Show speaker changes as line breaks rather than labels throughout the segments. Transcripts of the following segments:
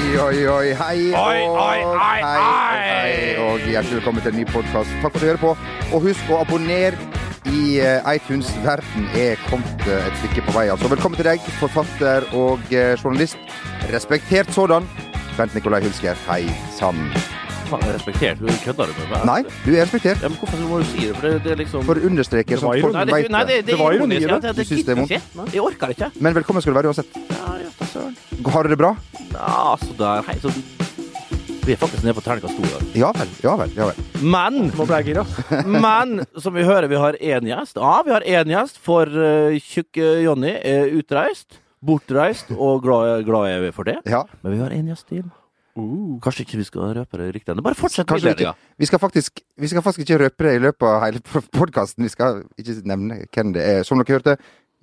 Oi, hei,
Oi,
og
oi, oi,
hei, og hei,
oi.
og hjertelig velkommen til en ny podkast. Takk for at du hører på. Og husk å abonnere i eh, iTunes. Verden er kommet eh, et stykke på vei. Altså. Velkommen til deg, forfatter og eh, journalist. Respektert sådan. Bent Nikolai Hulsker, hei sann.
Faen, jeg respekterer du kødder du med meg?
Nei, du er respektert.
Ja, men hvorfor må du si det? For det, det er liksom
For å understreke,
Det var
sånn at folk
Nei, det,
vet
nei, det, det,
Det var
er
ironi,
ironisk.
da.
Jeg,
Du
jeg,
synes det er vondt?
vondt? Jeg orker ikke.
Men velkommen skal du være uansett.
Ja, ja, for søren.
Har du det bra?
Ja, så der, hei, så, vi er faktisk nede på terningkast to. i dag.
Ja vel. Ja vel. ja vel.
Men,
Nå ble jeg gira.
men som vi hører, vi har én gjest. Ja, vi har én gjest, for eh, tjukke Jonny er utreist. Bortreist, og glad, glad er vi for det.
Ja. Uh.
Men vi har én gjest til. Kanskje ikke vi skal røpe det riktig ennå. Bare fortsett
Kanskje ikke.
videre. ja.
Vi skal, faktisk, vi skal faktisk ikke røpe det i løpet av hele podkasten. Vi skal ikke nevne hvem det er. Som dere hørte,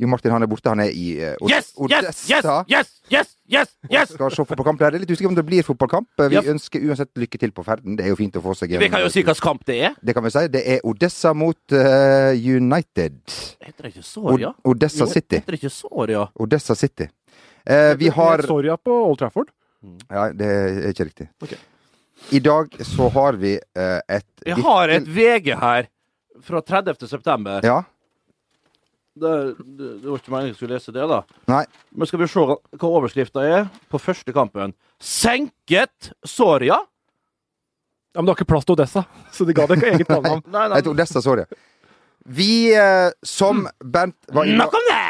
Jo Martin han er borte. Han er i eh, Od-
Yes, yes, yes, yes, yes, yes, yes!
Skal se fotballkamp der. Det er litt usikker om det blir fotballkamp. Vi
Ja.
ønsker uansett lykke til på ferden. Det er jo fint å få seg en-
Vi kan jo si hvilken kamp det er.
Det kan vi si. Det er Odessa mot eh, United.
Heter det ikke
Od
Soria?
Odessa
Jo,
City.
Heter det ikke Soria?
Odessa City. Eh, vi har
Soria på Old Trafford.
Ja, det er ikke riktig.
Ok.
I dag så har vi eh, et
Jeg har et VG her fra 30. september.
Ja.
Det, det, det var ikke meningen jeg skulle lese det, da.
Nei.
Men skal vi se hva hva overskrifta er på første kampen. Senket Soria?
Ja, Men det har ikke plass til Odessa, så de ga deg ikke eget
Nei,
kallenavn.
nei,
Jeg tror Odessa, sorry. Vi, eh, som Bernt var inne
Nok om det!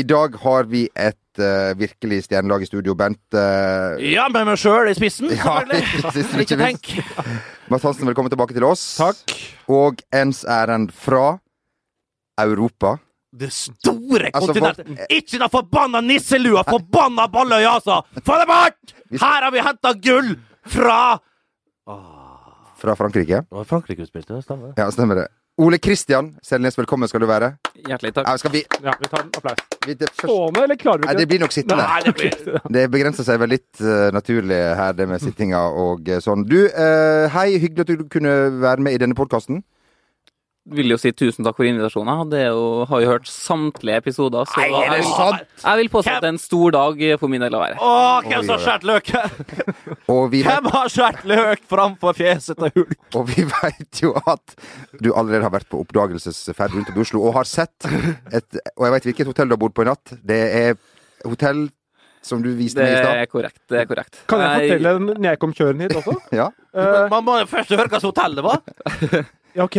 I dag har vi et eh, virkelig stjernelag i studio, Bernt. eh,
Ja, med meg sjøl i spissen,
Ja,
selvfølgelig.
ikke sist, men ikke
Ikke
minst.
tenk.
Mads Hansen, velkommen tilbake til oss.
Takk.
Og ens ærend fra Europa.
Det store
Altså,
kontinentet. Ikke den forbanna nisselua, forbanna Balløya, altså! Få det bort! Her har vi henta gull fra
Fra Frankrike.
Det var Frankrike vi spilte, det stemmer.
Ja, stemmer det. Ole Kristian Selnes, velkommen skal du være.
Hjertelig takk.
Ja, skal vi,
Ja, vi tar en applaus.
vi det, først,
Stående, eller klarer
Nei,
vi
det
ikke?
blir nok sittende.
Nei, det blir
Det begrenser seg vel litt eh, naturlig her, det med sittinga og eh, sånn. Du, eh, hei, hyggelig at du kunne være med i denne podkasten.
Vil jo si tusen takk for invitasjonen. Jeg hadde jo, har jo hørt samtlige episoder, så
Nei, er det
jeg, vil,
sant?
jeg vil påstå at det er en stor dag for min del å være.
Å, hvem som har skåret løk?
Og vi vet,
Hvem har skåret løk framfor fjeset til Hulk?
og vi vet jo at du allerede har vært på oppdagelsesferd rundt om i Oslo og har sett et Og jeg veit hvilket hotell du har bodd på i natt. Det er hotell som du viste
Det
meg i stad.
er korrekt. det er korrekt.
Kan jeg fortelle en når jeg kom kjørende hit også?
Ja.
Eh,
Man må jo først høre hva hotellet var.
ja, OK.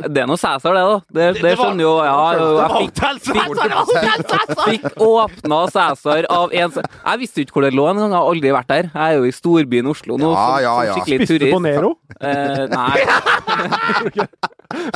Det er noe Cæsar, det, da. Det, det,
det var-
skjønner jo ja,
Det var
Jeg fikk,
Hotell Cæsar! det var Hotell Cæsar!
fikk åpna Cæsar av en Cæ- Jeg visste jo ikke hvor det lå engang. Jeg har aldri vært der. Jeg er jo i storbyen Oslo nå,
Ja,
som,
ja,
som
ja.
skikkelig
Spiste du på
turist.
Nero?
Eh, nei,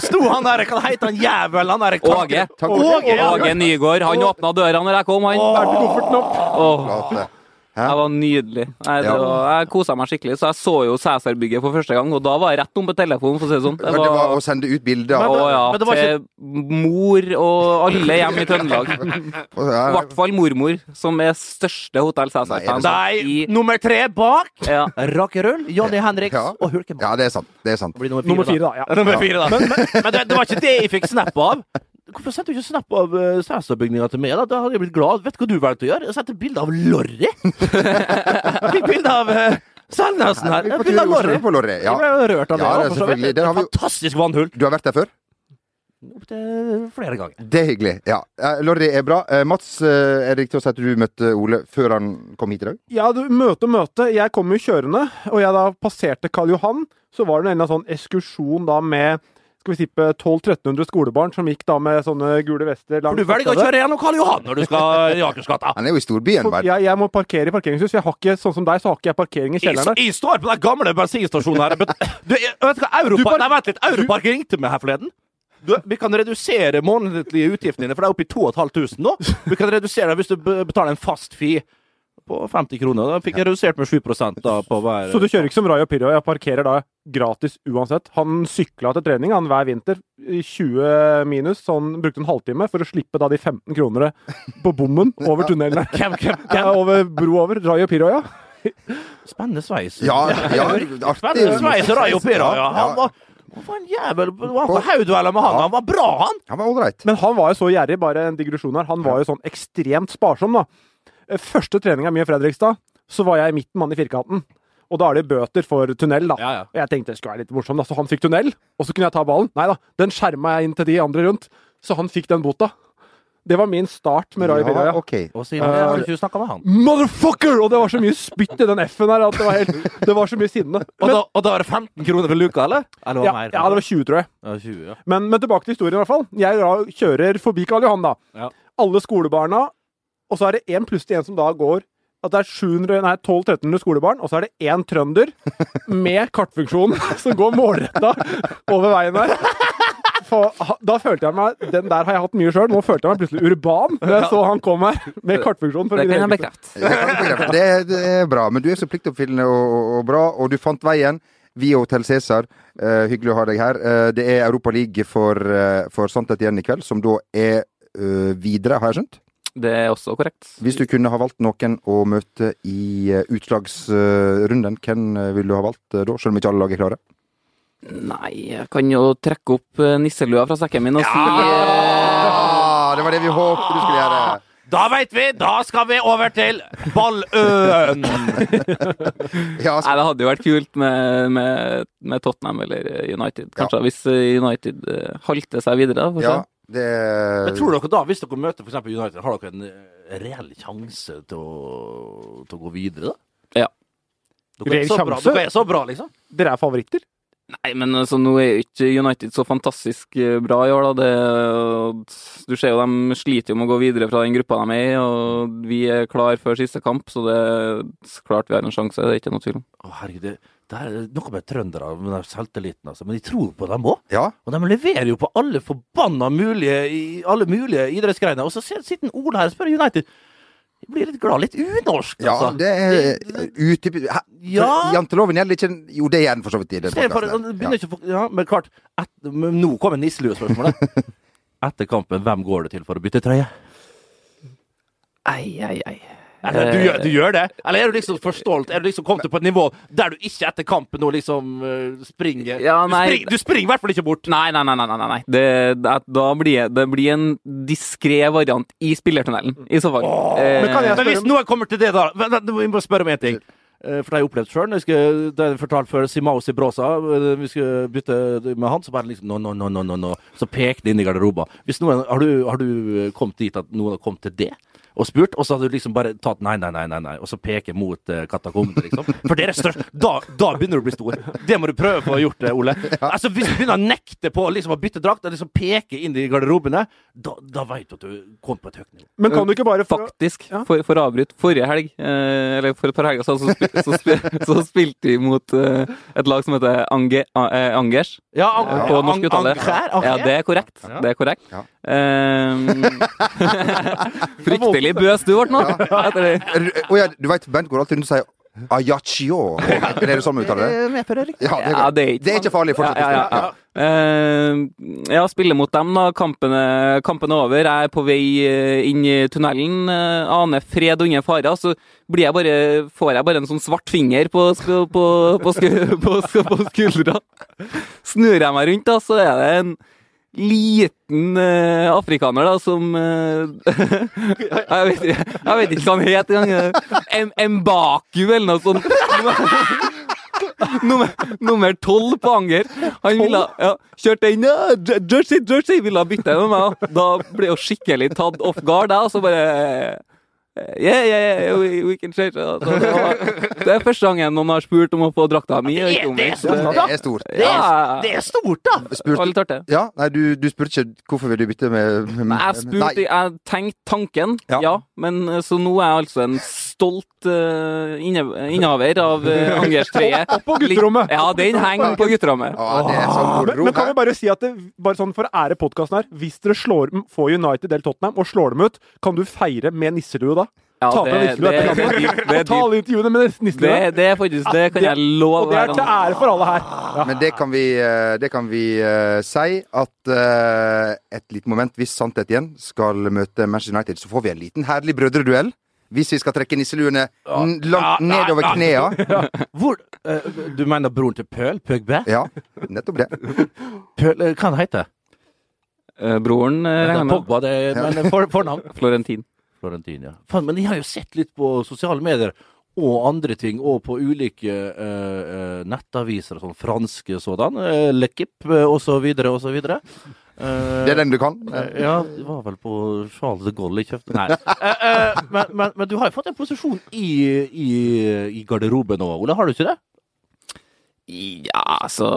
Sto han der Hva heter han jævelen? Han der
Åge.
Åge, ja.
Åge Nygård. Han åpna døra når jeg kom, han.
Bærte kofferten opp?
Åh.
At,
Jeg var nydelig. Nei, det
Ja.
var, jeg kosa meg skikkelig. Så jeg så jo Cæsar-bygget for første gang, og da var jeg rett om på telefonen, for å si det sånn.
eh,
Det
men det var
var,
å sende ut bilder
Men
av
å ja,
men det var ikke-
til mor og alle hjemme i Trøndelag.
og-
I
ja,
hvert fall mormor, som er største Hotell Cæsar-fan.
Nei,
I-
nummer tre bak.
Ja.
Rakerull, Johnny Henriks
Ja.
og Hulkemann.
ja, det er sant. Det er sant.
Blir nummer
Nummer
fire, da.
fire, da.
Ja,
Ja.
Nummer fire, da. Men, men, men det, det var ikke det jeg fikk snap av. Hvorfor sendte du ikke snap av eh, Sæstad-bygninga til meg? Da Da hadde jeg blitt glad. Vet du hva du valgte å gjøre? Jeg sendte bilde av Lorry. Jeg fikk bilde av uh, Selnesen her.
Vi er
Jeg
på
fikk
tur i
Bilde av Lorry.
Oslo på Lorry. Ja.
Jeg ble jo rørt av
Ja, det er
det. da, for så vidt.
selvfølgelig. Der har vi jo-
Fantastisk vannhull.
Du har vært der før?
Opptil flere ganger.
Det er hyggelig. Ja. Eh, Lorry er bra. Eh, Mats, eh, er det riktig å si at du møtte Ole før han kom hit i dag?
Ja, du, møte, møte. Jeg kom jo kjørende, og jeg da passerte Karl Johan, så var det en eller annen sånn ekskursjon da med skal vi tippe 1200-1300 skolebarn som gikk da med sånne gule vester
For
langs
du velger å
fortauet.
kjøre gjennom Karl Johan når du skal i Akersgata.
Han er jo i storbyen,
For
bare.
Jeg, jeg må parkere i parkeringshus. Jeg har ikke, sånn som deg, så har ikke jeg parkering i
Jeg,
kjelleren. der.
jeg står på den gamle bensinstasjonen her. men- Du, jeg, vet du hva,
Du
Europa,
bare-
nei, vent litt. Europark ringte meg her forleden. Du, vi kan redusere månedlige utgiftene dine, for det er oppe i 2500 nå. Vi kan redusere det hvis du be- betaler en fast fee på 50 kroner. Da fikk jeg redusert med 7 da på hver
Så du kjører ikke som Rayo Pirro. Jeg parkerer da gratis uansett. Han sykla til trening han hver vinter, i 20 minus, så han brukte en halvtime for å slippe da de 15 kronene på bommen over tunnelen. der.
Hvem, hvem,
Ja,
hvem?
over bro over. Rayo Pirro, ja.
Spennende sveis.
Ja, ja,
Spennende sveis og rai oppi der, ja.
Ja,
Han var Hva var en jævel Det var på haugdueller med han. Han var bra, han!
Han var ålreit.
Men han var jo så gjerrig, bare en digresjon her. Han var jo sånn Eh, ekstremt sparsom, da. Første treninga mi i Fredrikstad, så var jeg midten mann i firkanten. Og da er det bøter for tunnel, da.
Ja, ja.
Og jeg tenkte det skulle være litt morsomt, da. Så han fikk tunnel, og så kunne jeg ta ballen. Nei da, den skjerma jeg inn til de andre rundt. Så han fikk den bota. Det var min start med Rai Biraya.
Ja, ok.
Og siden
Eh,
det har du ikke snakka med han.
Motherfucker! Og det var så mye spytt i den F-en her at det var, helt, det var så mye sinne.
Og
Men,
da, og da er det 15 kroner for luka, eller? Eller
ja,
var det mer?
ja, det var 20, tror jeg.
Ja, 20, ja.
Men, men tilbake til historien, i hvert fall. Jeg da kjører forbi Karl Johan, da.
Ja.
Alle skolebarna, og så er det en plutselig en som da går at det er 700, nei, 1200-1300 skolebarn, og så er det én trønder med kartfunksjon som går målretta over veien her. For, ha- da følte jeg meg Den der har jeg hatt mye sjøl. Nå følte jeg meg plutselig urban da jeg så han kom her med kartfunksjon. for å
Det kan
kunne
jeg
hjelpe til.
bekrefte.
Det kan du bekrefte. Det, det er bra. Men du er så pliktoppfyllende og, og, og bra, og du fant veien. Via Hotell Cæsar, Eh, hyggelig å ha deg her. Eh, det er Europa League for, uh, for Sannhet igjen i kveld, som da er eh, videre, har jeg skjønt?
Det er også korrekt.
Hvis du kunne ha valgt noen å møte i eh, utslagsrunden, hvem eh, ville du ha valgt eh, da? Selv om ikke alle lag er klare.
Nei, jeg kan jo trekke opp eh, nisselua fra sekken min og si eh,
Ah, det var det vi håpet du skulle gjøre.
Da veit vi! Da skal vi over til Balløen!
Ja,
Nei, det hadde jo vært kult med, med, med Tottenham eller eh, United. Kanskje hvis eh, United eh, halter seg videre. for å si.
ja det
Men tror dere da, hvis dere møter for eksempel United, har dere en eh, reell sjanse til å, til å gå videre, da?
Ja.
Dere er,
Reell
så bra,
sjanse?
dere er så bra, liksom.
Dere er favoritter.
Nei, men altså, nå er jo ikke United så fantastisk eh, bra i år, da. Det, du ser jo de sliter jo med å gå videre fra den gruppa de er i, og vi er klar før siste kamp, så det er klart vi har en sjanse, det er ikke noe tvil om.
Å, herregud, det, det er noe med trøndere med den selvtilliten, altså. Men de tror på dem òg.
ja.
Og de leverer jo på alle forbanna mulige, i alle mulige idrettsgreiner. Og så ser- sitter en Ola her og spør United. Jeg blir litt glad. Litt unorsk,
Ja,
altså.
det er utdyp... Hæ?
Ja.
Janteloven gjelder ikke Jo, det gjør den for så vidt. i
I
den
stedet for-
podcasten her.
begynner ikke å få- ja, men klart, et, men nå kommer nisselue-spørsmålet. Etter kampen, hvem går det til for å bytte trøye?
Ei, ei, ei.
Eller, du, gjør, du gjør det? Eller er du liksom for stolt? Er du liksom kommet på et nivå der du ikke etter kampen nå liksom eh, springer
Ja,
du,
nei.
spring, du springer i hvert fall ikke bort!
Nei, nei, nei. nei, nei, nei. Det, det, da blir det blir en diskré variant i spillertunnelen, i så fall. Eh,
men kan jeg-
Men hvis noen kommer til det, da Vent, vent, Vi må spørre om én ting. Eh, For det har jeg opplevd sjøl. Det har jeg fortalt før. Simao Sibrosa eh, Vi skulle bytte med han, så bare liksom No, no, no, no, no, no. Så pekte inn i garderoba. Hvis noen, har, du, har du eh, kommet dit at noen har kommet til det og spurt, og så har du liksom bare tatt nei, nei, nei, nei, nei og så peker mot eh, katakombene, liksom? For dere er størst. Da, da begynner du å bli stor. Det må du prøve for å få gjort det, Ole. Altså, Hvis du begynner å nekte på liksom, å bytte drakt, og liksom peke inn i garderobene, da, da veit du at du kom på et høyt nivå.
Men kan du ikke bare få
Faktisk,
Ja.
for, for å avbryte. Forrige helg, eh, eller for et par helger siden, så, spil, så, spil, så spilte vi mot eh, et lag som heter Ange, A- eh, Angers
Ja,
eh, på norsk uttale. Ja, det er korrekt.
Ja.
Det er korrekt.
Ja.
Eh, fryktelig bøs du ble nå. Etter det.
Er- Å ja, du veit, Bent går alltid rundt og sier Ayachio. Er det sånn man uttaler det? Ja, det,
Ja,
er
det er
greit.
ikke
det er ikke farlig. Fortsett.
Ja, ja, ja.
Kristian.
Eh, ja, spille mot dem, da. Kampen er, kampen er over. Jeg er på vei eh, inn i tunnelen. eh, aner fred og ingen fare. Så blir jeg bare, får jeg bare en sånn svart finger på, sku, på, på, sku, på, sku, på skuldra. Snur jeg meg rundt, da, så er det en liten eh, afrikaner da, som eh, jeg, vet, ikke- jeg vet ikke hva han het engang. Em- Embaku eller noe sånt. Nummer, nummer 12 på Anger. Han ville ja, kjørte inn ja, Jer- Jersey, Jersey! Ville ha bytta med meg. og Da ble jeg jo skikkelig tatt off guard, jeg, og så bare eh, Yeah, yeah, yeah, we, we can change it. Altså, det, var, det er første gangen noen har spurt om å få drakta mi. og ikke om
Det er
meg, så-
stort, da.
Det er stort.
Ja, ja,
Det
ja.
er stort, da!
Det var
Spurte
litt artig.
ja, nei, du, du spurte ikke hvorfor vil du bytte med
Nei, Jeg spurte,
Nei,
jeg tenkte tanken,
Ja.
ja. men eh, så nå er jeg altså en stolt eh, inne- innehaver av uh, Angers-treet.
Opp på gutterommet.
Ja, den henger på gutterommet.
ja, det er sånn
Men,
moro.
men kan vi
her.
bare si at det, bare sånn for å ære podkasten her Hvis dere slår, får United eller Tottenham og slår dem ut, kan du feire med nisselue da?
Ja,
Ta med
det, det,
nisselue
det,
etter
det, er dypt,
kampen.
det,
Og
er
ta
dypt.
alle intervjuene med nisselue.
det, det er faktisk Det kan
Ja,
jeg
og
love
det
hver
er til
gang.
ære for alle her. Ja.
Men det kan vi, eh, det kan vi eh, si at eh, et lite moment, hvis Sannhet igjen skal møte Manchester United, så får vi en liten herlig brødreduell. Hvis vi skal trekke nisseluene n-
Ja,
langt
nei,
nedover
nei.
knea.
Hvor eh, Du mener broren til Pøl? Pøgbe?
Ja, nettopp det.
Pøl, eh, hva han heter
Eh, Broren eh, regner jeg med.
Pogba, det er men eh, for, fornavn.
Florentin.
Florentin, ja. Faen, men jeg har jo sett litt på sosiale medier. og andre ting, og på ulike eh, eh, nettaviser og sånn, franske sådan, eh, Le Kip eh, og så videre og så videre. Eh,
Det er den du kan?
eh, Ja, det var vel på Charles de Gaulle jeg kjøpte Nei. Eh, eh, men, men, men du har jo fått en posisjon i, i, i garderoben nå, Ole, har du ikke det?
Ja, altså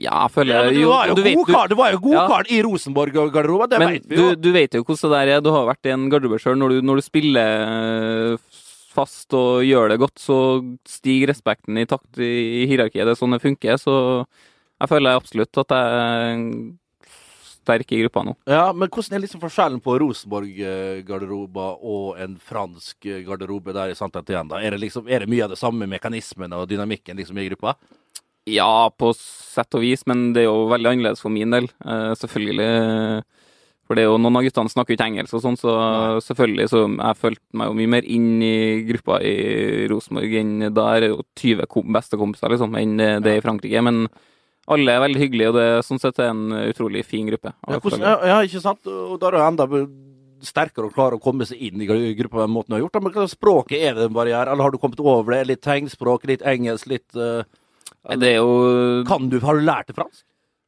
Ja, jeg føler
Ja, men du,
jo,
var Eh, jo
du vet-
god
du-
kar, du var jo god
Ja.
kar i Rosenborg-garderoben, det
Men
vet vi jo.
du, du vet jo hvordan det der er. Du har jo vært i en garderobe sjøl. Når, du- når du spiller eh, fast og gjør det godt, så stiger respekten i takt i i hierarkiet. Det er sånn det funker. Så jeg føler absolutt at jeg er sterk i gruppa nå.
Ja, men hvordan er liksom forskjellen på Rosenborg-garderoba og en fransk eh, garderobe der i Santetien, da? Er det liksom, er det mye av det samme mekanismen og dynamikken liksom i gruppa?
Ja, på sett og vis, men det er jo veldig annerledes for min del. Eh, selvfølgelig. For det er jo noen av guttene snakker jo ikke engelsk og sånn, så selvfølgelig så jeg følte meg jo mye mer inn i gruppa i Rosenborg enn da er det jo 20 kom- bestekompiser, liksom, enn det det er i Frankrike. Men alle er veldig hyggelige, og det er sånn sett en utrolig fin gruppe.
Ja, hvordan, ja, ja, ikke sant? Og da er det jo enda sterkere å klare å komme seg inn i gru- gruppa på den måten du har gjort. da. Men hva språket er det en barriere, eller har du kommet over det? Litt tegnspråk, litt engelsk, litt eh,
Det er jo
Kan du, har du lært det fransk?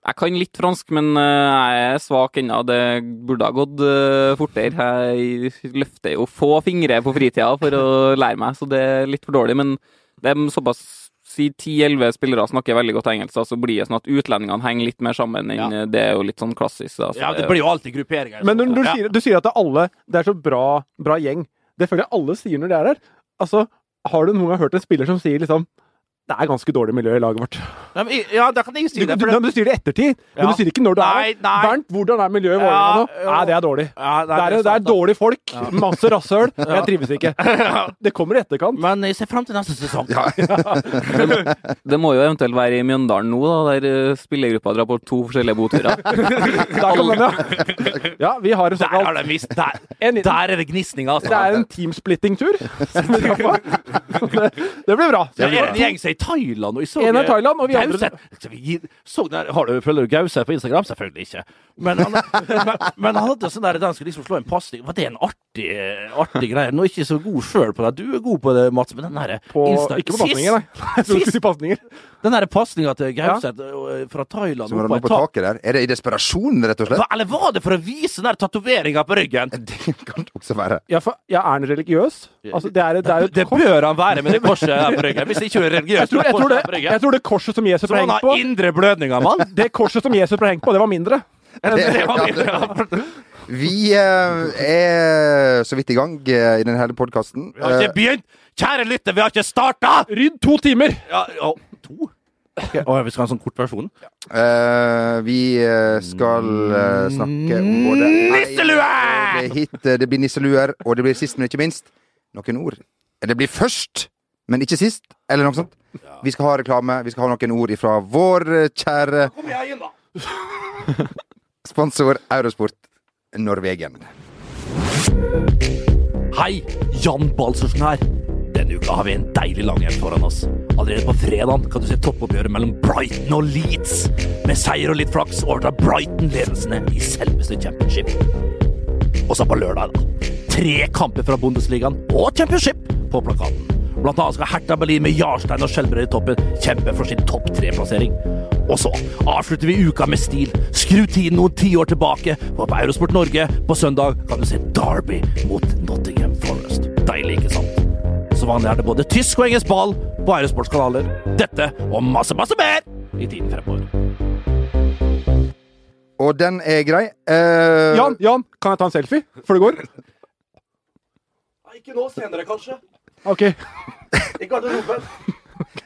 Jeg kan litt fransk, men eh, jeg er svak ennå. Det burde ha gått eh, fortere. Jeg løfter jo få fingre på fritida for å lære meg, så det er litt for dårlig. Men det er såpass Si 10-11 spillere snakker veldig godt engelsk, da, så blir det sånn at utlendingene henger litt mer sammen. enn
Ja.
Det er jo litt sånn klassisk. Da, så
Ja, det
det er jo-
blir jo alltid grupperinger.
Men når du,
Ja.
sier, du sier at det er alle Det er så bra, bra gjeng. Det føler jeg alle sier når de er her. Altså, har du noen gang hørt en spiller som sier liksom Det er ganske dårlig miljø i laget vårt.
Nei, men, ja, da kan jeg
Du,
si
du,
det. for
men du sier det i ettertid, men
Ja.
du sier ikke når du er
Nei,
her.
nei.
Bernt, hvordan er miljøet i Vålerenga
Ja,
nå?
jo.
Nei, det er dårlig.
Ja, nei,
Det er, det er
sant, da.
dårlig folk, masse rasshøl. Jeg trives ikke. Det kommer i etterkant.
Men jeg ser frem til neste sesong.
det må jo eventuelt være i Mjøndalen nå, da, der eh, spillergruppa drar på to forskjellige boturer.
Der kom den, ja. Ja, vi har en
Der har
såkalt
de vist Der,
En liten-
der er det gnisning, altså.
Det er en teamsplitting-tur. som vi drar på. Det, det blir bra.
Det er en gjeng som er i Thailand. Og jeg så
En er i Thailand, og vi andre-
Gauseth. Så vi gir- så der, har du, Følger du Gauseth på Instagram? Selvfølgelig ikke. Men han, men, men han hadde sånn der, den skulle liksom slå en pasning. Var det en artig, artig greie? Nå er jeg ikke så god sjøl på det. Du er god på det, Mats, men den derre
På, ikke på pasninger, nei. Jeg tror du skulle si pasninger.
Den derre pasninga til Gauseth ø, fra Thailand
Som er
opp
oppe på
på et tak.
taket der. Er det i desperasjon, rett og slett?
Hva- Eller var det for å vise den der tatoveringa på ryggen?
Det kan det også være.
Ja, for, ja, er han religiøs? Altså, det er, det er jo
Det bør han være med det korset der på ryggen. Hvis ikke du er religiøs.
jeg tror, jeg, tror det, jeg tror det korset som Jesus
Så
ble
han
hengt
har
på,
indre blødninger, mann.
det korset som Jesus ble hengt på, det var mindre.
Det var mindre, ja.
Vi eh, er så vidt i gang eh, i denne hele podkasten.
Vi har ikke begynt! Kjære lytter, vi har ikke starta!
Rydd to timer!
Ja, ja, to? Okay, å, vi skal ha en sånn kort versjon?
vi eh, skal eh, snakke om både
Nisselue!
Nei, Det, er hit, eh, det blir nisseluer, og det blir sist, men ikke minst, noen ord. Eh, Det blir først, men ikke sist, eller noe sånt. Vi skal ha reklame, vi skal ha noen ord ifra vår eh, kjære
Kom igjen, da!
sponsor Eurosport Norvegen.
Hei, Jan Balsersen her. Denne uka har vi en deilig langhelg foran oss. Allerede på fredag kan du se toppoppgjøret mellom Brighton og Leeds. Med seier og litt flaks overtar Brighton ledelsene i selveste championship. Og så på lørdag, da. Tre kamper fra Bundesligaen og championship på plakaten. Blant annet skal Hertha Berlin med Jarstein og Skjelbred i toppen kjempe for sin topp tre-plassering. Og så avslutter vi uka med stil. Skru tiden noen tiår tilbake, for på Eurosport Norge på søndag kan du se Derby mot Nottingham Forest. Deilig, ikke sant? Som vanlig er det både tysk og engelsk ball på Eurosportskanaler. Dette og masse, masse mer i tiden fremover.
Og den er grei. Eh,
Jan, Jan, kan jeg ta en selfie før du går?
Ikke nå, senere kanskje.
Ok.
I garderoben.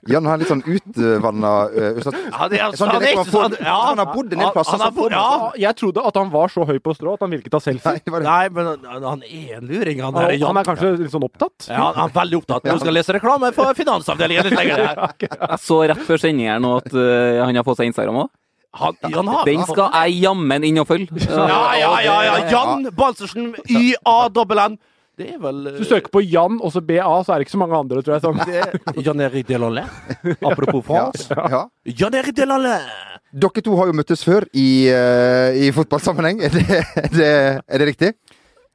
Jan har litt sånn utvanna uh,
Ja, det er,
Sånn, det er
han, er ikke
ikke sånn-
sånn- ja,
han har bodd en del plasser,
Han, han har
så får
bodd,
man-
ja.
Jeg trodde at han var så høy på strå at han ville ikke ta selfie.
Nei, men han, han er en luring, han
Han,
der Jan.
han er kanskje litt sånn opptatt.
ja, han er veldig opptatt. Nå skal jeg lese reklame for finansavdelingen litt lenger der.
Jeg så rett før sending her nå at eh, han har fått seg Instagram òg.
Han, Jan har
Den skal jeg jammen inn og følge. Eh,
Ja, ja, ja, ja. Jan Balsersen, Y-A-N-N. Det er vel
Hvis du søker på Jan og så BA, så er det ikke så mange andre, tror jeg. Som.
Jan-Erik Delalais. Apropos
Ja,
France.
ja.
Jan-Erik Delalais.
Dere to har jo møttes før i, eh, i fotballsammenheng. Er det, er det, er det riktig?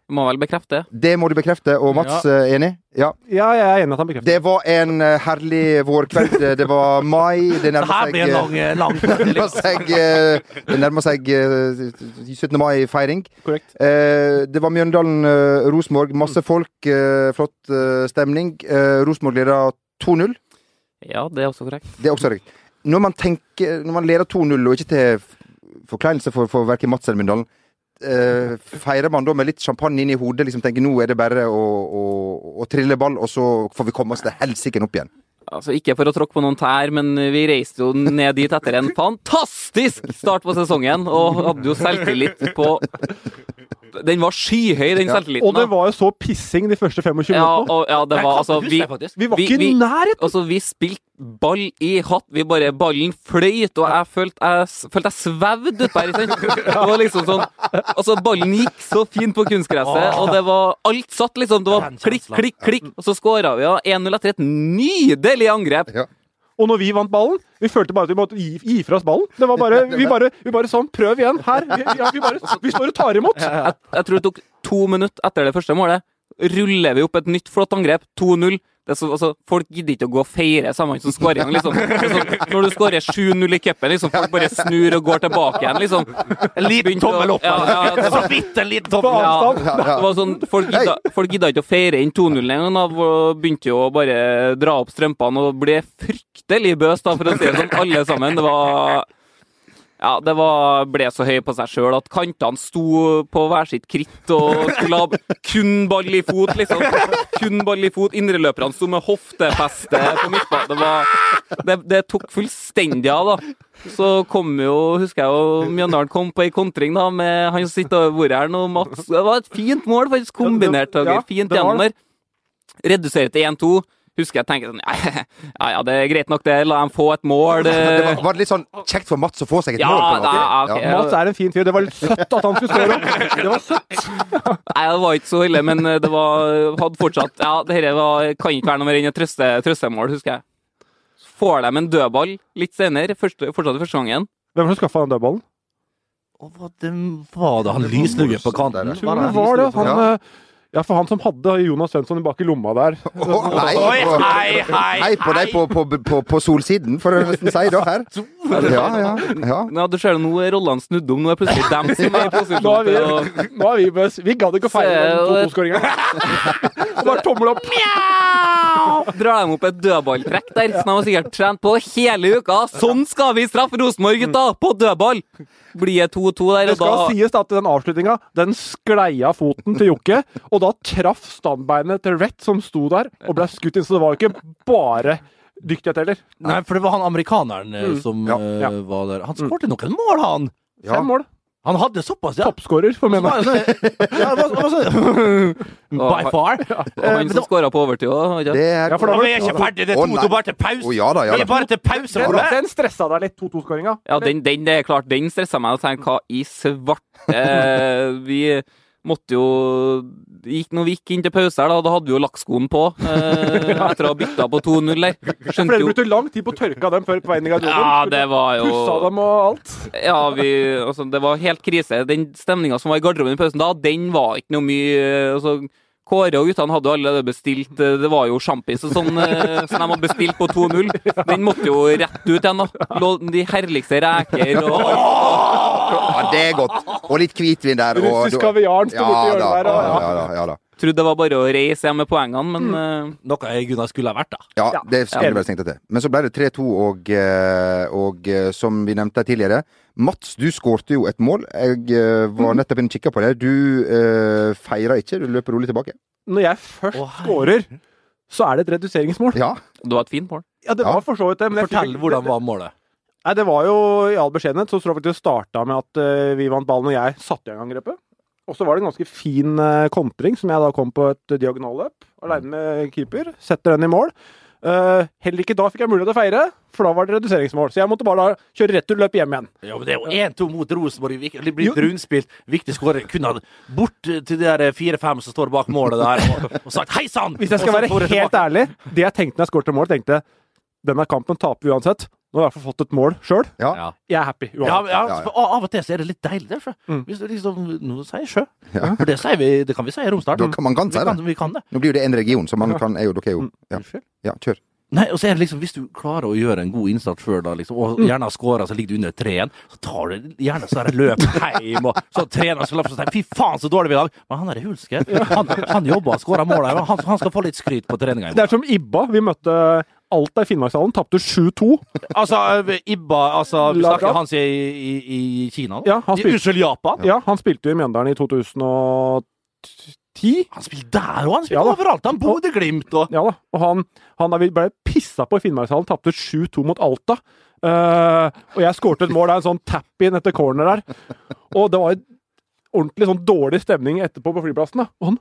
Må vel bekrefte.
Det må du bekrefte, og Mats eh, enig? Ja.
Ja, jeg er enig i at han bekrefter det.
Det var en eh, herlig vårkveld. Det var mai. Det
Det
nærmer
her
seg,
blir en lang, eh, lang
det nærmer seg, eh, det nærmer seg eh, 17. mai-feiring.
Korrekt.
Eh, det var Mjøndalen eh, Rosenborg. Masse folk, eh, flott eh, stemning. Eh, Rosenborg leder 2-0.
Ja, det er også korrekt.
Det er også riktig. Når man tenker, når man leder 2-0, og ikke til f- forkleinelse for, for verken Mats eller Mjøndalen, eh, feirer man da med litt champagne inn i hodet? liksom tenker Nå er det bare å, å, å trille ball, og så får vi komme oss til helsike opp igjen.
Altså, Ikke for å tråkke på noen tær, men vi reiste jo ned dit etter en fantastisk start på sesongen, og hadde jo selvtillit på Den var skyhøy, den selvtilliten.
Og det
da.
var jo så pissing de første 25
ja,
minuttene.
og, ja, det var altså vi,
Vi var
vi-
ikke i
vi-
nærheten!
Altså, vi spilte ball i hatt. Vi bare, Ballen fløyt, og jeg følte jeg, s- følte jeg svevde utpå her. ikke sant? Det var liksom sånn, altså, ballen gikk så fint på kunstgresset, og det var alt satt, liksom. Det var
Den
klikk,
kjensla.
klikk, klikk, og så skåra vi. Ja. 1-0 etter et nydelig angrep.
Og når vi vant ballen, vi følte bare at vi måtte gi, gi fra oss ballen. Det var bare, vi, bare, vi bare sånn Prøv igjen! Her! Vi, ja, vi, bare, vi står og tar imot!
Jeg, jeg tror det tok to minutter etter det første målet. Ruller vi opp et nytt flott angrep. 2-0. Det er så, altså, folk gidder ikke å gå og feire sammen som skårer igjen. Liksom. Det er sånn, når du skårer 7-0 i cupen, liksom, folk bare snur og går tilbake igjen. Liksom.
En liten
Begynte å-
tommel opp.
Ja, ja,
eller?
det
Så vidt en liten
På
tommel. Ja.
avstand!
Ja,
Det
ja.
var sånn, Folk gidda, folk gidda ikke å feire inn 2-0 engang. da, og Begynte jo å bare dra opp strømpene og ble fryktelig bøs, da, for å si det sånn, alle sammen. Det var ja, det var, ble så høy på seg sjøl at kantene sto på hver sitt kritt og skulle ha kun ball i fot, liksom. Kun ball i fot. Indreløperne sto med hoftefeste på midtbanen. Det, var- det, det tok fullstendig av, da. Så kom jo, husker jeg jo, Mjøndalen kom på ei kontring da, med han som sitter over bordet her nå, Mats. Det var et fint mål, faktisk.
Ja,
Kombinert,
det-
Torgeir.
ja,
Fint
det var
gjennom der. Redusere til 1-2. Husker jeg tenkte sånn ja, ja, ja, det er greit nok, det. La dem få et mål.
Det
eh.
var, var det litt sånn kjekt for Mats å få seg et
Ja,
mål? på en måte?
da, ok.
Ja.
Mats er en fin fyr. Det var litt søtt at han skulle stå der. Det var søtt.
Nei, det var ikke så ille, men eh, det var, hadde fortsatt Ja, det her var, kan ikke være noe mer enn et trøste, trøstemål, husker jeg. Så får de en dødball litt senere, første, fortsatt i første gangen.
Hvem var det som skaffa den dødballen?
Og hva det var da? Han lyslugger på kanten.
Jeg
Jo, det var det. Han, eh, ja, for han som hadde Jonas Svensson bak i lomma der.
Å, hei,
Oi,
på-
hei, hei,
hei på deg på, på, på, på solsiden, får jeg nesten si da her. Ja, ja, ja.
Ja, du ser det, nå er rollene snudd om. Nå er plutselig dem som er i
Nå
posisjon
er
til å
vi, nå er vi bøs. Vi gadd ikke å feire den 2-2-skåringa. Bare tommel opp.
Drar dem opp et dødballtrekk der, som de har sikkert trent på hele uka. Sånn skal vi straffe Rosenborg, gutta! På dødball! Blir det 2-2 der,
Det
og da
skal sies da at den avslutninga den sklei av foten til Jokke, og da traff stambeinet til Rett, som sto der, og ble skutt inn. Så det var jo ikke bare dyktighet heller.
Nei, for det var han amerikaneren eh, som
Ja,
eh,
ja.
var der. Han skårte noen mål, han!
ja.
Fem mål.
Han hadde såpass, ja.
Toppskårer for
Så var
mennene.
det sånn- ja, det var- det var sånn- By far. Eh,
Og han som skåra på overtid òg.
Eh, Det er
Ja, for da
Og
var
vi er ikke ferdig, det er
Å,
to
nei.
to bare til pause.
Å, ja da, ja
Vi er
da.
bare til pause,
Den,
Ole.
den stressa deg litt, 2-2-skåringa.
Ja, den, den det er klart, den stressa meg. Og tenkte, hva i svarte eh, Vi måtte jo gikk, Når vi gikk inn til pause her, da, da hadde vi jo lakkskoen på. Eh, etter å ha bytta på 2-0 der.
For
Skjønte
dere
jo
brukte lang tid på å tørke av dem før på veien i garderoben.
Ja, det var jo
Pussa dem og alt.
Ja, vi Altså, det var helt krise. Den stemninga som var i garderoben i pausen da, den var ikke noe mye eh, altså, Kåre og guttene hadde jo allerede bestilt eh, Det var jo sjampis og sånn eh, som de hadde bestilt på 2-0. Den måtte jo rett ut igjen, da. Lå de herligste reker og
Ja, det er godt. Og litt hvitvin der. Og,
Russisk kaviar sto
ja, da,
borti hjørnet der.
ja,
og-
ja, da, ja, da.
Trodde det var bare å reise hjem med poengene, men eh,
Noe jeg Gunnar skulle ha vært, da.
Ja, det skulle
Ja.
du vel tenkt deg til. Men så ble det 3-2, og, eh, og eh, som vi nevnte tidligere Mats, du skårte jo et mål. Jeg eh, var nettopp inne og kikka på det. Du eh, feira ikke, du løper rolig tilbake.
Når jeg først
Å, hei.
skårer, så er det et reduseringsmål.
Ja.
det var et fint mål.
Ja, det
Ja.
var for så vidt det. Men jeg fikk-
Fortell hvordan var målet.
Nei, det var jo i all beskjedenhet, så tror jeg faktisk det starta med at eh, vi vant ballen, og jeg satte i gang angrepet. Og så var det en ganske fin eh, kontring, som jeg da kom på et diagonalløp, aleine med keeper. Setter den i mål. Eh, heller ikke da fikk jeg mulighet til å feire, for da var det reduseringsmål. Så jeg måtte bare da kjøre returløp hjem igjen.
Ja, men Det er jo 1-2 mot Rosenborg. vik- Det blir
Jo.
rundspilt. Viktig skåring. Kunne han bort til de der fire-fem som står bak målet der, og, og sagt 'hei sann'!
Hvis jeg skal være helt ærlig, det jeg tenkte når jeg skåret mål, tenkte denne kampen taper vi uansett. Nå har jeg i hvert fall fått et mål sjøl.
Ja.
Ja.
Jeg er happy.
Ja,
uansett.
Ja,
ja,
ja.
for Av og til så er det litt deilig. Det, for
Mm.
hvis du liksom, Nå sier jeg sjø.
Ja.
For det, sier vi, det kan vi si i Romsdal.
Da kan man kan si
Vi
det.
kan, vi kan det.
Nå blir jo det en region, så man
Ja.
kan er jo, dere er jo
Mm.
ja.
Unnskyld.
ja, kjør.
Nei, og så er det liksom, Hvis du klarer å gjøre en god innsats før, da, liksom, og gjerne har skåra, så ligger du under treen, så tar du gjerne sånn der løp hjem og så trener så løper, så tenker, Fy faen, så dårlig vi er i dag! Men han er hulsket. Han, han jobber og skårer mål her. og Han, han skal få litt skryt på treninga. i
Det er som Ibba. Vi møtte Alta i Finnmarkshallen, tapte 7-2.
Altså, Ibba altså, Vi
Lavrov?
snakker han sier i, i, i Kina nå?
Ja, han
I-
spilte-
Unnskyld, Japan?
Ja, han spilte jo i Mjøndalen i 2010.
Han spiller der òg! Han spiller
Ja da.
overalt! Han Bodø-Glimt og
Ja da. Og han, han da vi ble pissa på i Finnmarkshallen, tapte 7-2 mot Alta. Eh, og jeg skårte et mål der, en sånn tap-in etter corner der. Og det var en ordentlig sånn dårlig stemning etterpå på flyplassen. da. Og han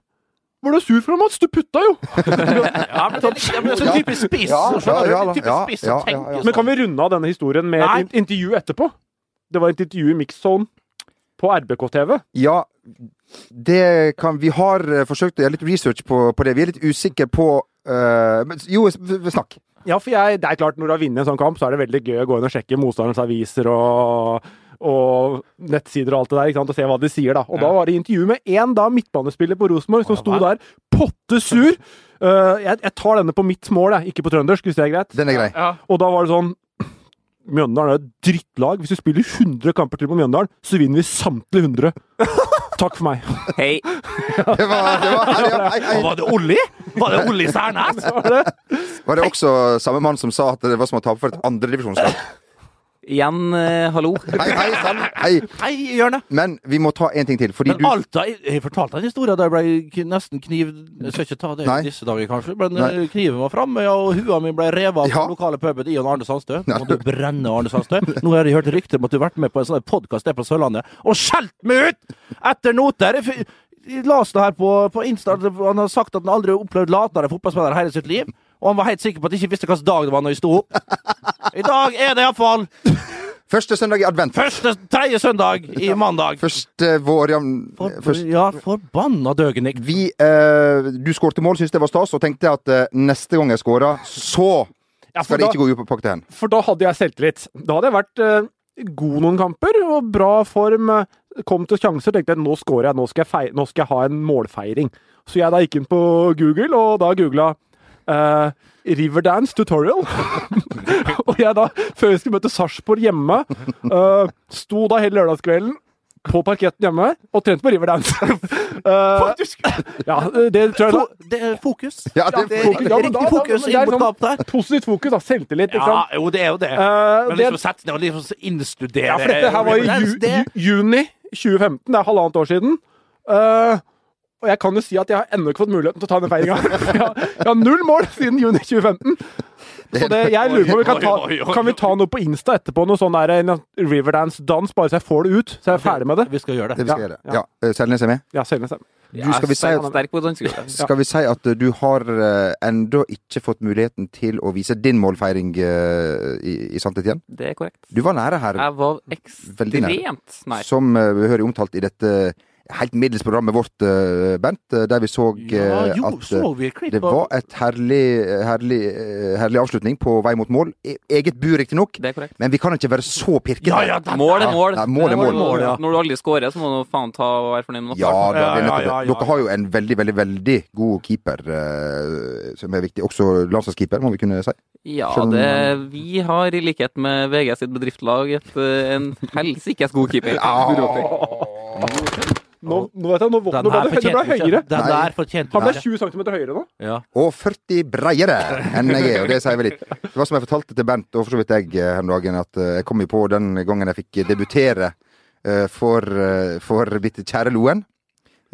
var du sur for, Mats? Du putta jo! sånn,
ja, men det, er- ja, men det er så typisk spiss!
Ja, ja,
skjønner du?
ja da.
typisk
Ja,
spiss
ja,
å
ja,
tenke
ja.
sånn.
Men kan vi runde av denne historien med
Nei.
et in- intervju etterpå? Det var et intervju i Mix-Zone på RBK-TV.
Ja, det kan Vi har eh, forsøkt å gjøre litt research på, på det. Vi er litt usikre på eh, men, Jo, s- v- snakk.
Ja, for jeg, det er klart, når du har vunnet en sånn kamp, så er det veldig gøy å gå inn og sjekke motstanderens aviser og, og nettsider og alt det der, ikke sant, og se hva de sier, da. Og da var det intervju med én da midtbanespiller på Rosenborg som
Å,
sto
hva?
der potte sur. Eh, jeg, jeg tar denne på mitt mål, jeg, ikke på trøndersk, hvis det er greit.
Den er grei.
Ja.
Og da var det sånn Mjøndalen er et drittlag. Hvis vi spiller 100 kamper til på Mjøndalen, så vinner vi samtlige 100. Takk for meg.
Hei.
Det var, det var, ja, hei, hei.
Og var det Olli? Var det Olli Særnes?
var det også samme mann som sa at det var som å tape for et andredivisjonslag?
Igjen, eh, hallo.
Hei, hei, sann. Hei.
Hei, Jørne.
Men vi må ta en ting til, fordi
Men
du
Alta Jeg, jeg fortalte en historie der jeg ble k- nesten kniv... Jeg skal ikke ta det
Nei.
i disse dager, kanskje, men
Nei.
eh, kniven var framme, ja, og hua mi ble revet av
Ja.
den lokale puben i og Arne Sandstø. Nå må du brenne Arne Sandstø. Nå har jeg hørt rykter om at du har vært med på en sånn podkast der på Sørlandet og skjelt meg ut etter noter! Jeg f- Jeg leste her på, på Insta at han har sagt at han aldri har opplevd latere fotballspiller hele sitt liv. Og han var helt sikker på at han ikke visste hvilken dag det var når jeg sto opp. I dag er det iallfall
Første søndag i advent.
første tredje søndag i mandag.
Første vår ja,
For,
først-
Ja, forbanna døgenik.
Vi, eh, du skårte mål, syntes det var stas, og tenkte at eh, neste gang jeg scorer, så
Ja,
skal
for
det
da-
ikke gå upåpakket hen.
For da hadde jeg selvtillit. Da hadde jeg vært eh, god noen kamper, og bra form. eh, Kom til sjanser, tenkte jeg nå scorer jeg, nå skal jeg, fei nå skal jeg ha en målfeiring. Så jeg da gikk inn på Google, og da googla eh, Riverdance tutorial. og jeg da, før vi skulle møte Sarpsborg hjemme, eh, sto da hele lørdagskvelden på parketten hjemme og trente på Riverdance. Eh, ja, det tror jeg da.
Fo det er fokus.
Ja, det,
Det er
fokus-
riktig,
Ja, men da-
riktig
da-
fokus
men det er
inn mot
sånn-
kamp der.
Positivt fokus, da. Selvtillit. ikke
Ja,
sant?
jo, det er jo det.
Eh,
Men
det-
liksom sette seg ned og liksom innstudere
Ja, for dette her var i
Det er-
ju
det-
ju- juni 2015. Det er halvannet år siden. Eh, og jeg kan jo si at jeg har ennå ikke fått muligheten til å ta den feiringa. jeg, har- jeg har null mål siden juni 2015. Så det, jeg lurer på om vi kan
Oi, oi,
ta,
oi.
kan vi ta noe på Insta etterpå. Noe sånn der en Riverdance-dans, bare så jeg får det ut. Så jeg er ferdig med det.
Vi skal gjøre
det
det.
vi skal
Ja,
gjøre.
ja.
Ja, eh, Selnes er med.
Ja, Selnes er med.
Du, skal vi si
Jeg er
at-
sterk på danskegulvet.
Skal vi si at eh, du har eh, enda ikke fått muligheten til å vise din målfeiring eh, i, i sanntid igjen?
Det er korrekt.
Du var nære her,
Jeg var
Veldig nær.
ekstremt nær.
som eh, vi hører omtalt i dette helt middels programmet vårt, eh, Bent, eh, der vi så eh,
Ja, jo,
at eh,
så vi et klipp
det
av
var et herlig, herlig, eh, herlig avslutning på vei mot mål. E- Eget bur, riktignok,
Det er korrekt.
men vi kan ikke være så pirkete.
Ja, ja, den-
Mål er mål.
Ja, mål er
Når-
mål,
ja.
Når du aldri scorer, så må du faen ta og være fornøyd med noe.
Ja, da, det er
Ja,
nettopp
ja, ja,
det.
ja.
Dere har jo en veldig, veldig veldig god keeper eh, som er viktig. Også landslagskeeper, må vi kunne si.
Ja,
Skjønner du
det, vi har i likhet med VG sitt bedriftslag et, eh, en helsikes god keeper.
Nå, nå vet jeg, nå våkner
Den her
bare Det ble
fortjente vi ikke.
høyere.
Den
Nei.
der fortjente vi
Han ble
ikke.
20 cm høyere nå.
Ja.
Og 40 breiere enn jeg er, og det sier vel litt. Det var som jeg fortalte til Bent, og for så vidt jeg eh, her om dagen, at eh, jeg kom jo på den gangen jeg fikk debutere eh, for, eh, for mitt kjære Loen.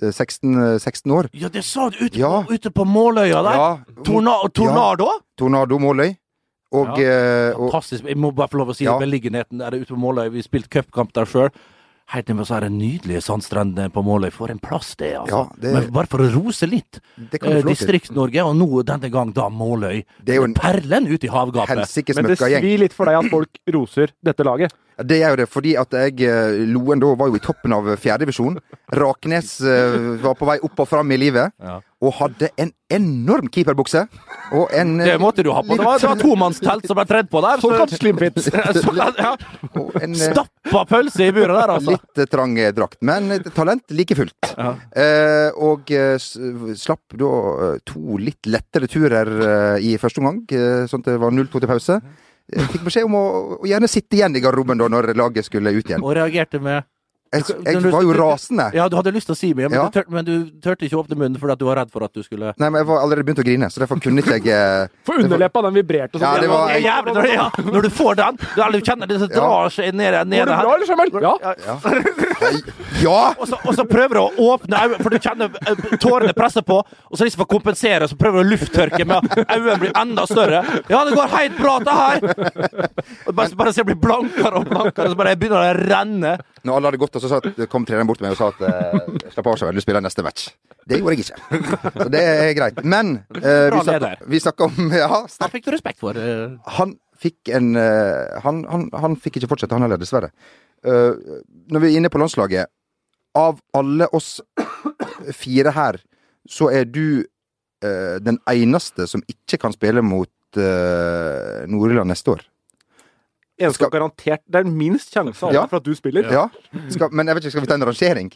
Eh, 16, eh, 16 år.
ja, det sa du ute,
Ja.
på- ute på Måløya der.
Ja,
Torna tornado?
Tornado Måløy. Og, eh, og
Fantastisk. Jeg må bare få lov å si
Ja.
det. Beliggenheten der ute på Måløy. Vi spilte cupkamp der sjøl. Helt ned med så her nydelige sandstrendene på Måløy. For en plass det er,
Ja,
altså.
det-
Men bare for å rose litt
det kan
eh,
du få lov til.
Distrikts-Norge, og nå denne gang da Måløy.
Det er jo en-
Perlen ute i havgapet.
Helsikes
Men det
møkkagjeng.
svir litt for deg at folk roser dette laget.
Ja, Det gjør det, fordi at jeg, eh, Loen da var jo i toppen av fjerdedivisjon. Raknes eh, var på vei opp og fram i livet.
Ja.
og hadde en enorm keeperbukse. Og en
Det måtte du ha på. Det var, det var tomannstelt som ble tredd på der.
Sånn kan slimfit.
Såkalt, ja.
og en, eh,
Stappa pølse i buret der, altså.
Litt eh, trang eh, drakt, men et talent like fullt.
Ja.
Eh, og eh, s- slapp da eh, to litt lettere turer eh, i første omgang, eh, sånn at det var 0-2 til pause. Eh, Fikk beskjed om å, å gjerne sitte igjen i garderoben da når laget skulle ut igjen.
Og reagerte med
Jeg, jeg var jo rasende.
Ja, du hadde lyst til å si mye, men,
Ja.
du, tør, men du turte ikke å åpne munnen fordi at du var redd for at du skulle
Nei, men jeg var allerede begynt å grine, så derfor kunne ikke jeg eh,
For underleppa, den vibrerte
Ja,
sånn.
det var-
Det er jævlig når, ja, når du får den, du, eller du kjenner det som
Ja.
drar seg ned,
Går
ned
det
her.
bra, eller, Samuel? Ja.
Ja! Nei, ja.
Og så, og så prøver du å åpne øynene, for du kjenner eh, tårene presser på. Og så liksom for å kompensere, så prøver du å lufttørke med at øynene blir enda større. Ja, det går helt bra, det her! Og bare, bare se, jeg blir blankere og blankere, så bare begynner det å renne.
Når alle hadde gått, og så sa at, kom treneren bort til meg og sa at eh, slapp av, Samuel, du spiller neste match. Det gjorde jeg ikke. Så det er greit. Men eh, vi
Bra
snakka-
leder.
vi snakka om Ja,
Det fikk du respekt for. eh.
han fikk en eh, han, han, han fikk ikke fortsette, han heller, dessverre. Eh, når vi er inne på landslaget Av alle oss fire her, så er du eh, den eneste som ikke kan spille mot uh, Nord-Irland neste år.
Eneste
Skal-
garantert Det er minst sjanse av
Ja.
alle for at du spiller.
Ja? Skal, men jeg vet ikke, skal vi ta en rangering?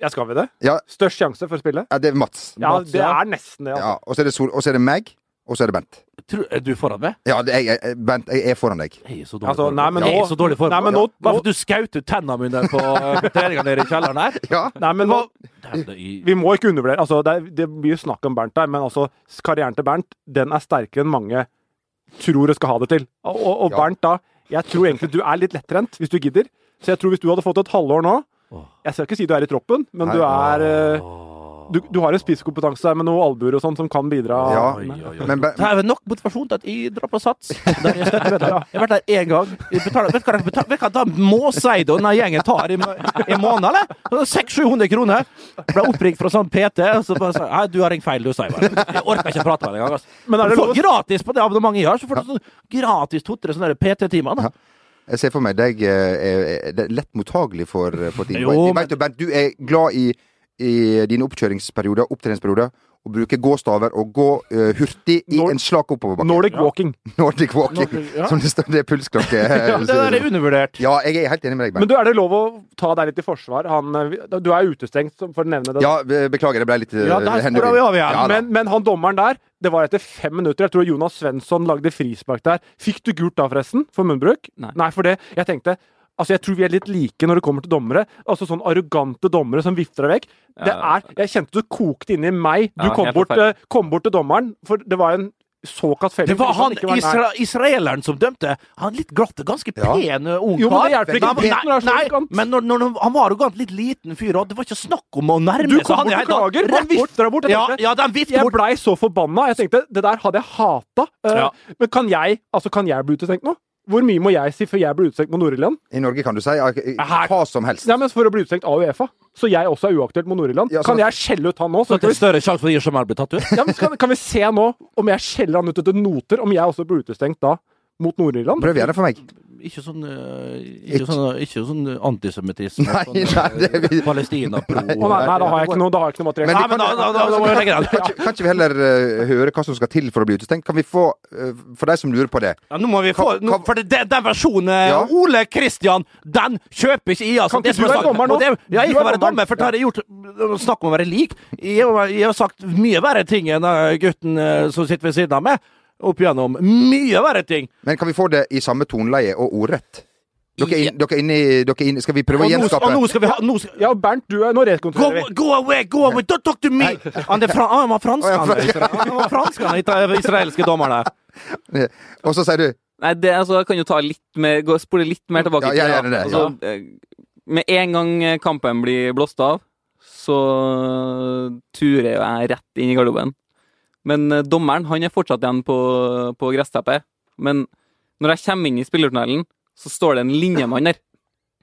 Ja, skal vi det?
Ja.
Størst sjanse for å spille?
Ja, det er Mats.
Ja,
Mats,
det
ja.
er nesten det.
Ja, og så er det Sol, og så er det meg, og så er det Bent.
Tror, er eh, du foran meg?
Ja, det, jeg, jeg, Bent, jeg er foran deg.
Jeg er så dårlig
Altså, nei, men
form. Jeg
nå-
er så dårlig form.
Nei, men nå-
Bare for at du skjøt ut tennene mine på eh, treninga nede i kjelleren her.
Ja,
Nei, men nå,
Dævlig, i-
vi må ikke undervurdere altså, det, er, det blir jo snakk om Bernt der, men altså, karrieren til Bernt den er sterkere enn mange tror og skal ha det til. Og, og, og
Ja.
Bernt da, jeg tror egentlig du er litt lettrent, hvis du gidder. Så jeg tror hvis du hadde fått et halvår nå
Åh.
Jeg skal ikke si du er i troppen, men
Nei.
du er eh, du, du har en spisskompetanse der med noen albuer og sånn som kan bidra.
Ja.
Oi, oi, oi.
men Ber-
Det er vel nok motivasjon til at jeg drar på sats. Der jeg, skal, jeg har vært der én gang. Jeg betaler, vet du hva jeg betaler? Vet du hva da måseid og denne gjengen tar i, må- i måneden, eller? Sånn 600-700 kroner. Ble oppringt fra sånn PT, og så bare sa Nei, du har ringt feil, du, sa jeg bare. Jeg orker ikke prate med deg engang. Altså.
Men er det
Du
lov
får gratis på det abonnementet jeg har, så får du sånn gratis to-tre sånne der PT-timer. da.
Jeg ser for meg deg eh, er, er det lett mottagelig for, eh, for ting.
Jo,
jeg
men-
vet jo, Bernt, du er glad i, i dine oppkjøringsperioder, opptreningsperioder, å bruke gåstaver og gå eh, hurtig i
Nor-
en slak oppoverbakke.
Nordic walking.
Nordic walking,
Nordic- ja.
som det står. Det er pulsklokke.
Ja, det der er undervurdert.
ja, jeg er helt enig med deg,
Men
Bernt.
du, er det lov å ta deg litt i forsvar? Han, eh, du er utestengt, som- for å nevne det.
Ja, be- beklager, det ble litt eh,
Ja, der
hendene-
spora vi av igjen,
Ja, da.
men, men han dommeren der, det var etter fem minutter. Jeg tror Jonas Svensson lagde frispark der. Fikk du gult da, forresten? For munnbruk?
Nei.
for det. Jeg tenkte Altså, Jeg tror vi er litt like når det kommer til dommere. Altså Sånn arrogante dommere som vifter deg vekk. Det
Ja.
er, Jeg kjente det kokte inni meg. Du
Ja,
kom,
helt
bort,
forferdelig.
eh, kom bort til dommeren, for det var en såkalt felling.
Det var han
ikke var nær.
isra israeleren som dømte. Han litt glatte, ganske
Ja.
pen ø, ung
Jo,
kar.
men det hjelper ikke
Nei,
helt når det er så
nei,
arrogant.
men når, når han var arrogant, litt liten fyr, og det var ikke snakk om å nærme
Du
seg.
kom
Han
bort
er
og
helt-
klager. Han
rett bort.
vifter deg bort. Jeg
Ja,
tenkte,
ja, den vifter
Jeg
bort.
blei så forbanna. Jeg tenkte det der hadde jeg hata. Eh,
Ja.
Men kan jeg altså kan jeg bli utestengt nå? Hvor mye må jeg si før jeg blir utestengt mot Nord-Irland?
I Norge kan du si eh,
Her-
hva som helst.
Ja, men For å bli utestengt av Uefa. Så jeg også er uaktuelt mot Nord-Irland.
Ja, så-
kan jeg skjelle ut han nå?
Så
Så
det er
kan, vi,
større sjanse for at Irsamel blir tatt ut?
ja, men skal, kan vi se nå om jeg skjeller han ut etter noter, om jeg også blir utestengt da mot Nord-Irland?
Prøv gjerne for meg.
Ikke sånn, ø, ikke sånn, ikke sånn antisemittisme.
Nei,
sånn,
nei, det er vi
Palestina-pro.
Å nei, nei, da har jeg ikke noe, da har jeg ikke noe materiell.
Men
Nei,
vi
men da,
kan-
da, da, da må vi legge den.
Kan ikke, kan ikke vi heller eh, høre hva som skal til for å bli utestengt? Kan vi få, eh, for deg som lurer på det
Ja, nå må vi få,
Kan-
nå,
kan-
for det, det- den versjonen eh,
Ja.
Ole Kristian, den kjøper ikke jeg, altså.
Kan ikke
Det som
du
er
være
sagt-
dommer nå?
og Det, ja, jeg
Du
kan
er
være
dommer.
dommer, for det har jeg gjort Snakk om å være lik. Jeg, har- jeg har sagt mye verre ting enn eh, gutten eh, som sitter ved siden av meg. Opp igjennom. Mye verre ting!
Men kan vi få det i samme toneleie og ordrett? Dere er,
Ja.
inn, dere er inne i dere er inne, Skal vi prøve å
Og nå,
gjenskape
og nå skal vi ha nå skal,
Ja, Bernt, du er,
Go,
nå rekontrollerer vi.
go away, go away, don't talk to me! Han, er fra, han var fransk, han,
Å,
der. han var fransk, han ita- israelske dommeren der.
Og så sier du
Nei, det, altså, jeg kan jo ta litt mer, gå, spole litt mer tilbake.
Ja,
i tid,
gjør
da.
gjerne det,
Altså, eh, Med en gang eh, kampen blir blåst av, så eh, turer jo jeg rett inn i garderoben. Men eh, dommeren han er fortsatt igjen på, på gressteppet. Men når jeg kommer inn i spillertunnelen, så står det en linjemann der.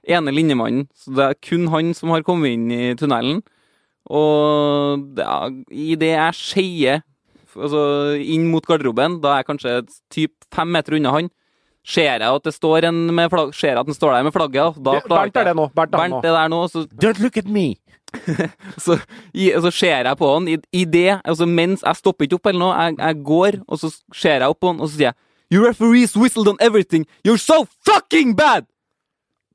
Ene linjemannen. Så det er kun han som har kommet inn i tunnelen. Og ja, i det jeg skeier altså, inn mot garderoben, da er jeg kanskje typ fem meter unna han, ser jeg at det står en med flagg, ser jeg at den står der med flagget. og Da
Bernt er det nå. Bernt er han
Bernt
nå.
er der nå, så
Don't look at me!
så, i, og så ser jeg på han i, i det, altså mens jeg stopper ikke opp eller noe, jeg, jeg går, og så ser jeg opp på han, og så sier jeg You referees whistled on everything! You're so fucking bad!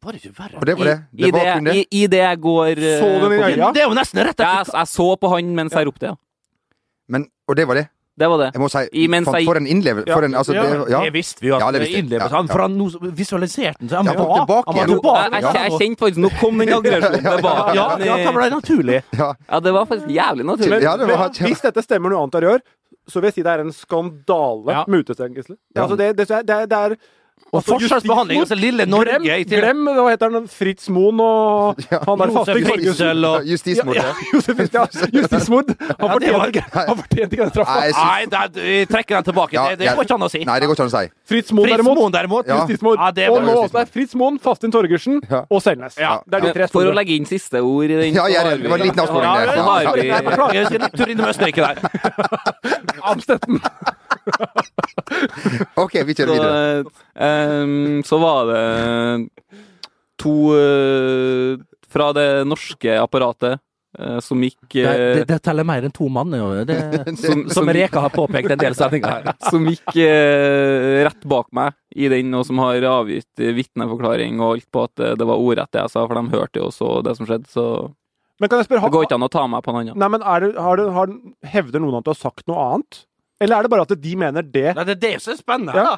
Bare ikke verre.
Og det var det.
I,
Det var kun
det,
det.
i, i det jeg går eh,
Så du den i
forbi.
øya? Ja.
Det er jo nesten rett
Jeg, jeg så på han mens jeg ropte, ja.
Men, og det var det.
Det var det.
Jeg må si,
I- mens
faen,
jeg-
for en innlevelse. For en, altså,
Ja.
det, ja.
Det visste vi jo. at
Ja, det
det
visste vi.
innleves.
Ja,
Han,
ja.
for han nå visualiserte han seg. Han
Ja, han
var
kom tilbake
han var
igjen.
tilbake.
Jeg, jeg, jeg kjente faktisk Nå kom den aggresjonen tilbake.
Ja, ja, det ble naturlig.
Ja, det var faktisk jævlig naturlig.
Men,
Ja, det var-
men hvis dette stemmer noe annet dere gjør, så vil jeg si det er en skandale
Ja.
med utestengelser.
Ja.
Altså, det, det, det, er- det er
Og forskjellsbehandling, altså lille Norge
Glem,
i tillegg.
glem hva heter han, Fritz Moen og han der faste
Josef
Torgersen.
Fritzel og
Justismord.
Ja, Josef Fritz, ja. Justismord. Han
Ja, det var
fortjente han fortjente ikke den
Nei,
straffa.
jeg syns-
Nei, det, vi trekker den tilbake.
Ja,
Det, det
ja.
går ikke an å si.
Nei, det går ikke an å si.
Fritz Moen,
Fritz
derimot.
Moen, derimot.
Ja.
Justismord.
Ja, det
og
var
nå
justismord.
også er Fritz Moen, Fastin Torgersen
Ja.
og Selnes.
Ja.
Det er de tre
For å
store.
legge inn siste ord i den
Ja, jeg er
så har
enig. Det var en
vi-
liten avsporing
Ja,
der.
det
Ja,
har
ja.
vi.
Nei, Beklager, jeg skal en tur innom Østerrike der.
Amstetten.
OK, vi kjører videre.
Så, ehm, så var det to eh, fra det norske apparatet eh, som gikk eh,
teller mer enn to mann. Det,
som- som
Reka har påpekt en del sendinger her.
som gikk eh, rett bak meg i den, og som har avgitt eh, vitneforklaring og alt på at eh, det var ordrett det jeg sa, for de hørte jo også det som skjedde, så
Men kan jeg spørre,
det går
har,
ikke an å ta meg på en annen.
nei, men er det, har det, har, hevder noen at du har sagt noe annet? Eller er det bare at de mener det?
Nei, det er det som er spennende.
Ja.
da.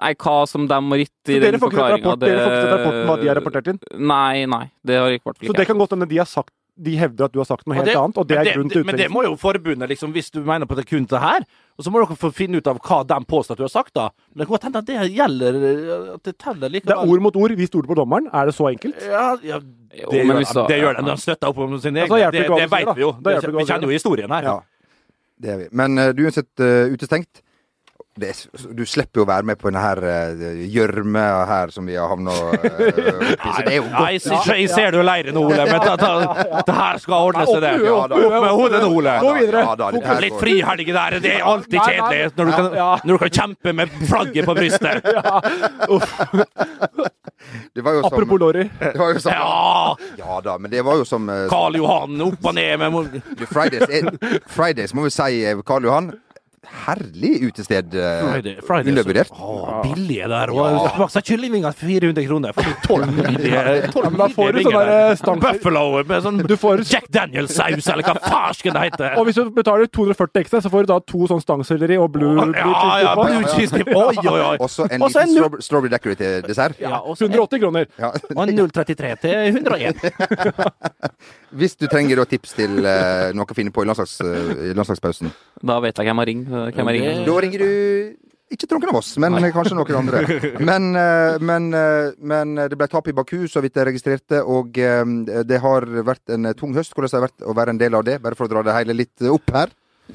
Nei, hva som de har gitt i
Så
den
dere får ikke sett
forklaringa
rapport, dere får ikke sett rapporten hva de har rapportert inn?
Nei, nei, det har ikke vært
Så det
publisert.
kan godt hende de har sagt de hevder at du har sagt noe
Og
helt
det-
annet, og det er grunnen til
Men det
utsendelsen.
må jo forbundet, liksom, hvis du mener på det kun til her. Og så må dere få finne ut av hva de påstår at du har sagt, da. Men det kan godt hende at det gjelder eh, At det teller
Det er
likevel.
ord mot ord. Vi stoler på dommeren. Er det så enkelt?
Ja, ja,
Jo,
det,
men
gjør
hvis
de,
da-
det gjør de. De støtter opp om sine
Ja,
egne.
da hjelper
Det,
det
det
ikke å
vet
avsløre,
vi jo.
da. Da hjelper det ikke å
vi kjenner jo historien her.
Ja. Det er vi. Men eh, du er uansett eh, utestengt. Det er, s- du slipper jo å være med på denne her eh, gjørma her som vi har havna oppi, så det er jo
Nei,
godt.
jeg, ser- jeg ser du leirer nå, Ole, men ta, ta, det her skal ordne seg, det.
Ja, da.
Opp med hodet nå, Ole.
Gå videre.
Ja, da, det her
Litt
går-
frihelge der, det er alltid
Nei, nei.
kjedelig når du kan,
Ja.
når du kan kjempe med flagget på brystet.
Det var jo som,
Apropos Lorry.
det var jo sånn- som
Ja!
Ja da, men det var jo som eh,
Karl Johan opp og ned med mo-
Du, Fridays, er, Fridays må vi si, eh, Karl Johan. Herlig utested. eh,
Friday, Friday,
Undervurdert.
så- Å, billige der òg. Smakte kyllingvinger 400 kroner. For tolv billige,
Ja,
tolv
men da får du
billige vinger
sånn der,
der.
eh, stamp-
Buffalo med sånn
Du får
Jack Daniel-saus, eller hva farsken det heter.
Og hvis du betaler 240 ekstra, så får du da to sånn stangselleri og blue, blue
Ja, ja,
cheese.
blue cheese dip. Oi, oi, oi.
Også en
Også
liten
en nu-
strawberry, strawberry decorative til dessert.
Ja, og så en-
180 kroner.
Ja.
og en 033 til 101.
Hvis du trenger da tips til eh, noe å finne på i landslags, eh, i landslagspausen.
Da vet jeg hvem jeg ringer. Hvem jeg ringer.
Da ringer du ikke Trond Knavås, men kanskje noen andre. Men, eh, men, eh, men det ble tap i Baku, så vidt jeg registrerte, og eh, det har vært en tung høst. Hvordan har det vært å være en del av det? Bare for å dra det hele litt opp her.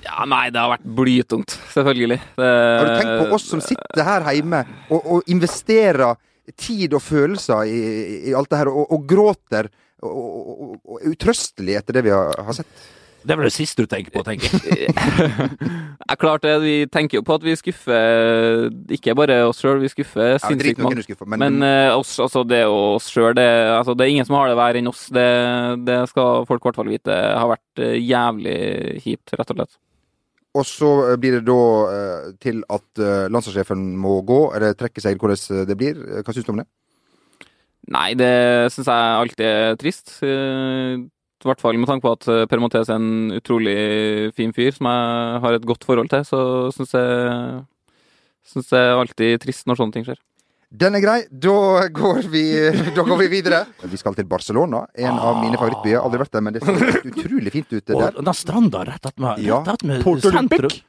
Ja, nei, det har vært blytungt, selvfølgelig. Det,
Har du tenkt på oss
Eh,
som sitter her hjemme og, og investerer tid og følelser i, i- i alt det her, og, og gråter? Og, og, og, og er utrøstelig etter det vi har, har sett.
Det er vel det siste du tenker på, tenker jeg.
Ja, klart det. Vi tenker jo på at vi skuffer ikke bare oss sjøl, vi skuffer
Ja, drit
sinnssykt
nå,
mange.
hvem du skuffer,
Men eh, oss, altså, det er jo oss sjøl. Det, altså, det er ingen som har det verre enn oss. Det, det skal folk i hvert fall vite. Det har vært eh, jævlig kjipt, rett og slett.
Og så eh, blir det da eh, til at eh, landslagssjefen må gå, eller trekke seg, eller hvordan det blir. Eh, Hva syns du om det?
Nei, det syns jeg alltid er trist. Eh, I hvert fall med tanke på at eh, Per Montez er en utrolig fin fyr som jeg har et godt forhold til, så syns jeg Syns det er alltid trist når sånne ting skjer.
Den er grei. Da går vi, da går vi videre. Vi skal til Barcelona, en av mine favorittbyer. Aldri vært der, men det ser utrolig fint ut
Og
der.
den stranda rett attmed
Ja.
at
Porto Olympic.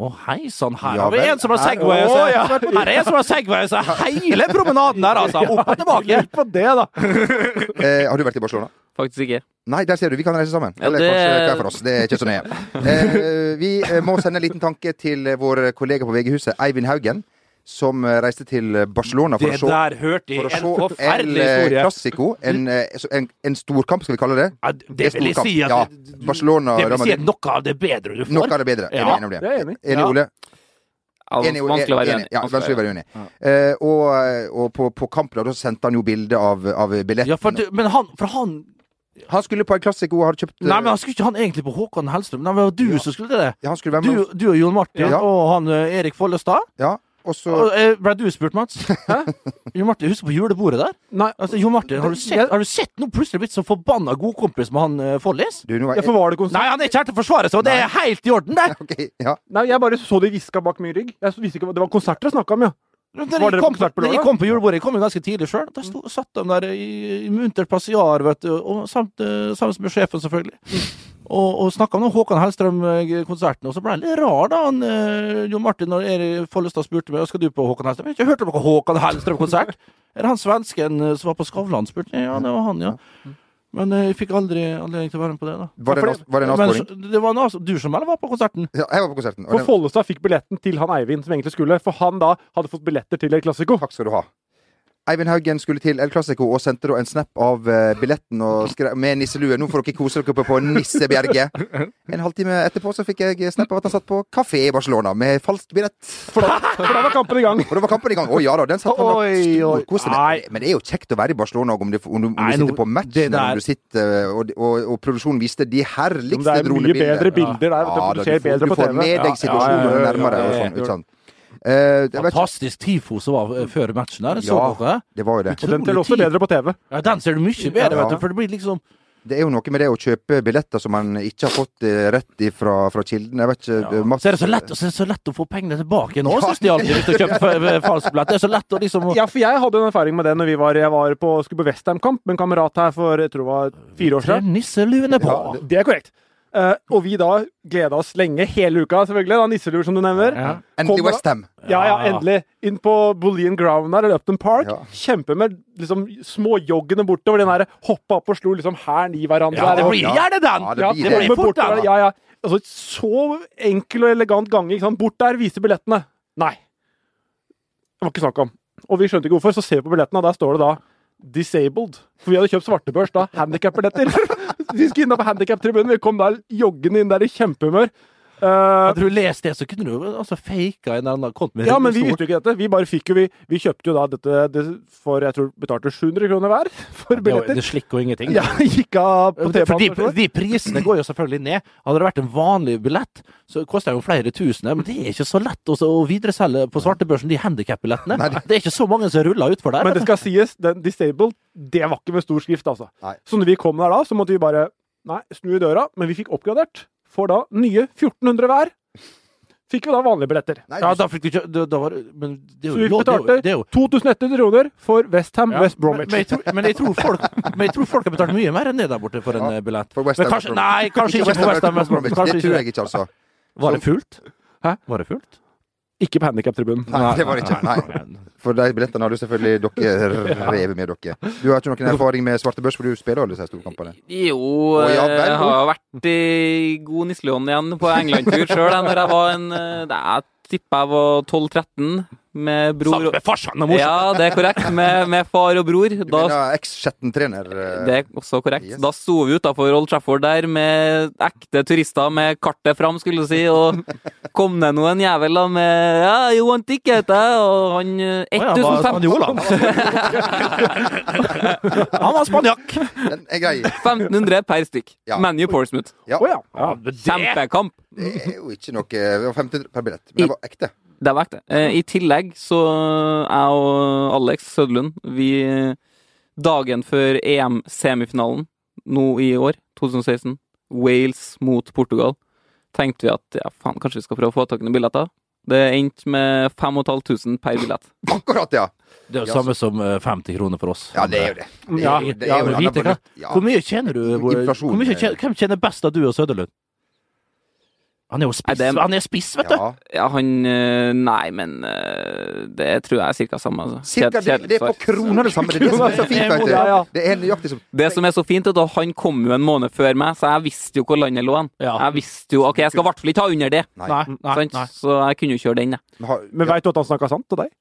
Å, hei sann, her
Ja
har vi
vel.
en som har
Her-
segway. altså.
Å, ja.
Her er en som har segway, så hele promenaden der, altså. Opp og tilbake.
Hjelp på det, da!
Eh, har du vært i Barcelona?
Faktisk ikke.
Nei, der ser du. Vi kan reise sammen.
Ja,
Eller
det-
kanskje hver for oss. Det er ikke så nøye. Eh, vi eh, må sende en liten tanke til eh, vår kollega på VG-huset, Eivind Haugen, som eh, reiste til Barcelona for
Det
å se
der hørte jeg.
for
En
å se El
forferdelig historie.
Clásico, en, eh, så- en, en storkamp, skal vi kalle det.
Ja, det vil jeg
storkamp.
si at
Ja,
du-
Barcelona
Det
Real
vil si at
Madrid.
noe av det bedre du får.
Noe av det bedre. Er
Ja,
vi enige om det?
det er jeg enig i.
Enig,
Ja.
Ole?
Ja,
Enig,
Altså, vanskelig å være
enig.
enig.
Ja, vanskelig å være uenig. Eh, og og på, på kampen da, da sendte han jo bilde av, av billetten.
Ja, for, du- men han, for han
Han skulle på en klassiker og har kjøpt eh,
Nei, men han skulle ikke han egentlig på Håkon Hellstrøm. Nei, men det var du som skulle til det.
ja, Han skulle være med
Du, du og Jon Martin
Ja.
og han eh, Erik Follestad.
Ja, og så
Og, eh, Ble du spurt, Mats? Hæ? Jon Martin, husker du på julebordet der?
Nei,
Altså, Jon Martin, har du sett, har du sett nå plutselig blitt så forbanna godkompis med han eh, Follis?
du, nå var
ja, for var det konsert?
Nei, han er ikke her til å forsvare seg, og det er helt i orden, det!
Ok, ja.
Nei, jeg bare så de hviska bak min rygg. Jeg visste ikke, hva- Det var konserter jeg snakka om, ja.
Når
Var
jeg
dere
kom,
på konsert på
når jeg
lørdag?
kom på julebordet, jeg kom jo ganske tidlig sjøl. Der sto, satt de der i, i munter passiar, vet du, og samt, eh, sammen med sjefen, selvfølgelig. Og, og snakka om den Håkan Hellstrøm-konserten, og så ble han litt rar, da, han eh, Jon Martin og Erik Follestad spurte meg skal du på Håkan Hellstrøm. Jeg har ikke hørt om noen Håkan Hellstrøm-konsert! Er det han svensken eh, som var på Skavlan, spurte jeg. Ja, det var han, ja. Men eh, jeg fikk aldri anledning til å være med på det, da.
Var det en, avs- var det en
Men
avsporing?
så- det var en avsporing. Du som eller var på konserten?
Ja, jeg var på konserten. Og
For
den,
Follestad fikk billetten til han Eivind som egentlig skulle, for han da hadde fått billetter til El Classico.
takk skal du ha. Eivind Haugen skulle til El Classico og sendte da en snap av eh, billetten og skrev med nisselue. 'Nå får dere kose dere oppe på Nissebjerget'. En halvtime etterpå så fikk jeg snap av at han satt på kafé i Barcelona med falsk billett.
For da, for da var kampen i gang.
Og da var kampen i gang. Å ja da, den satt han
Oi,
og
oi.
storkoste
Nei.
med. Men det er jo kjekt å være i Barcelona om, det, om du, om
Nei,
du sitter
nå-
på matchen,
det der-
eller om du sitter eh, og, og, og produksjonen viste de
Men det
herligste
er mye bedre bilder der. vet du,
Ja,
for
Ah, da,
du ser
får,
bedre
du
på
får
TV.
med deg situasjonen
Ja, ja, ja,
nærmere.
ja,
og
ja, ja.
sånn, ut sånn. Eh, jeg vet, ikke-
Fantastisk TIFO som var eh, før matchen der. Så
Ja.
dere?
det var jo det.
Og den teller også bedre på TV.
Ja, den ser du mye bedre,
Ja.
vet du, for det blir liksom
Det er jo noe med det å kjøpe billetter som man ikke har fått eh, rett ifra fra kilden. Jeg vet ikke eh, Mats,
Så er det så lett, så er det så lett å få pengene tilbake nå, synes de alltid, hvis du kjøper f- f- falsk billett. Det er så lett å liksom
Ja, for jeg hadde jo en erfaring med det når vi var, jeg var på, skulle på Westham-kamp med en kamerat her for jeg tror det var fire år
Tre
siden.
nisseluene på.
Ja, det er korrekt. Eh, og vi da gleda oss lenge, hele uka selvfølgelig, da nisselur som du nevner.
Ja.
endelig
Kommer da-
Westham!
Ja, ja,
Ja.
endelig. Inn på Boleyn Ground der, eller Upton Park.
Ja.
Kjempe med liksom småjoggene bortover. Den der hoppa opp og slo liksom hælen i hverandre.
Ja, det
Og-
blir gjerne den!
Ja, det
ja,
blir
det
det.
blir
fort
bort
den.
der. Ja, ja. Altså, så enkel og elegant gange. Ikke sant? Bort der, vise billettene. Nei. Det var ikke snakk om. Og vi skjønte ikke hvorfor, så ser vi på billettene, og der står det da Disabled. For vi hadde kjøpt svartebørs da. Handikap-billetter. vi skulle inn da på handikap-tribunen. Vi kom da joggende inn der i kjempehumør. Eh,
Hadde du lest det, så kunne du jo altså faka en eller annen kont med
ja, men
rullestol.
vi visste jo ikke dette. Vi bare fikk jo, vi, vi kjøpte jo da dette det for jeg tror betalte 700 kroner hver for
Det var-
billetter.
Det slikk og ingenting.
Ja, gikk av på
For de,
T-banen.
de prisene går jo selvfølgelig ned. Hadde det vært en vanlig billett, så koster det jo flere tusen. Men det er ikke så lett å å videreselge på svartebørsen de handikap-billettene. Det er ikke så mange som ruller utfor der.
Men det skal sies, den disabled, det var ikke med stor skrift, altså.
Nei.
Så når vi kom der da, så måtte vi bare nei, snu i døra, men vi fikk oppgradert. Får da nye 1400 hver. Fikk jo da vanlige billetter.
Nei,
Ja,
du,
da fikk du ikke da, da var, Men det er
Så
jo
vi
lov- det er jo-
betalte
det er jo-
2100 kroner for Westham
Ja,
West Bromwich.
Men, men, jeg tror, men, jeg tror folk, men jeg tror folk har betalt mye mer enn det der borte for en
Ja,
eh, billett.
for West
Men
Ham
kanskje,
West Brom.
nei, kanskje ikke for West Ham West Brom.
Det
Kanskje
tror
ikke.
jeg ikke, altså.
Var det fullt?
Hæ?
Var det fullt?
Ikke på handikap-tribunen.
Nei, det var det ikke. Nei. For de billettene har du selvfølgelig dere revet med dere. Du har ikke noen erfaring med svarte børs, for du spiller alle disse storkampene.
Jo, eh,
Å, ja, vel,
jeg har jo vært i god nisselån igjen på England-tur sjøl. Når jeg var en eh, nei, Jeg tippa jeg var 12-13 med bror
Sammen
og
med farsan og morsan!
Ja, det er korrekt. Med, med far og bror.
Du
Da,
mener eh, X-17-trener
det er også korrekt.
Yes.
Da sto vi utafor Old Trafford der med ekte turister med kartet fram, skulle du si, og kom det nå en jævel da med Ja, you want ticket? eh?» Og han
Å
eh,
ja, han var
1500
spanjol, han. Han var spanjakk!
Den er grei.
1500 per stykk.
Ja.
ManU Portsmouth.
Ja.
Å ja. ja.
Kjempekamp.
Det er jo ikke noe Det var 1500 per billett, men det var ekte.
Det var ekte. Eh, I tillegg så jeg og Alex Sødlund, vi eh, dagen før EM-semifinalen nå i år, 2016, Wales mot Portugal, tenkte vi at ja, faen, kanskje vi skal prøve å få tak i noen billetter. Det endte med 5500 per billett.
Akkurat, ja!
Det er jo samme som eh, 50 kroner for oss.
Ja, det er jo det. Det er
Ja,
jo- det er jo
ja,
en
men
annen
vite hva?
produkt. Ja.
Hvor mye tjener du? Hvor,
Inflasjon,
hvor mye
eh.
tjener, hvem tjener best av du og Søderlund? Han er jo spiss,
Nei, det er-
han er spiss vet du!
Ja.
Ja, han eh, Nei, men eh, det tror jeg er ca. samme. Altså.
Cirka,
Kjed-
det, det er på
svar.
kroner det samme. Det er det som er så fint. vet du.
Ja, ja.
Det er nøyaktig som
Det som er så fint, er at han kom jo en måned før meg, så jeg visste jo hvor landet lå. hen.
Ja.
Jeg visste jo, ok, jeg skal i hvert fall ikke ha under det.
Nei.
Nei, nei,
sant?
nei.
Så jeg kunne jo kjøre den, jeg.
Men har-
Men
ja.
veit du at han snakka sant til deg?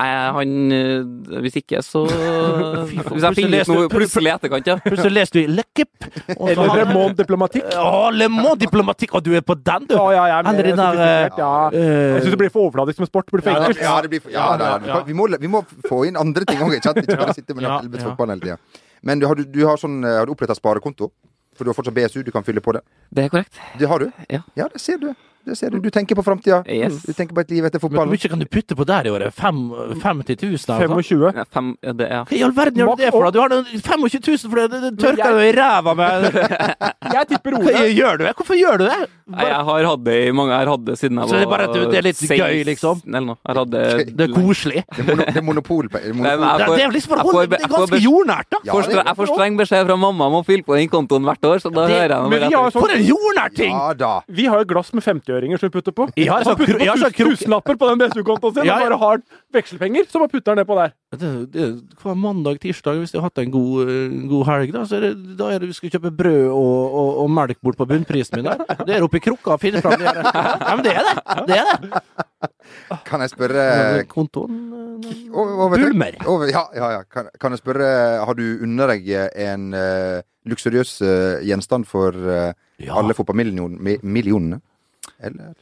Jeg- Han øh, Hvis ikke, så Hvis jeg
Plutselig
finner ut
leste-
noe plutselig i etterkant, ja.
Plutselig leste vi Le Kip. og så
Eller
han-
Remond Diplomatikk?
Å, Le Mans diplomatikk! Og du er på den, du!
Ja, ja, jeg er mer
Eller den der,
sofistikert, ja.
eh,
Jeg syns det blir for overfladisk med sport. Det blir for
Ja,
enkelt.
ja, det blir, ja, da, da. Vi, må, vi må få inn andre ting òg, ikke sant? Ikke bare sitte med
Ja,
helvetes fotball hele tida. Men du har, du, du har, sånn, eh, har du oppretta sparekonto? For du har fortsatt BSU, du kan fylle på det.
Det er korrekt.
Det har du?
Ja.
det ser du. Det ser du. du tenker på framtida.
Yes.
Du tenker på et liv etter
Men hvor
fotballen.
mye kan du putte på der i året? Fem, 50 000? eller noe sånt?
25.
Ja, fem, ja, det, ja.
Hva i all verden gjør du det for? da? Du har noen 25 000 for det, det tørker deg jo i ræva med
Jeg tipper
Hva
Ole.
gjør du det? Hvorfor gjør du det?
Nei,
Bare,
jeg har hatt det i mange Jeg har hatt det siden jeg
Så
var
det er bare at du- det er litt gøy, liksom?
16 Eller noe. Jeg har hatt det
det er koselig.
Det er mono- det er monopol. på-
Nei, men
monopol.
jeg
Det,
får-
det er liksom
jeg
bare å holde-
får-
det
jeg
er
får
ganske
bes-
jordnært, da.
Ja,
får
det er
stre- Jeg får
godt.
streng beskjed fra mamma om å fylle på den kontoen hvert år, så da
det-
hører jeg
Men vi
bare
har jo
etter.
sånn
For en jordnær ting!
Ja da.
Vi har jo glass med 50-øringer som vi putter på.
Jeg har
Han
sånn
putter
kro- jeg
på
har sånn
tus-
krok-
tusenlapper på den BSU-kontoen sin
Ja, ja.
og bare har vekslepenger, så bare putter han det på der.
Det- det- Hver mandag, tirsdag, hvis jeg har hatt en god, eh, god helg, da, så er det, da er det vi skal kjøpe brød og, og, og melk bort på bunnprisen min der. Det er oppi krukka og finne fram de her. Ja, men det er det! Det er det.
Kan jeg spørre
Men Eh, Kontoen eh,
over, over,
Bulmer.
Over, ja, ja, ja. Kan, kan jeg spørre eh, Har du under deg en eh, luksuriøs eh, gjenstand for eh,
Ja.
alle fotballmillionene? Eller?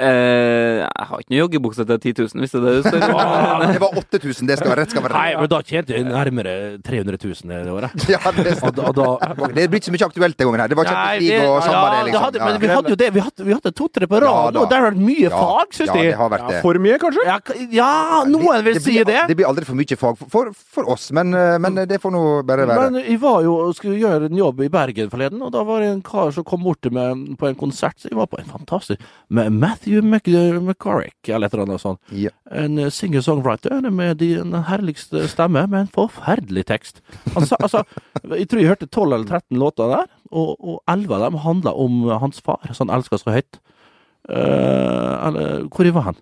Eh, Jeg har ikke noe joggebukse til 10 000, hvis det er det du spør om.
Det var 8000, det skal være rett skal være
Ah. Nei,
rett.
men da tjente jeg nærmere 300 000 det året.
Ja, det,
Og da, og da
det blir ikke så mye aktuelt den gangen her. Det var
Nei,
Champions League og
ja,
samba, det,
det hadde,
liksom.
men vi
Ja,
hadde jo det. Vi hadde, vi hadde to-tre på
Ja,
rad,
da.
og der var det mye
ja.
fag, syns
ja,
jeg.
det har vært
Ja,
det.
for mye, kanskje?
Ja, k- ja, noen vil
det
si
blir,
det.
Det blir aldri for mye fag for, for, for oss, men, eh, men det får nå bare være.
Men jeg var jo og skulle gjøre en jobb i Bergen forleden, og da var det en kar som kom bort til meg på en konsert. Så jeg var på en fantastisk med Matthew Mc- McCorrick, eller et eller annet sånt.
Ja.
En eh, singer-songwriter med de, den herligste stemme, med en forferdelig tekst. Han sa, altså, jeg tror jeg hørte 12 eller 13 låter der, og, og 11 av dem handla om eh, hans far, som han elska så høyt. Eh, eller hvor var han?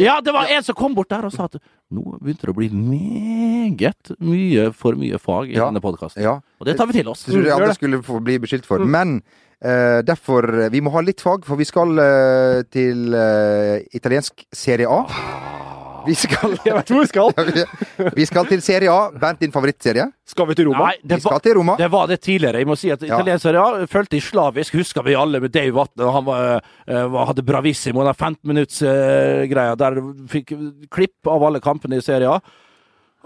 Ja, det var en som kom bort der og sa at nå begynte det å bli meget mye for mye fag i
Ja.
denne podkasten.
ja.
Og Mm, det Mm. tar vi til oss.
Det tror jeg
gjør
alle
det.
skulle få bli beskyldt for. Men eh, derfor eh, Vi må ha litt fag, for vi skal eh, til eh, italiensk Serie A.
Ah.
Vi skal,
Jeg vet hvor vi skal.
vi skal til Serie A. Bernt, din favorittserie.
Skal vi til Roma?
Nei,
Vi
det,
skal
var,
til Roma.
det var det tidligere. Jeg må si at italienere ja, følte de slavisk. Husker vi alle med Dave Vatne, og han var, eh, var- hadde bravissimo. Den 15 minutts eh, greia der fikk klipp av alle kampene i serien.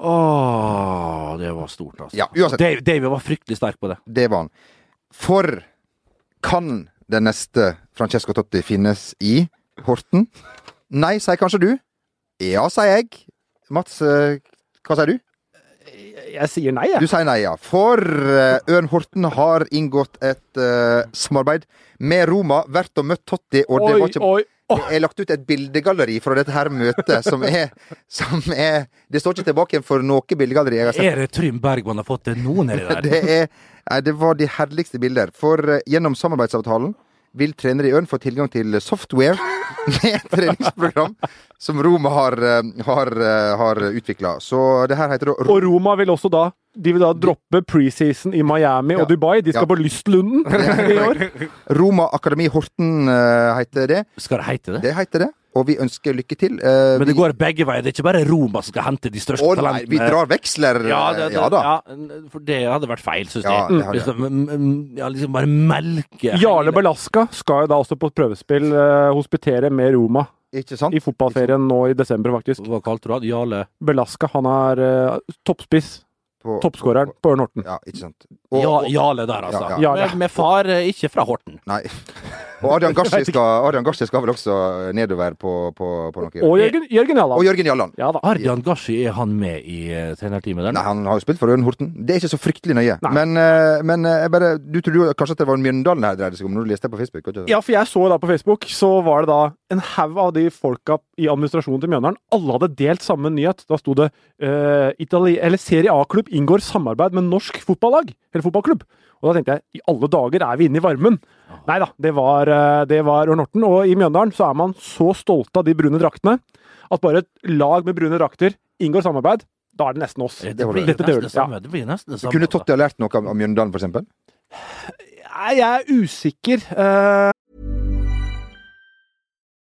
Åh, det var stort, altså.
Ja, uansett.
Dave, Dave var fryktelig sterk på det.
Det var han. For kan den neste Francesco Totti finnes i Horten? Nei, sier kanskje du. Ja, sier jeg. Mats, eh, hva sier du?
Jeg sier nei,
Du
jeg.
sier nei, ja. For eh, Ørn Horten har inngått et eh, samarbeid med Roma. Vært og møtt Totti, og det
Oi,
var ikke
oi.
Det er lagt ut et bildegalleri fra dette her møtet som er, som er Det står ikke tilbake igjen for noe bildegalleri jeg har sett.
Er det Trym Bergman har fått til nå nedi der?
Det, er, nei, det var de herligste bilder. For eh, gjennom samarbeidsavtalen vil trenere i Ørn få tilgang til software med et treningsprogram som Roma har, eh, har, eh, har utvikla. Så det her heter da Ro-
Og Roma vil også da de vil da droppe preseason i Miami
Ja.
og Dubai. De skal
Ja.
på Lystlunden i år.
Roma Akademi Horten, eh, heter det.
Skal det heite det?
Det heter det. Og vi ønsker lykke til. Eh,
Men det
vi-
går begge veier. Det er ikke bare Roma som skal hente de største
Å nei,
talentene.
vi drar veksler.
ja, det,
eh,
det,
ja da.
ja, for det hadde vært feil, syns
Ja,
jeg.
det hadde
Hvis de, mm, mm, ja, liksom bare melke
Jarle Balaska skal jo da også på et prøvespill eh, hospitere med Roma
Ikke sant?
i fotballferien nå i desember, faktisk.
Hva kalte du han? Jarle
Balaska, han er eh, toppspiss.
På-
Toppskåreren på Ørn Horten.
Ja, ikke sant.
ja, Jarle der, altså.
Ja,
ja. Jarle.
Med, med far eh, ikke fra Horten.
Nei. Og Adrian Gashi skal, Adrian Gashi skal vel også nedover på, på, på noe.
Og Jørgen,
Og
Jørgen Jalland.
Jørgen Jalland.
Ja da.
Ardian Gashi, er han med i eh, trenerteamet der?
Nei, han har jo spilt for Ørn Horten. Det er ikke så fryktelig nøye.
Nei.
Men, eh, men eh, jeg bare, du trodde jo kanskje at det var Mjøndalen her dreide seg om, når du leste det på Facebook? ikke sant?
Ja, for jeg så da på Facebook, så var det da en haug av de folka i administrasjonen til Mjøndalen. Alle hadde delt samme nyhet. Da sto det eh, Itali eller Serie A-klubb inngår samarbeid med norsk fotballag. Eller fotballklubb. Og da tenkte jeg i alle dager er vi inne i varmen. Nei da, det var, eh, det var Ørn Horten. Og i Mjøndalen så er man så stolte av de brune draktene at bare et lag med brune drakter inngår samarbeid. Da er det nesten oss.
Det,
det var
blir
det.
nesten
Dette
det
dør, ja.
samme. Det blir nesten det samme.
Kunne
altså.
Totti ha lært noe av av Mjøndalen, for eksempel?
Nei, Jeg er usikker. eh,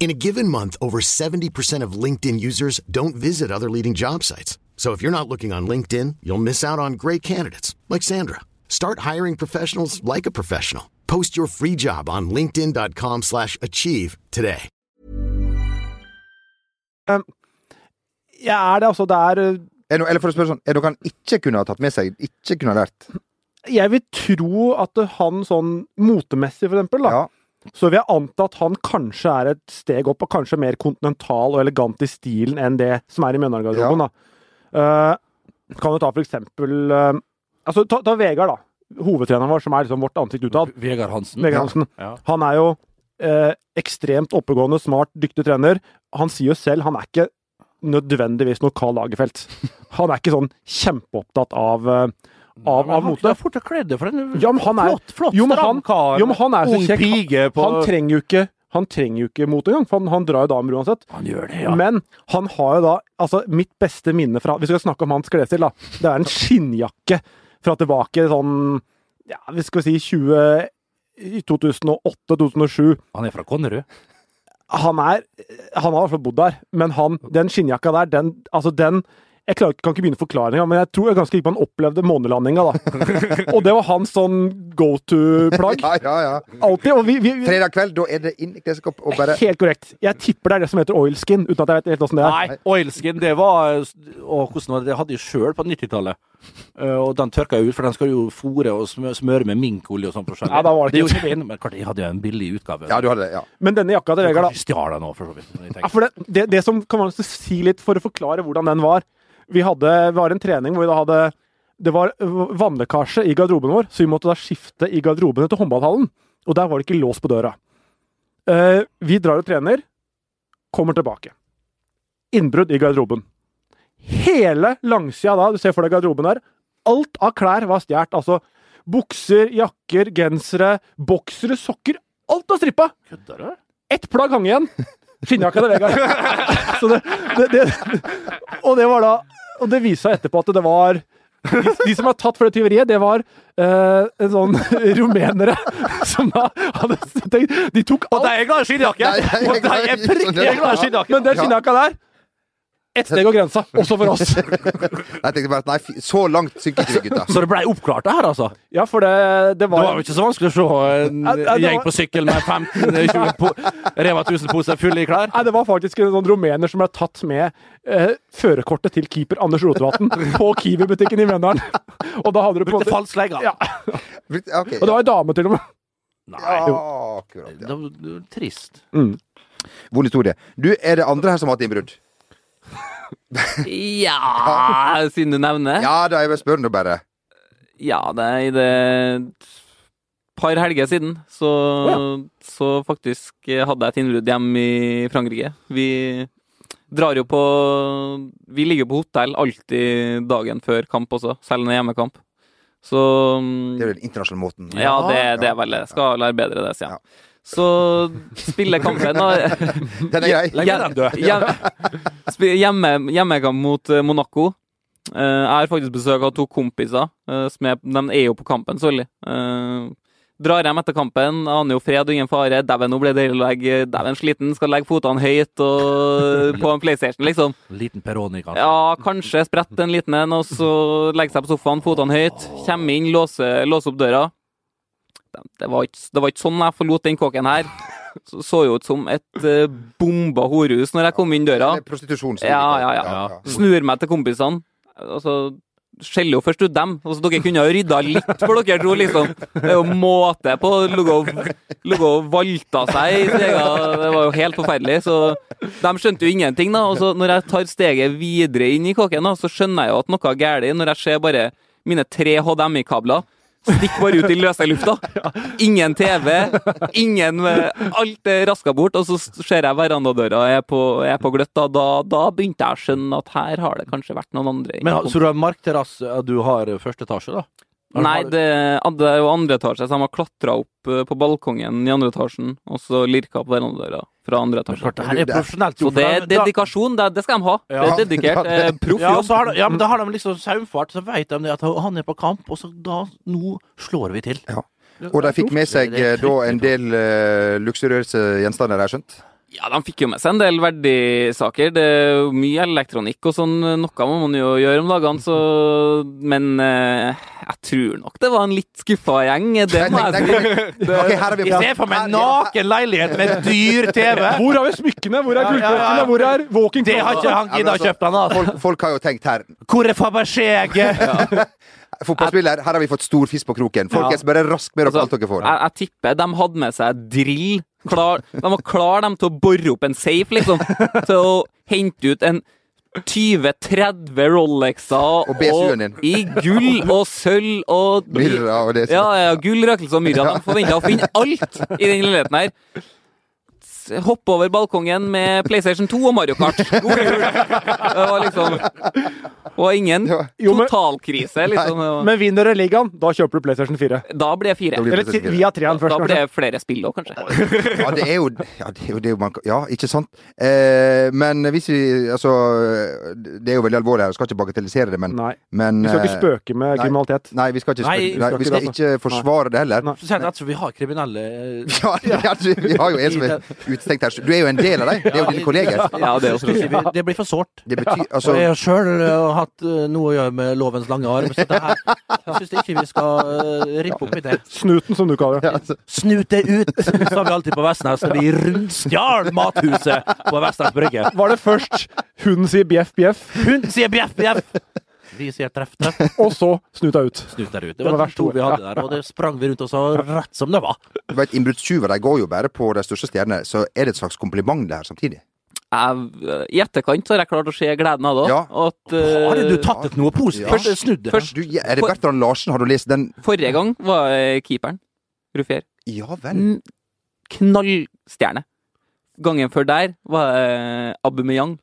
In a given month, over 70% of LinkedIn users don't visit other leading job sites. So if you're not looking on LinkedIn, you'll miss out on great candidates like Sandra. Start hiring professionals like a professional. Post your free job on linkedin.com/achieve slash achieve today.
Ja, er det altså det er eh,
Er det noe- Eller for å spørre sånn, er det noe han ikke kunne ha tatt med seg? Ikke kunne ha lært?
Jeg vil tro at han sånn motemessig, for eksempel, da,
Ja.
så vil jeg anta at han kanskje er et steg opp, og kanskje mer kontinental og elegant i stilen enn det som er i Mjøndalen-garderoben. da. Eh, kan du ta for eksempel eh, altså, ta, ta Vegard, da. Hovedtreneren vår, som er liksom vårt ansikt utad.
Vegard Hansen.
Vegard Hansen.
Ja.
Han er jo eh, ekstremt oppegående, smart, dyktig trener. Han sier jo selv han er ikke nødvendigvis noe Karl Lagerfeldt. Han er ikke sånn kjempeopptatt av, eh, av, av mote.
Fort å kredde for den.
Ja, men han er-
flott, flott,
Jo, men
stram
han-
kar.
jo, men han er så
Ung
kjekk.
pige på
Han trenger jo ikke han trenger jo ikke mot engang, for han, han drar jo damer uansett.
Han gjør det, ja.
Men han har jo da altså mitt beste minne fra Vi skal snakke om hans klesstil, da. Det er en skinnjakke fra tilbake sånn Ja, vi skal si 20... i 2008-2007.
Han er fra Konnerud.
Han er Han har i hvert fall bodd der, men han Den skinnjakka der, den Altså, den jeg klarer, ikke- kan ikke begynne forklaringa, men jeg tror jeg ganske ikke han opplevde månelandinga, da. Og det var hans sånn go to-plagg.
Ja, ja, ja.
Alltid. Og vi, vi, vi
Fredag kveld, da er det inn i kleskopp og bare
Helt korrekt. Jeg tipper det er det som heter oilskin, uten at jeg vet helt åssen det er.
Nei, oilskin, det var Å, hvordan var det? Det hadde jeg sjøl på 90-tallet. Eh, og den tørka jeg ut, for den skal jo fôre og smø- smøre med minkolje og sånn. forskjellig.
Ja, da var det ikke-
gjorde jeg min, men klart, jeg hadde jo en billig utgave.
Ja, du hadde det. ja.
Men denne jakka til
Kanskje
Vegard, da.
jeg stjal den nå, for så vidt. men jeg
Ja,
tenker-
for det, det, det som kan man si litt for å forklare hvordan den var Vi hadde vi har en trening hvor vi da hadde Det var vannlekkasje i garderoben vår, så vi måtte da skifte i garderobene til håndballhallen. Og der var det ikke lås på døra. Eh, vi drar og trener. Kommer tilbake. Innbrudd i garderoben. Hele langsida da, du ser for deg garderoben der, alt av klær var stjålet. Altså bukser, jakker, gensere, boksere, sokker. Alt var strippa!
Kødder du?
Ett plagg hang igjen. Skinnjakka til Vegard. Så det, det, det, og det var da Og det viste seg etterpå at det var de, de som var tatt for det tyveriet, det var eh, en sånn rumenere som da hadde tenkt De tok
Og
alt,
de er glad i skinnjakke!
Nei, jeg er
Og de er
glad i-
fryktelig glad i skinnjakke!
men den skinnjakka der Ett steg over grensa, også for oss.
Jeg tenkte bare at nei, fy- så langt synker ikke vi, gutta.
Så det blei oppklart, det her, altså?
Ja, for det, det
Det
var
var jo ikke så vanskelig å se en
Nei, nei, det
gjeng
var-
på sykkel med 15-20 po Reva 1000-poser fulle i klær.
Nei, det var faktisk en sånn rumener som ble tatt med eh, førerkortet til keeper Anders Rotevatn på Kiwi-butikken i Mjøndalen. Og da hadde du på en
Brukte
måte
falsk legger.
Ja.
Ja, Ok.
Og det var ei dame, til og med.
Nei,
Ja, akkurat.
det
Ja.
var det var trist.
Vond historie. Du, er det andre her som har hatt innbrudd?
Ja, siden du nevner.
Ja da, jeg bare spør nå bare.
Ja, det er i det par helger siden, så, så faktisk hadde jeg et innbrudd hjemme i Frankrike. Vi drar jo på Vi ligger på hotell alltid dagen før kamp også, selv når det er hjemmekamp. Så
Det er jo den internasjonale måten.
Ja, det, det er vel det. Skal lære bedre det, sier
Ja.
han. så spiller kampen da
Den er grei.
Legg den død.
Hjem- sp- Hjemme, hjemmekamp mot eh, Monaco. Eh, Jeg har faktisk besøk av to kompiser. eh, Som er, de er jo på kampen, sørlig. Eh, Drar hjem etter kampen, aner jo fred og ingen fare. Dæven, nå ble det deilig å legge Dæven, sliten, skal legge fotene høyt og eh, på en PlayStation, liksom.
Liten Peroni, kanskje.
Ja, kanskje sprette en liten en, og så legge seg på sofaen, fotene høyt. Komme inn, låse, låse opp døra. Det var, ikke, det var ikke sånn jeg forlot den kåken her. Så, så jo ut som et eh, bomba horehus når jeg kom inn døra.
Det er Prostitusjon. som
Ja,
det
ja,
heter.
ja. Snur meg til kompisene. Altså, skjeller jo først ut dem. Altså, dere kunne ha rydda litt for dere to, liksom. Det er jo måte på. Lå og, lå og valta seg i steget. Det var jo helt forferdelig. Så de skjønte jo ingenting, da. Og så når jeg tar steget videre inn i kåken, da, så skjønner jeg jo at noe er galt når jeg ser bare mine tre HDMI-kabler. Stikk bare ut i løse lufta. Ingen TV, ingen Alt er raska bort. Og så ser jeg verandadøra er på, er på gløtt. Da, da, da begynte jeg å skjønne at her har det kanskje vært noen andre.
Men, så du har markterrass eh, du har første etasje, da? Har du-
Nei, det, det er jo andre etasje, så de har klatra opp eh, på balkongen i andre etasjen, og så lirka på verandadøra fra andre
Men klart,
etasje.
det her er profesjonelt.
Så
gjort,
det
for
er
da-
dedikasjon, det, det skal de ha. Det
Ja.
er dedikert. eh, Proff
Ja, og så
jobb.
har de, ja, men da
Mm.
har de liksom saumfart, så vet de det at han er på kamp, og så da Nå slår vi til.
Og de fikk med seg eh, da en del eh, luksuriøse gjenstander, har jeg skjønt.
Ja, de fikk jo med seg en del verdisaker. Det er jo mye elektronikk og sånn. Noe må man jo gjøre om dagene, så Men eh, jeg tror nok det var en litt skuffa gjeng. eh, Det må
Nei, nei,
jeg si.
nei. Ok, her er vi
Jeg ser for meg en naken leilighet med dyr TV!
Hvor har vi smykkene? Hvor
Ja,
er
ja, ja, ja.
gullklokkene? Hvor er walking
Det har ikke han
Ja, men
gidda å
altså,
kjøpe, han altså.
Folk, folk har jo tenkt her
Hvor er Fabergé-egget?
Fotballspiller, her har vi fått stor fisk på kroken. Folkens, bare rask med dere
Altså,
alt dere får.
Altså, Jeg, jeg tipper de hadde med seg drill. Klar, de var klar dem, til å bore opp en safe, liksom. Til å hente ut en 20-30 Rolexer
Og BSU-en din.
i gull og sølv og
Myrra og det som-
Ja, ja, gull, røkelse og myrra. De forventa å finne alt i den leiligheten her. S- Hoppe over balkongen med PlayStation 2 og Mario Kart. God jul! Det var liksom Og ingen
Jo, men-
totalkrise, liksom. Det var-
Men vinner dere ligaen, da kjøper du PlayStation 4.
Da blir det fire.
Da blir det
Eller
PlayStation
til-
4.
via treeren først,
Da blir
kanskje.
det flere spill òg, kanskje.
Ja, det er jo Ja, det er jo det man, ja ikke sant? Eh, men hvis vi Altså, det er jo veldig alvorlig her, jeg skal ikke bagatellisere det, men,
Nei.
men
Vi skal ikke
eh,
spøke med
nei.
kriminalitet.
Nei, vi skal ikke,
Nei,
spøke-
vi
nei,
skal
vi
ikke
skal
det, altså.
ikke forsvare det heller.
Så sier de at vi har kriminelle eh,
Ja, ja, du- vi har jo en som er utestengt her. Du er jo en del av dem. Det er jo dine kolleger.
Ja, det er også
sier vi, Det blir for sårt.
Det betyr
Så
altså
jeg har sjøl hatt eh, noe å gjøre med lovens lange arm, så det her jeg syns ikke vi skal eh, rippe opp i det.
Snuten, som du kaller det.
altså. Snut det ut, sa vi alltid på Vestnes da vi rundstjal mathuset på Vestnes Brygge.
Var det først hun sier bjeff, bjeff,
Hun sier bjeff, bjeff! Vi sier treff, treff.
og så snuta ut?
Snut der ut. Det
var
var de
verst
to
ord.
vi hadde der, og det sprang vi rundt og sa rett som det var.
Du vet, Innbruddstyver de går jo bare på de største stjernene, så er det et slags kompliment det her samtidig.
jeg, eh, I etterkant så har jeg klart å se gleden av det.
Ja.
også. At, eh,
Har du tatt et noe positivt?
Ja.
Snudd det.
Først-
Du, ja, er det Bertrand Larsen, har du lest den?
Forrige gang var jeg keeperen, Ruffier,
Ja vel.
Mm.
N- knallstjerne. Gangen før der var jeg Abumeyang,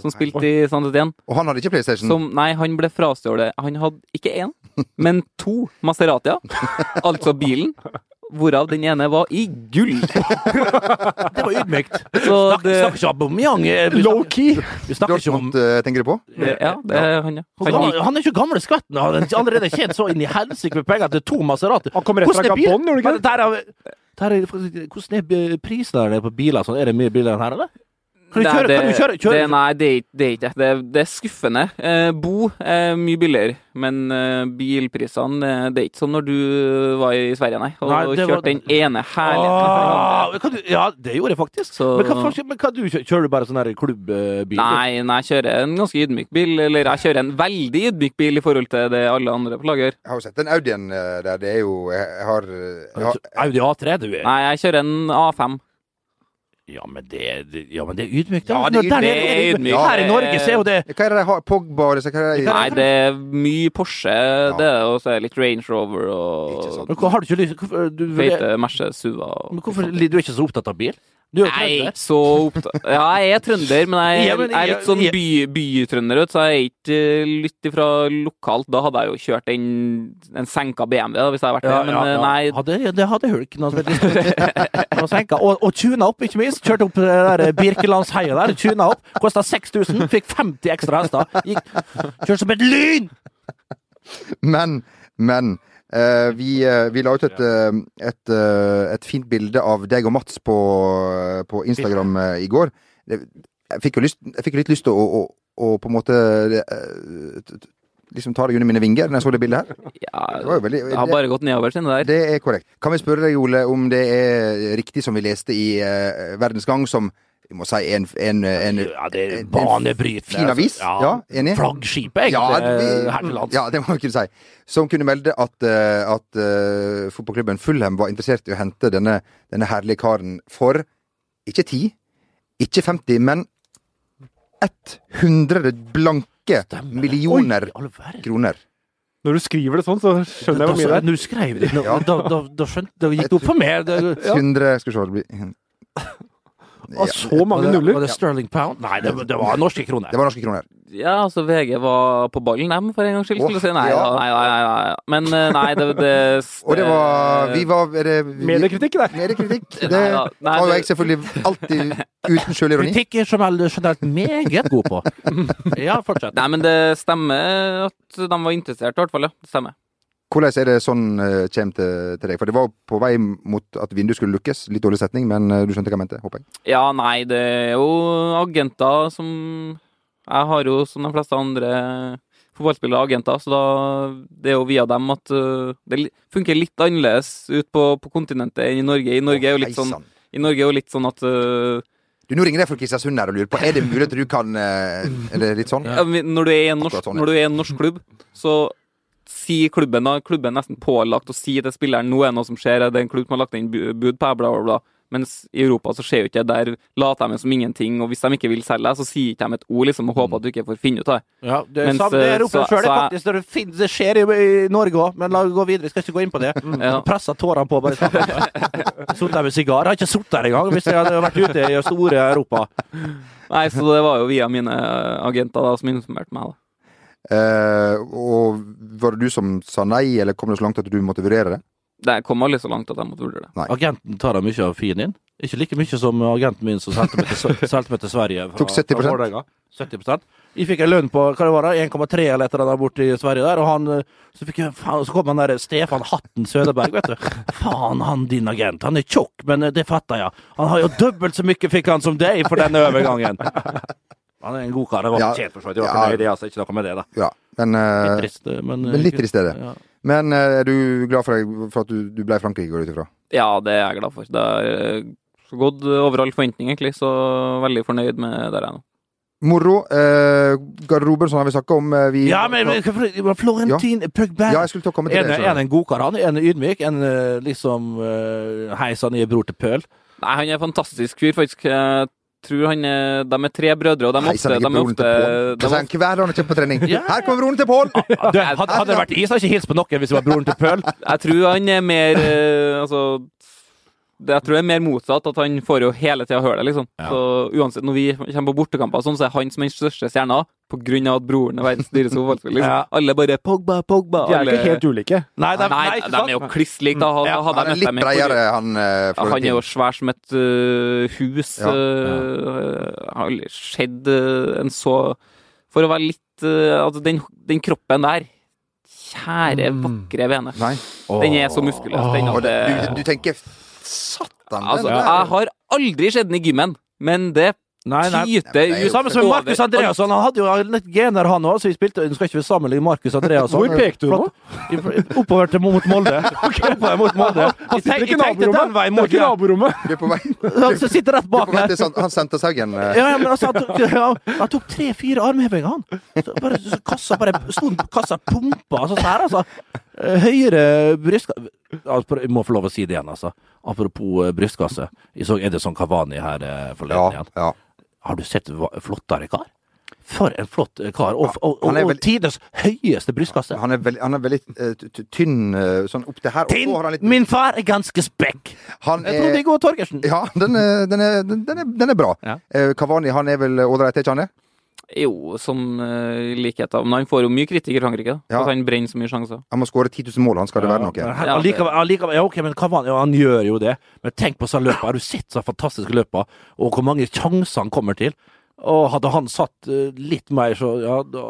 som spilte i Sandetien.
Og han hadde ikke
Mm.
PlayStation?
Som, nei, han ble frastjålet. Han hadde ikke én, men to Maseratia. Altså bilen. Hvorav den ene var i gull.
Det var ydmykt.
Så
Snakk,
det,
snakker ikke om Aubameyang. eh, Vi
Low
snakker,
key!
vi snakker ikke om
Dortmund, eh, tenker du på?
det, ja, det er han, ja.
han,
Han gikk,
han er ikke gamle skvetten. Han er allerede tjent så inn i helsike med penger til to Maserati.
Han kom rett fra
Hvordan er bil-
Gabon, gjorde han ikke
Men der er- der er- Hvordan er b- prisen der nede på biler? og Sånn? Er det mye billigere enn her, eller? Kan du
Nei,
kjøre?
det-
Kan du kjøre? kjøre?
Det, nei, det er ikke det. Er ikke. det. Det, er, det er skuffende. Eh, bo er mye billigere, men eh, bilprisene eh, Det er ikke som når du var i Sverige, nei. Og
Nei, det var-
kjørte den ene herligheten.
Ah, kan du, ja, det gjorde jeg faktisk.
Så-
Men, hva, forskjell- men hva du, kjører- kjører du bare sånn her klubbbil?
Nei, nei, jeg kjører en ganske ydmyk bil. Eller jeg kjører en veldig ydmyk bil i forhold til det alle andre på lager.
Jeg har jo sett den Audien eh, der. Det er jo Jeg jeg har jeg har-
Audi A3, du er
Nei, jeg kjører en A5.
Ja, men det, det- ja, men det er ydmykt.
Ja, det er
Der
ydmykt. Det er ydmykt.
Her i Norge så er jo det
Hva er det de har? Pogba og disse? Hva er det?
Nei, det er mye Porsche, det er og så er det litt Range Rover
Ikke sant.
og
Men hva- Har du ikke lyst hvorfor- du,
feite Mercedes Suva.
men
og-
hvorfor du er ikke så opptatt av bil? Du er jo
Jeg er
trønder.
ikke så opptatt Ja, jeg er trønder, men jeg,
Ja, men
jeg er
jeg-
litt sånn
jeg-
by, bytrønder, vet du, så jeg er ikke eh, litt ifra lokalt. Da hadde jeg jo kjørt en, en senka BMW da, hvis jeg hadde vært
Ja,
det, men
ja, ja.
eh, nei.
Hadde, ja, det hadde hulk noe som heter senka. Og, og tuna opp, ikke minst. Kjørte opp det der Birkelandsheia der. Tuna opp. Kosta 6000. Fikk 50 ekstra hester. Gikk, kjørte som et lyn!
Men, men eh, vi, eh, vi la ut et, eh, et, eh, et fint bilde av deg og Mats på, på Instagram eh, i går. Det- Jeg fikk jo lyst, jeg fikk litt lyst til å, å, å på en måte eh, t- t- liksom ta deg under mine vinger når jeg så det bildet her.
Ja,
Det var jo veldig
det har
det,
bare gått nedover siden det der.
det er korrekt. Kan vi spørre deg, Ole, om det er riktig som vi leste i eh, Verdens Gang, som vi må si en, en, en,
Ja, det er
en- en
banebrytende.
Fin avis? Ja, enig?
Flaggskipet,
Ja,
egentlig, Eh,
vi-
her til lands.
Ja, det må vi kunne si. Som kunne melde at, eh, at eh, fotballklubben Fulham var interessert i å hente denne, denne herlige karen for ikke 10, ikke 50, men 100 blanke millioner
Oi, i all verden.
kroner.
Når du skriver det sånn, så skjønner jeg hvor mye
Da-
det er.
Nå skrev du nå-
Ja.
da, da, da, skjønte, da gikk det opp for meg. Det,
100 Skal vi se det blir-
Av så
var
mange
det-
nuller.
Var det Sterling Pound? Nei, det, var- det var norske kroner.
Det var norske kroner.
Ja, altså VG var på ballen, dem, for en gangs skyld.
Åh,
Skulle jeg si. Nei,
ja.
da, nei, nei, nei, nei. Men eh, nei, det, det
Og det
Eh,
var Vi var er det- vi-
Mediekritikk der.
Mediekritikk. Det
Nei da, nei,
har jo jeg
det-
selvfølgelig alltid uten sjølironi.
Kritikk er som jeg generelt meget god på. Ja, fortsett.
Nei, men det stemmer at de var interessert, i hvert fall. ja. Det stemmer.
Hvordan er det sånn eh, kommer til, til deg? For det var på vei mot at vinduet skulle lukkes. Litt dårlig setning, men eh, du skjønte hva jeg mente, håper jeg.
Ja, nei, det er jo agenter som Jeg har jo, som de fleste andre fotballspillere, agenter, så da det er jo via dem at øh, det li- funker litt annerledes ut på, på kontinentet enn i Norge. I Norge er jo litt sånn,
Heisan.
i Norge er jo litt sånn at øh,
Du, Nå ringer jeg fra Kristiansund her og lurer på Er det mulig at du kan eh, Er det litt sånn?
ja, men når, du er i en norsk,
Akkurat sånn, ja.
når du er i en norsk klubb, så sier klubben da, klubben er nesten pålagt å si til spilleren nå er det noe som skjer, det er en klubb som har lagt inn bu- bud på her, bla, bla, bla. Mens i Europa så skjer jo ikke det. Der later de som ingenting, og hvis de ikke vil selge deg, så sier ikke de et ord liksom, og håper at du ikke får finne ut av det.
Ja, det,
Mens,
samme, det
eh,
er
så-
oppe selv, det,
så
er
jeg-
faktisk, det, finnes, det skjer i, i Norge òg, men la oss gå videre. Jeg skal ikke gå inn på det.
Ja.
Jeg Pressa tårene på. bare sånn. Sittet der med sigar. Jeg har ikke sittet der engang hvis jeg hadde vært ute i store Europa.
Nei, så det var jo via mine eh, agenter da, som informerte meg. da.
Eh, og var det du som sa nei, eller kom det så langt at du måtte vurdere det?
Det kom aldri så langt at jeg måtte vurdere det.
Agenten tar da mye av fien din. Ikke like mye som agenten min som solgte meg til, Sve- solgte meg til Sverige. fra-
Tok 70%.
fra Vålerenga. 70 Jeg fikk en lønn på hva det var da, 1,3 eller et eller annet borte i Sverige der, og han, eh, så, fikk jeg, faen, så kom han der eh, Stefan Hatten Søderberg, vet du. Faen, han din agent. Han er tjukk, men eh, det fatter jeg. Han har jo dobbelt så mye fikk han som deg for den overgangen. Han er en god kar. Det var
Ja.
fortjent, for så vidt. Det var
Ja.
ikke noe i det, altså. Ikke noe med det, da.
Ja. Men,
Litt
eh,
trist, eh, men, eh,
men litt trist er det.
Ja.
Men eh, er du glad for, deg, for at du, du ble i Frankrike, går jeg ut ifra?
Ja, det er jeg glad for. Det har eh, gått over all forventning, egentlig, så veldig fornøyd med der jeg er nå.
Moro. Eh, garderoben, sånn har vi snakka om. eh, vi,
Ja, men, men hvorfor- Florentin Pugberg
Ja, jeg skulle ta komme til
En,
det.
en
skjønner du.
en godkar, han. En ydmyk. En eh, liksom uh, Hei sann, jeg er bror til Pøl.
Nei, han er en fantastisk fyr, faktisk. Jeg tror han er De er tre brødre, og de er
Hei, sann, ikke
ofte, de er
broren til
ofte,
Pål.
de
Så
er
sier han Hver dag han kommer på trening. Her kommer broren til Pål!
Du, hadde, hadde det vært is, hadde jeg ikke hilst på noen hvis det var broren til Pøl.
Jeg tror han er mer eh, Altså det, Jeg tror det er mer motsatt, at han får jo hele tida høre det, liksom. Så uansett, når vi kommer på bortekamper, og sånn, så er han som den største stjerna, på grunn av at broren er verdens dyreste fotballspiller. Liksom.
Ja.
Alle bare 'Pogba, Pogba'.
De er
alle...
ikke helt ulike.
Nei,
Nei,
de, nei, ikke
de er jo
sant?
kliss like. Da hadde,
Ja,
hadde
Han er
jeg møtt
litt
dem i forrige-
breiere, han eh,
Ja, han er
Florentin.
jo svær som et ø, hus.
Ja, ja.
ø, har aldri skjedd ø, en så For å være litt ø, Altså, den, den kroppen der Kjære, vakre vene.
Mm. Nei.
Den er så muskuløs, den.
Og
At
det,
det,
du, du tenker Satan!
altså,
den der-
jeg har aldri sett den i gymmen, men det
Nei, nei.
Nei,
tyter
det er
ut
jo-
Samme som
over
Markus Andreasson. Han hadde jo litt gener, han òg, så vi spilte Nå skal ikke vi sammenligne Markus Andreasson
Hvor pekte du nå?
Flott. Oppover til mot Molde. Oppover mot Molde. Jeg,
Sitter
tenk,
ikke
jeg tenkte den
naborommet?
veien
Det er
mot
ikke
ja.
naborommet.
Du er på vei, du er
Han som sitter rett bak
på vei
der.
til San- han sendte Saugen. eh.
Ja, ja, men altså, han tok, ja, han tok tre-fire armhevinger, han. Så bare, så kassa bare sto på kassa pumpa, altså så her, altså. Eh, Høyre brystkasse altså, Jeg må få lov å si det igjen, altså. Apropos eh, brystkasse. Jeg så Edison Cavani her eh, forleden
Ja,
igjen.
ja.
Har du sett hva- flottere kar? For en flott eh, kar. Og, og, og,
Han er
og
vel-
tidenes høyeste brystkasse.
Han er veldig, han er veldig eh, t- t- tynn eh, sånn opp til her. og
Tinn!
så har han Eh, litt-
Min far er ganske spekk!
Han
Jeg trodde
er-
Igor Torgersen.
Ja, den er, den er, den den er, den er bra.
Ja.
Eh, Cavani han er vel ålreit, er ikke han det?
Jo, som eh, likheter. Men han får jo mye kritikk i Frankrike. da,
Ja.
At han brenner så mye sjanser.
Han må skåre 10 000 mål, han skal det være noe.
Men her-
Ja, det-
allikevel, allikevel, ja, ok, men Cavani, ja, han gjør jo det. Men tenk på sånn løpet. Har du sett så fantastiske løpet, og hvor mange sjanser han kommer til? Og hadde han satt eh, litt mer, så ja, da,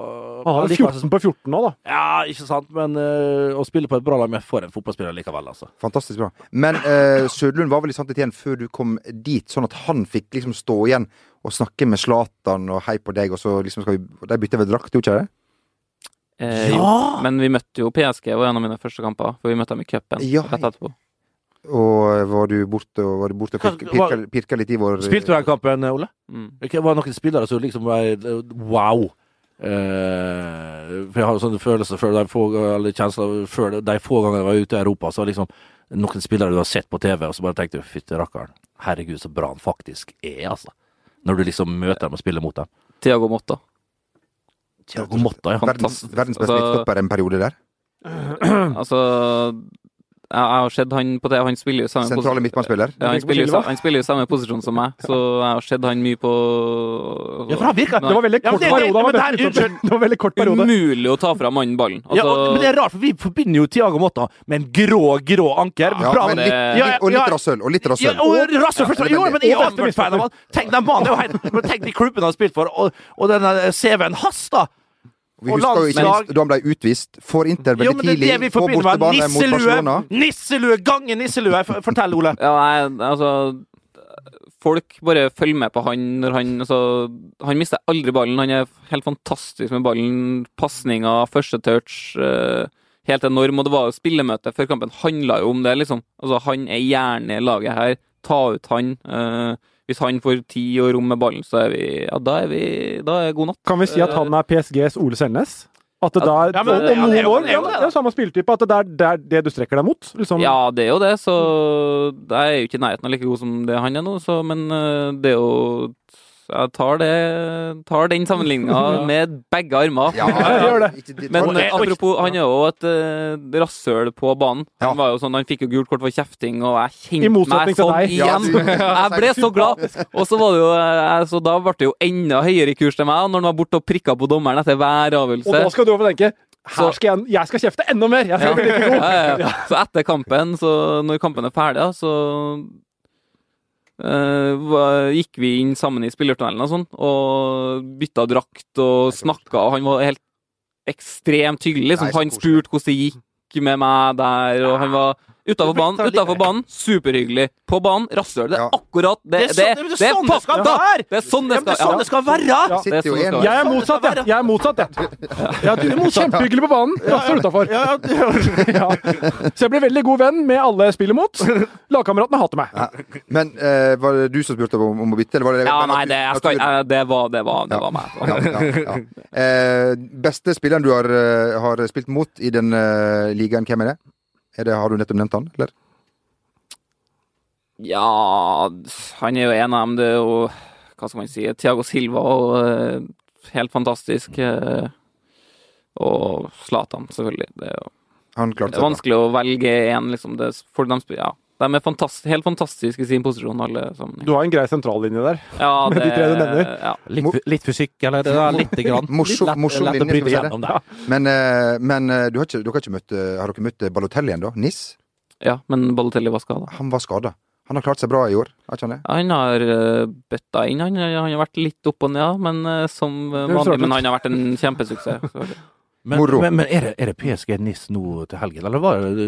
Han har
allikevel-
14 på 14 nå, da.
Ja, ikke sant, men eh, å spille på et bra lag med for en fotballspiller likevel, altså.
Fantastisk bra. Men eh, Sødlund var vel i sant igjen før du kom dit, sånn at han fikk liksom stå igjen og snakke med Zlatan og hei på deg, og så liksom skal vi De bytter vel drakt, gjorde ikke det?
Eh, jo.
Ja!
Men vi møtte jo PSG, var en av mine første kamper. For vi møtte dem i cupen
Ja,
rett etterpå.
Og eh, var du borte og, var du borte og
Hva-
pirka, pirka, pirka litt i vår eh,
Spilte du den kampen, Ole?
Mm.
Ok, Var det noen spillere som liksom var eh, wow? Eh, for jeg har jo sånne følelser før de få, eller kjensler før de få gangene jeg var ute i Europa, så var det liksom noen spillere du har sett på TV, og så bare tenkte du fytti rakkeren, herregud så bra han faktisk er, altså. Når du liksom møter dem og spiller mot dem.
Thiago Motta.
Thiago Motta, ja.
verdens, verdens beste
Altså-
midtstopper en periode der?
Altså jeg, jeg har sett han på det, han spiller jo samme posi-
Sentrale midtbanespiller?
Ja, han,
tenker på
spiller jo,
Silva?
sa- han spiller jo samme posisjon som meg, så jeg har sett han mye på
Ja, for han virker
Det var veldig
Ja, men
kort
det- det-
periode.
men
han
det
var
her-
best
unnskyld.
midtstopper.
Mm. Altså-
Det var veldig kort periode.
Umulig å ta fra mannen ballen. Altså,
ja, og, men det er rart, for vi forbinder jo Thiago Motta med en grå, grå anker.
Ja,
Bra,
men
det-
litt,
Ja, ja,
litt, og
ja.
litt rasshøl. Og litt
Ja,
rasshøl.
og Rasmus Førstemann! Jo, men jeg
Og
har vært fan av han. Tenk den banen, det er jo helt Men tenk de klubbene han har spilt for, og, og den eh, der CV-en hans, da!
Vi
og
husker jo ikke
landslag-
minst da han ble utvist for Inter
Jo,
veldig
men det er
tidlig,
det vi
på
forbinder med
bortebane mot Barcelona.
nisselue! Nisselue! Gange nisselue! F- Fortell, Ole.
Ja, nei, altså Folk bare følger med på han når han altså, Han mister aldri ballen. Han er helt fantastisk med ballen. Pasninger, første touch. eh, helt enorm. Og det var jo spillemøte før kampen handla jo om det, liksom. Altså, han er hjernen i laget her. Ta ut han. eh, hvis han får tid og rom med ballen, så er vi Ja, da er vi Da er god natt.
Kan vi si at han er PSGs Ole Selnes? At det
Ja,
der,
ja, men-
om-
ja,
om
det er
noen
jo-
år
det er
ja,
jo det,
men
da.
Det er samme spilletype. At det er det, er det du strekker deg mot. Liksom.
Ja, det er jo det, så jeg er jo ikke i nærheten av like god som det han er nå, så, men eh, det er jo Jeg tar, det, tar den sammenligninga med begge armer.
Ja,
gjør det.
Ikke- det-
Men
og-
eh, apropos, han er jo et uh, rasshøl på banen.
Ja.
Han var jo sånn, han fikk jo gult kort for kjefting, og jeg
I
kjente
motsetning
meg
til
sånn
deg.
Ja,
igjen.
du-
Jeg ble så glad! Og så var det jo, eh, så da ble det jo enda høyere kurs til meg, og når han var borte og prikka på dommeren etter hver
Og da
avgjørelse.
skal du over og tenke
Så-
her skal jeg, jeg skal kjefte enda mer! Jeg skal bli like god!
Ja, ja, ja. Så etter kampen, så når kampen er ferdig, da, så eh, var- gikk vi inn sammen i spillertunnelen og sånn, og bytta drakt og snakka, og han var helt ekstremt hyggelig. Liksom.
Nei, så
Han
koselig.
spurte hvordan det gikk med meg der, og han var Utafor banen, utenfor banen, superhyggelig. På banen, rasshøl. Det er
Ja.
akkurat det.
Det er sånn- men det er sånn det skal
fakta.
være!
Det er sånn
Ja, men
det
det
skal,
er sånn det skal være!
Ja,
Sitter jo
det er sånn det
en-
skal være.
Jeg er motsatt, jeg. Jeg er motsatt, jeg. Ja, du er Kjempehyggelig på banen. Rasser utafor.
Ja, ja,
Ja. Så jeg blir veldig god venn med alle jeg spiller mot. Lagkameratene hater meg.
Men eh, var det du som spurte om, om å bytte, eller var det
Ja,
men
nei,
at du-
det, jeg
at
skal,
du-
eh, det var, det var, det var meg. altså.
Ja, ja, ja. Eh, beste spilleren du har, eh, har spilt mot i den eh, ligaen, hvem er det? Er det? Har du nettopp nevnt han, eller?
Ja, han er jo en av dem. Det er jo Hva skal man si? Thiago Silva og eh, helt fantastisk. eh, og Zlatan, selvfølgelig. Det er jo
Han klarte
det er
seg bra.
vanskelig å velge én, liksom. Det, er- for de, sp- ja, de er fantas- helt fantastiske i sin posisjon, alle sammen.
Du har en grei sentrallinje der.
Ja,
med de
det-
tre du nevner.
Ja.
Litt, litt fysikk, eller? Det er lite grann.
Morsom-
Litt lett-
morsom
lett
linje,
å
skal
bryte
vi si det?
gjennom der.
Men, eh, men eh, du har ikke, dere har ikke møtt eh, Har dere møtt eh, Balotelli igjen, da? Nis?
ja, men Balotelli var skada.
Han var skada. Han har klart seg bra i år, har ikke han det?
Han har eh, bøtta inn, han. eh, Han har vært litt opp og ned, men eh, som eh,
Det er jo
vanlig.
startet.
Men han har vært en kjempesuksess. selvfølgelig.
Men,
Moro.
men, men er, det, er det PSG NIS nå til helgen, eller var det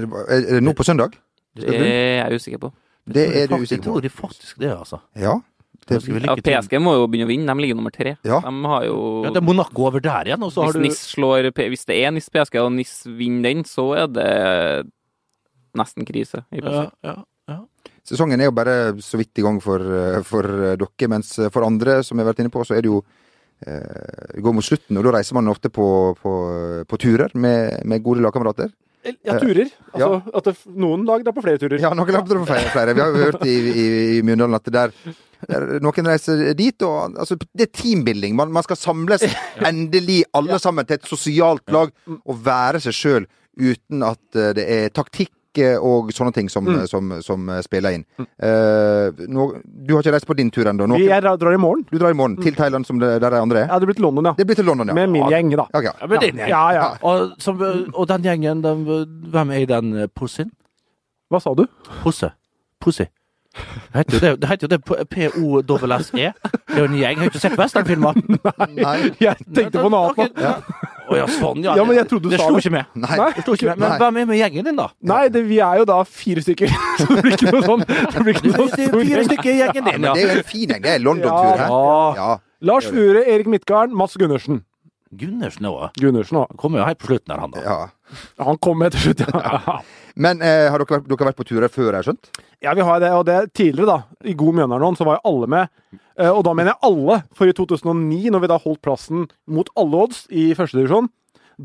Er det- Er det nå på søndag?
Det er jeg usikker på.
Det er du
Jeg
usikker
tror
på.
de faktisk det, altså.
Ja.
Da
Det,
skal vi
Ja,
lykke til.
PSG må jo begynne å vinne. De ligger nummer tre.
Ja.
De har jo
Ja, det er Monaco over der igjen, og så har
hvis,
du
NIS slår, P- hvis det er NIS PSG, og NIS vinner den, så er det nesten krise. i
ja,
PSG.
ja.
sesongen er jo bare så vidt i gang for, eh, for eh, dere, mens eh, for andre, som jeg har vært inne på, så er det jo eh, går mot slutten, og da reiser man ofte på, på, på turer med, med gode lagkamerater.
Ja, turer. Altså, at det, noen lag er på flere turer.
Ja, noen lapper på flere. flere. Vi har jo hørt i, i, i Mjøndalen at det der Der Noen reiser dit, og altså, det er teambuilding. Man, man skal samles, endelig, alle sammen, til et sosialt lag,
Mm.
og være seg sjøl uten at eh, det er taktikk eh, og sånne ting som,
Mm.
som, som, eh, spiller inn. Eh, nå, du har ikke reist på din tur ennå?
Vi
Noen-
er, drar i morgen.
Du drar i morgen til Thailand, som det, der de andre
Jeg
er?
hadde blitt London, ja.
Det blir til London, ja.
Med min gjeng, da.
Ok, ja.
Ja, men din gjeng.
Ja, ja.
Og, som, og den gjengen, den, hvem er i den eh, pussyen?
Hva sa du?
Pusse. Pussy. Det heter jo det, det, heter jo det P- P-O-S-S-E. E. Det er jo en gjeng. Jeg har ikke sett westernfilmer.
Nei.
Jeg tenkte på noe annet.
Ok, Å ja, sånn, ja.
Ja, men jeg trodde du
det
sa
slo
det.
ikke med.
Nei.
Nei.
Det slo ikke med. Men
Nei.
hvem er med i gjengen din, da?
Nei, det, vi er jo da fire stykker. Så det blir ikke noe sånn. Det blir ikke
Det
noe
er
stor
fire
gjeng.
stykker i gjengen din,
Men det
ja.
er jo en fin gjeng. Det er London-tur her.
Ja.
Ja.
Lars Fure, Erik Midtgarden, Mats Gundersen.
Gundersen òg.
Gundersen òg.
Han kommer jo helt på slutten her, han da.
ja.
Han kom med til slutt, ja.
Men eh, har dere, vært- dere har vært på turer før, har jeg skjønt?
Ja, vi har det. Og det tidligere, da. I God Mjøndalen så var jo alle med. Eh, Og da mener jeg alle, for i 2009, når vi da holdt plassen mot alle odds i førstedivisjon,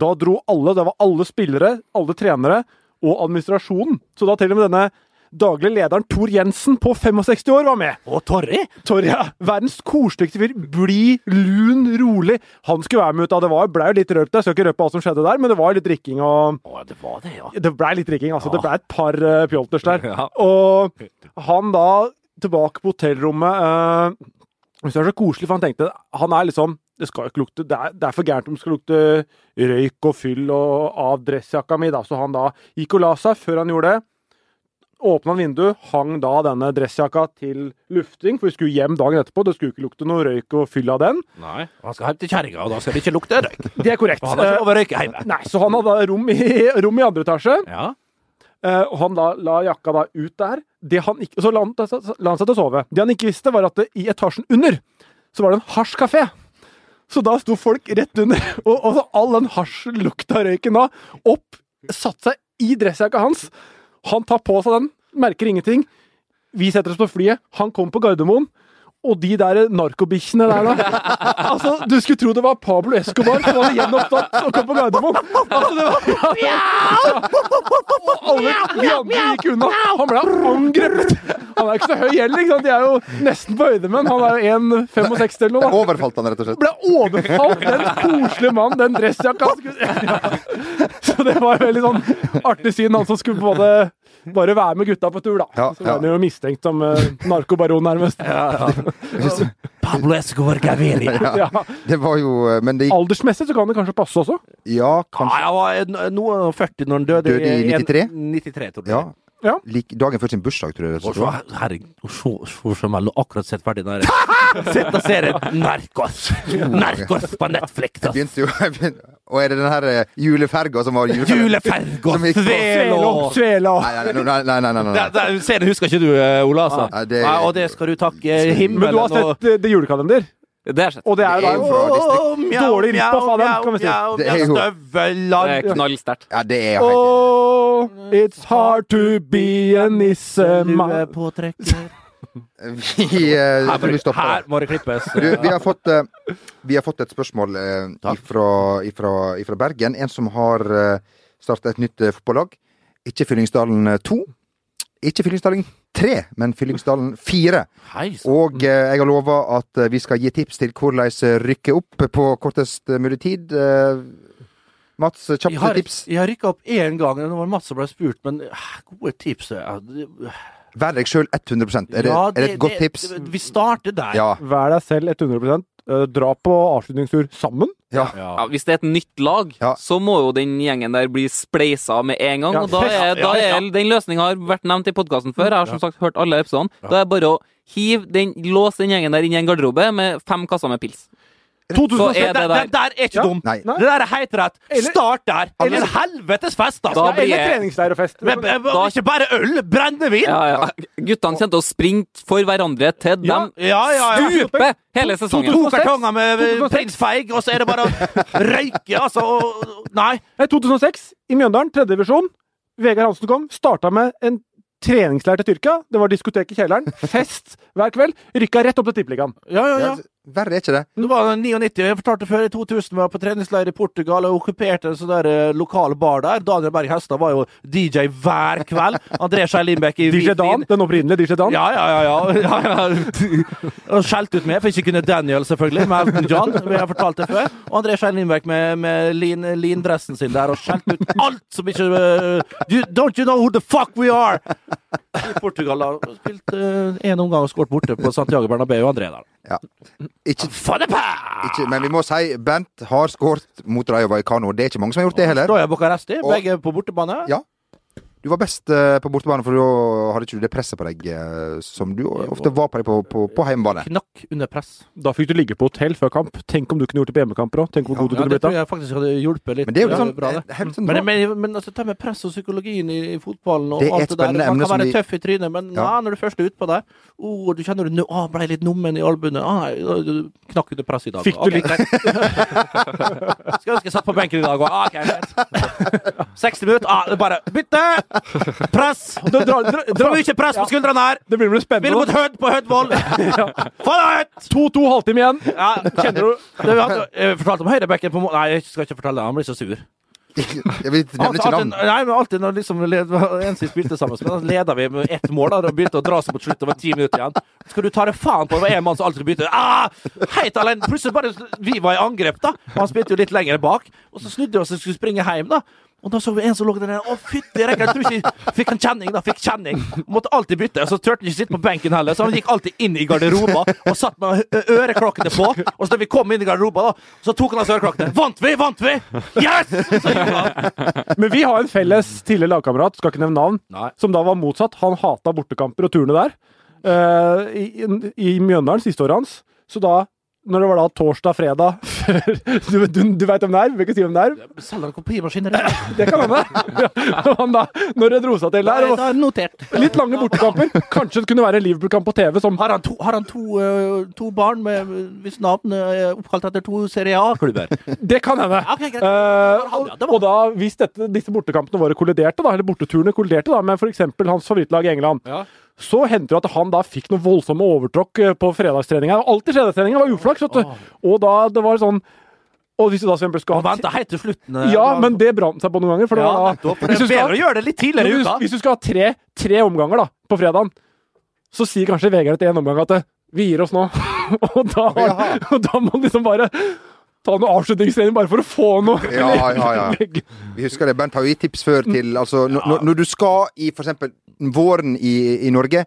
da dro alle. Det var alle spillere, alle trenere og administrasjonen. Så da til og med denne daglig lederen Tor Jensen på 65 år var med.
Og Torry!
Torje, verdens koseligste fyr. Blid, lun, rolig. Han skulle være med ut av det var, ble jo litt røpt der. Skal ikke røpe alt som skjedde der, men det var litt drikking og
Å, det var det, ja.
Det blei litt drikking, altså. Det blei et par eh, pjolters der.
Ja.
Og han da, tilbake på hotellrommet eh, Jeg synes det er så koselig, for han tenkte Han er liksom Det skal jo ikke lukte Det er, det er for gærent om det skal lukte røyk og fyll og av dressjakka mi, da. Så han da gikk og la seg før han gjorde det. Åpna han vinduet, hang da denne dressjakka til lufting, for vi skulle hjem dagen etterpå. Det skulle ikke lukte noe røyk og fyll av den.
Nei. Han skal hjem til kjerringa, og da skal det ikke lukte røyk.
Det er korrekt.
Han har ikke lov å røyke hjemme.
Eh, Nei, så han hadde rom i, rom i andre etasje.
Ja.
Eh, og han la, la jakka da ut der. Det han ikke, så la han, så la han seg til å sove. Det han ikke visste, var at det, i etasjen under så var det en hasjkafé. Så da sto folk rett under, og, og så all den hasjlukta av røyken da opp, satte seg i dressjakka hans. Han tar på seg den, merker ingenting. Vi setter oss på flyet, han kommer på Gardermoen. Og de der narkobikkjene der, da. Altså, Du skulle tro det var Pablo Escobar som var gjenopptatt og kom på Gardermoen! Altså, det var... Og alle vi andre gikk unna. Han ble angrepet! Han er ikke så høy heller, ikke sant? De er jo nesten på høyde med ham. Han er jo 1,65 eller noe. da.
Overfalt han, rett og slett?
Ble overfalt, den koselige mannen, den dressjakka han skulle- ja. Så det var veldig sånn artig syn, han som skulle både bare være med gutta på tur, da.
Ja,
Så ble han jo mistenkt som eh, narkobaron, nærmest.
Pablo Escobar Gaviria.
Ja.
Ja.
Det var jo eh, Men det gikk
Aldersmessig så kan det kanskje passe også.
Ja,
Nei,
kanskje
han var en- noen og 40 når han døde.
Døde i
en-
93?
93, tror jeg.
Ja.
Ja.
Lik, dagen før sin bursdag, tror jeg. rett og
Og
slett.
så, herregud, og så, så, så meg, nå akkurat sett ferdig den her Sett og serien Narkos! Narkos på Netflix! altså. ass.
Begynte jo Og er det den her eh, juleferga som var juleferga?
Juleferga!
Som gikk på-
Svelo!
Svela.
Nei, nei, nei, nei, nei, nei, nei,
Nei,
nei.
nei, Serien husker ikke du, eh, Ola. Altså.
Nei, det-
Nei, og det skal du takke himmelen
Men du har sett eh, det julekalender,
Det har jeg sett.
og det er jo da
Det er
en
jo fra Disney.
Dårlig ripoff av den, kan vi si.
Det er jo-
Støvler
Det er knallsterkt.
Ja, det er helt
Oh, it's hard to be a nissemann.
Vi eh, jeg tror vi
her,
stopper.
må det klippes.
Du, vi, har fått, eh, vi har fått et spørsmål eh, ifra, ifra, ifra Bergen. En som har eh, starta et nytt eh, fotballag. Ikke Fyllingsdalen 2. Ikke Fyllingsdalen 3, men Fyllingsdalen 4.
Hei, så-
Og eh, jeg har lova at eh, vi skal gi tips til hvordan rykke opp på kortest eh, mulig tid. Eh, Mats,
jeg
kjapt
har,
tips.
jeg har rykka opp én gang, det var Mats som ble spurt, men eh, gode tips ja, det-
Vær deg sjøl 100 Er det,
ja,
er det et godt tips?
Vi starter der.
Ja.
Vær deg selv 100 eh, Dra på avslutningstur sammen.
ja.
Ja, hvis det er et nytt lag,
Ja.
så må jo den gjengen der bli spleisa med en gang.
Ja,
og da er, da
ja, ja.
er Den løsninga har vært nevnt i podkasten før. Jeg har som sagt hørt alle episodene. Da er det bare å hive den, låse den gjengen der inn i en garderobe med fem kasser med pils. Så er
Den
det der.
den der er ikke
Ja.
dum.
Nei.
Det der er helt rett.
Eller-
Start der.
Eller-
Eller helvetes fest, altså!
Da blir
Eller
jeg-
treningsleir og fest.
Men- men- men Ikke bare øl! Brennevin!
Ja, ja. Guttene kommer til å springe for hverandre til
Ja,
dem
ja, ja, ja.
stuper hele
To
sesongen.
kartonger med prins Feig, og så er det bare å røyke, altså. og- Nei.
Nei, 2006, i Mjøndalen, tredje divisjon. Vegard Hansen kom. Starta med en treningsleir til Tyrkia. Det var diskotek i kjelleren. Fest hver kveld. Rykka rett opp til Tippeligaen.
Ja, ja, ja.
Verre er ikke det.
Det var 99, jeg fortalte før, i 2000 var jeg på treningsleir i Portugal og okkuperte en sånn der eh, lokal bar der. Daniel Berg Hestad var jo DJ hver kveld. André Skei Lindbekk i
DJ
hvit
Dan,
vin.
den opprinnelige DJ Dan.
Ja, ja, ja. ja, ja, ja. Og skjelte ut meg, for ikke kunne Daniel, selvfølgelig, med Elton John. som Jeg har fortalt det før. Og André Skei Lindbekk med, med lin, lindressen sin der og skjelte ut alt som ikke eh, you, Don't you know who the fuck we are? I Portugal, da. Spilte én omgang og skåret borte på Santiago Bernabeu og André der.
Ja. Ikke,
For the
ikke, men vi må si Bent har skåret mot Rayo Vallecano. Det er ikke mange som har gjort det heller.
Står jeg Bucuresti?
Og-
Begge på bortebane?
Ja. Du var best eh, på bortebane, for da hadde ikke du det presset på deg eh, som du ofte var på deg på, på, på hjemmebane.
Knakk under press.
Da fikk du ligge på hotell før kamp. Tenk om du kunne gjort det på hjemmekamper òg. Tenk hvor god du
Ja,
kunne
det
blitt
tror
da.
jeg faktisk hadde hjulpet litt.
Men det er jo
Ja,
sånn,
bra, det.
eh, helt sånn
Men,
bra.
men, men altså, det med press og psykologien i, i fotballen og
Det er
alt
et
det der
spennende
Man
emne
kan
som
være
vi-
tøff i trynet, men
Ja.
nei, når du først er utpå der oh, Du kjenner du nå ah, ble litt nummen i albuene. Ah, nei, da- du knakk under press i dag.
Fikk du
Ok,
litt-
greit. Skulle ønske jeg satt på benken i dag òg. Ah, ok, greit. 60 minutter, ah, det er bare bytte! Press!
Da drar- dra-
For
dra-
mye press på skuldrene her!
Det blir vel
Vil mot
spennende.
Hødd på Hødvoll! Få det ut!
2-2, halvtime igjen.
Ja, kjenner du det, vi hadde, Jeg fortalte om høyrebekken på Mo- Nei, jeg skal ikke fortelle det. Han blir så sur.
Jeg vil nevne
Alltid,
ikke
alltid,
navn.
nei, men alltid når liksom led, en som spilte sammen, så leda vi med ett mål. Da, og begynte å dra seg mot slutt. Det var ti minutter igjen. Skal du ta det faen på? Det var én mann som alltid bytte. Ah, helt alene. Plutselig bare Vi var i angrep, da. Og han spilte jo litt lenger bak. Og så snudde vi oss og skulle springe hjem, da. Og da så vi en som lå der nede. Å, fytti rekker, jeg tror ikke Fikk han kjenning, da. Fikk kjenning. Måtte alltid bytte. Og så turte han ikke sitte på benken heller, så han gikk alltid inn i garderoba og satt med ø- øreklokkene på. Og så da vi kom inn i garderoba, da, så tok han av seg øreklokkene. Vant vi! Vant vi! Yes! Så gjorde han.
Men vi har en felles tidligere lagkamerat, skal ikke nevne navn,
Nei.
som da var motsatt. Han hata bortekamper og turene der. Eh, i, I Mjøndalen, siste året hans. Så da, når det var da torsdag-fredag før Du, du, du veit hvem det er? Vi vil ikke si hvem det er.
Selger han kopimaskiner? eller?
Det kan hende. Ja, han da, når det dro seg til der,
Da er det notert.
og litt lange bortekamper Kanskje det kunne være en Liverpool-kamp på TV som
Har han to, har han to, eh, to barn med, hvis navn er oppkalt etter to Serie A-klubber?
Det kan hende.
Ja, ok, greit.
Eh,
han,
og,
ja, det var-
og da, hvis dette, disse bortekampene våre kolliderte, da, eller borteturene kolliderte da, med f.eks. hans favorittlag i England, så hendte det at han da fikk noen voldsomme overtråkk eh, på fredagstreninga. Alltid fredagstreninga var uflaks, vet du. Og da det var sånn Og hvis du da for eksempel skal
Han
ha
venta helt til slutten. eh,
Ja,
da-
men det brant seg på noen ganger. For det
ja,
var da,
nettopp, for Det er
hvis du skal-
bedre å gjøre det litt tidligere i
hvis,
uka.
hvis du skal ha tre, tre omganger da, på fredagen, så sier kanskje Vegard etter én omgang at eh, vi gir oss nå. og, da,
Jaha.
og da må han liksom bare ta noe avslutningstrening bare for å få noe.
Ja, ja, ja.
Legge-
Vi husker det, Bent har jo gitt tips før
Mm.
til altså, når- når, når du skal i for eksempel våren i, i Norge,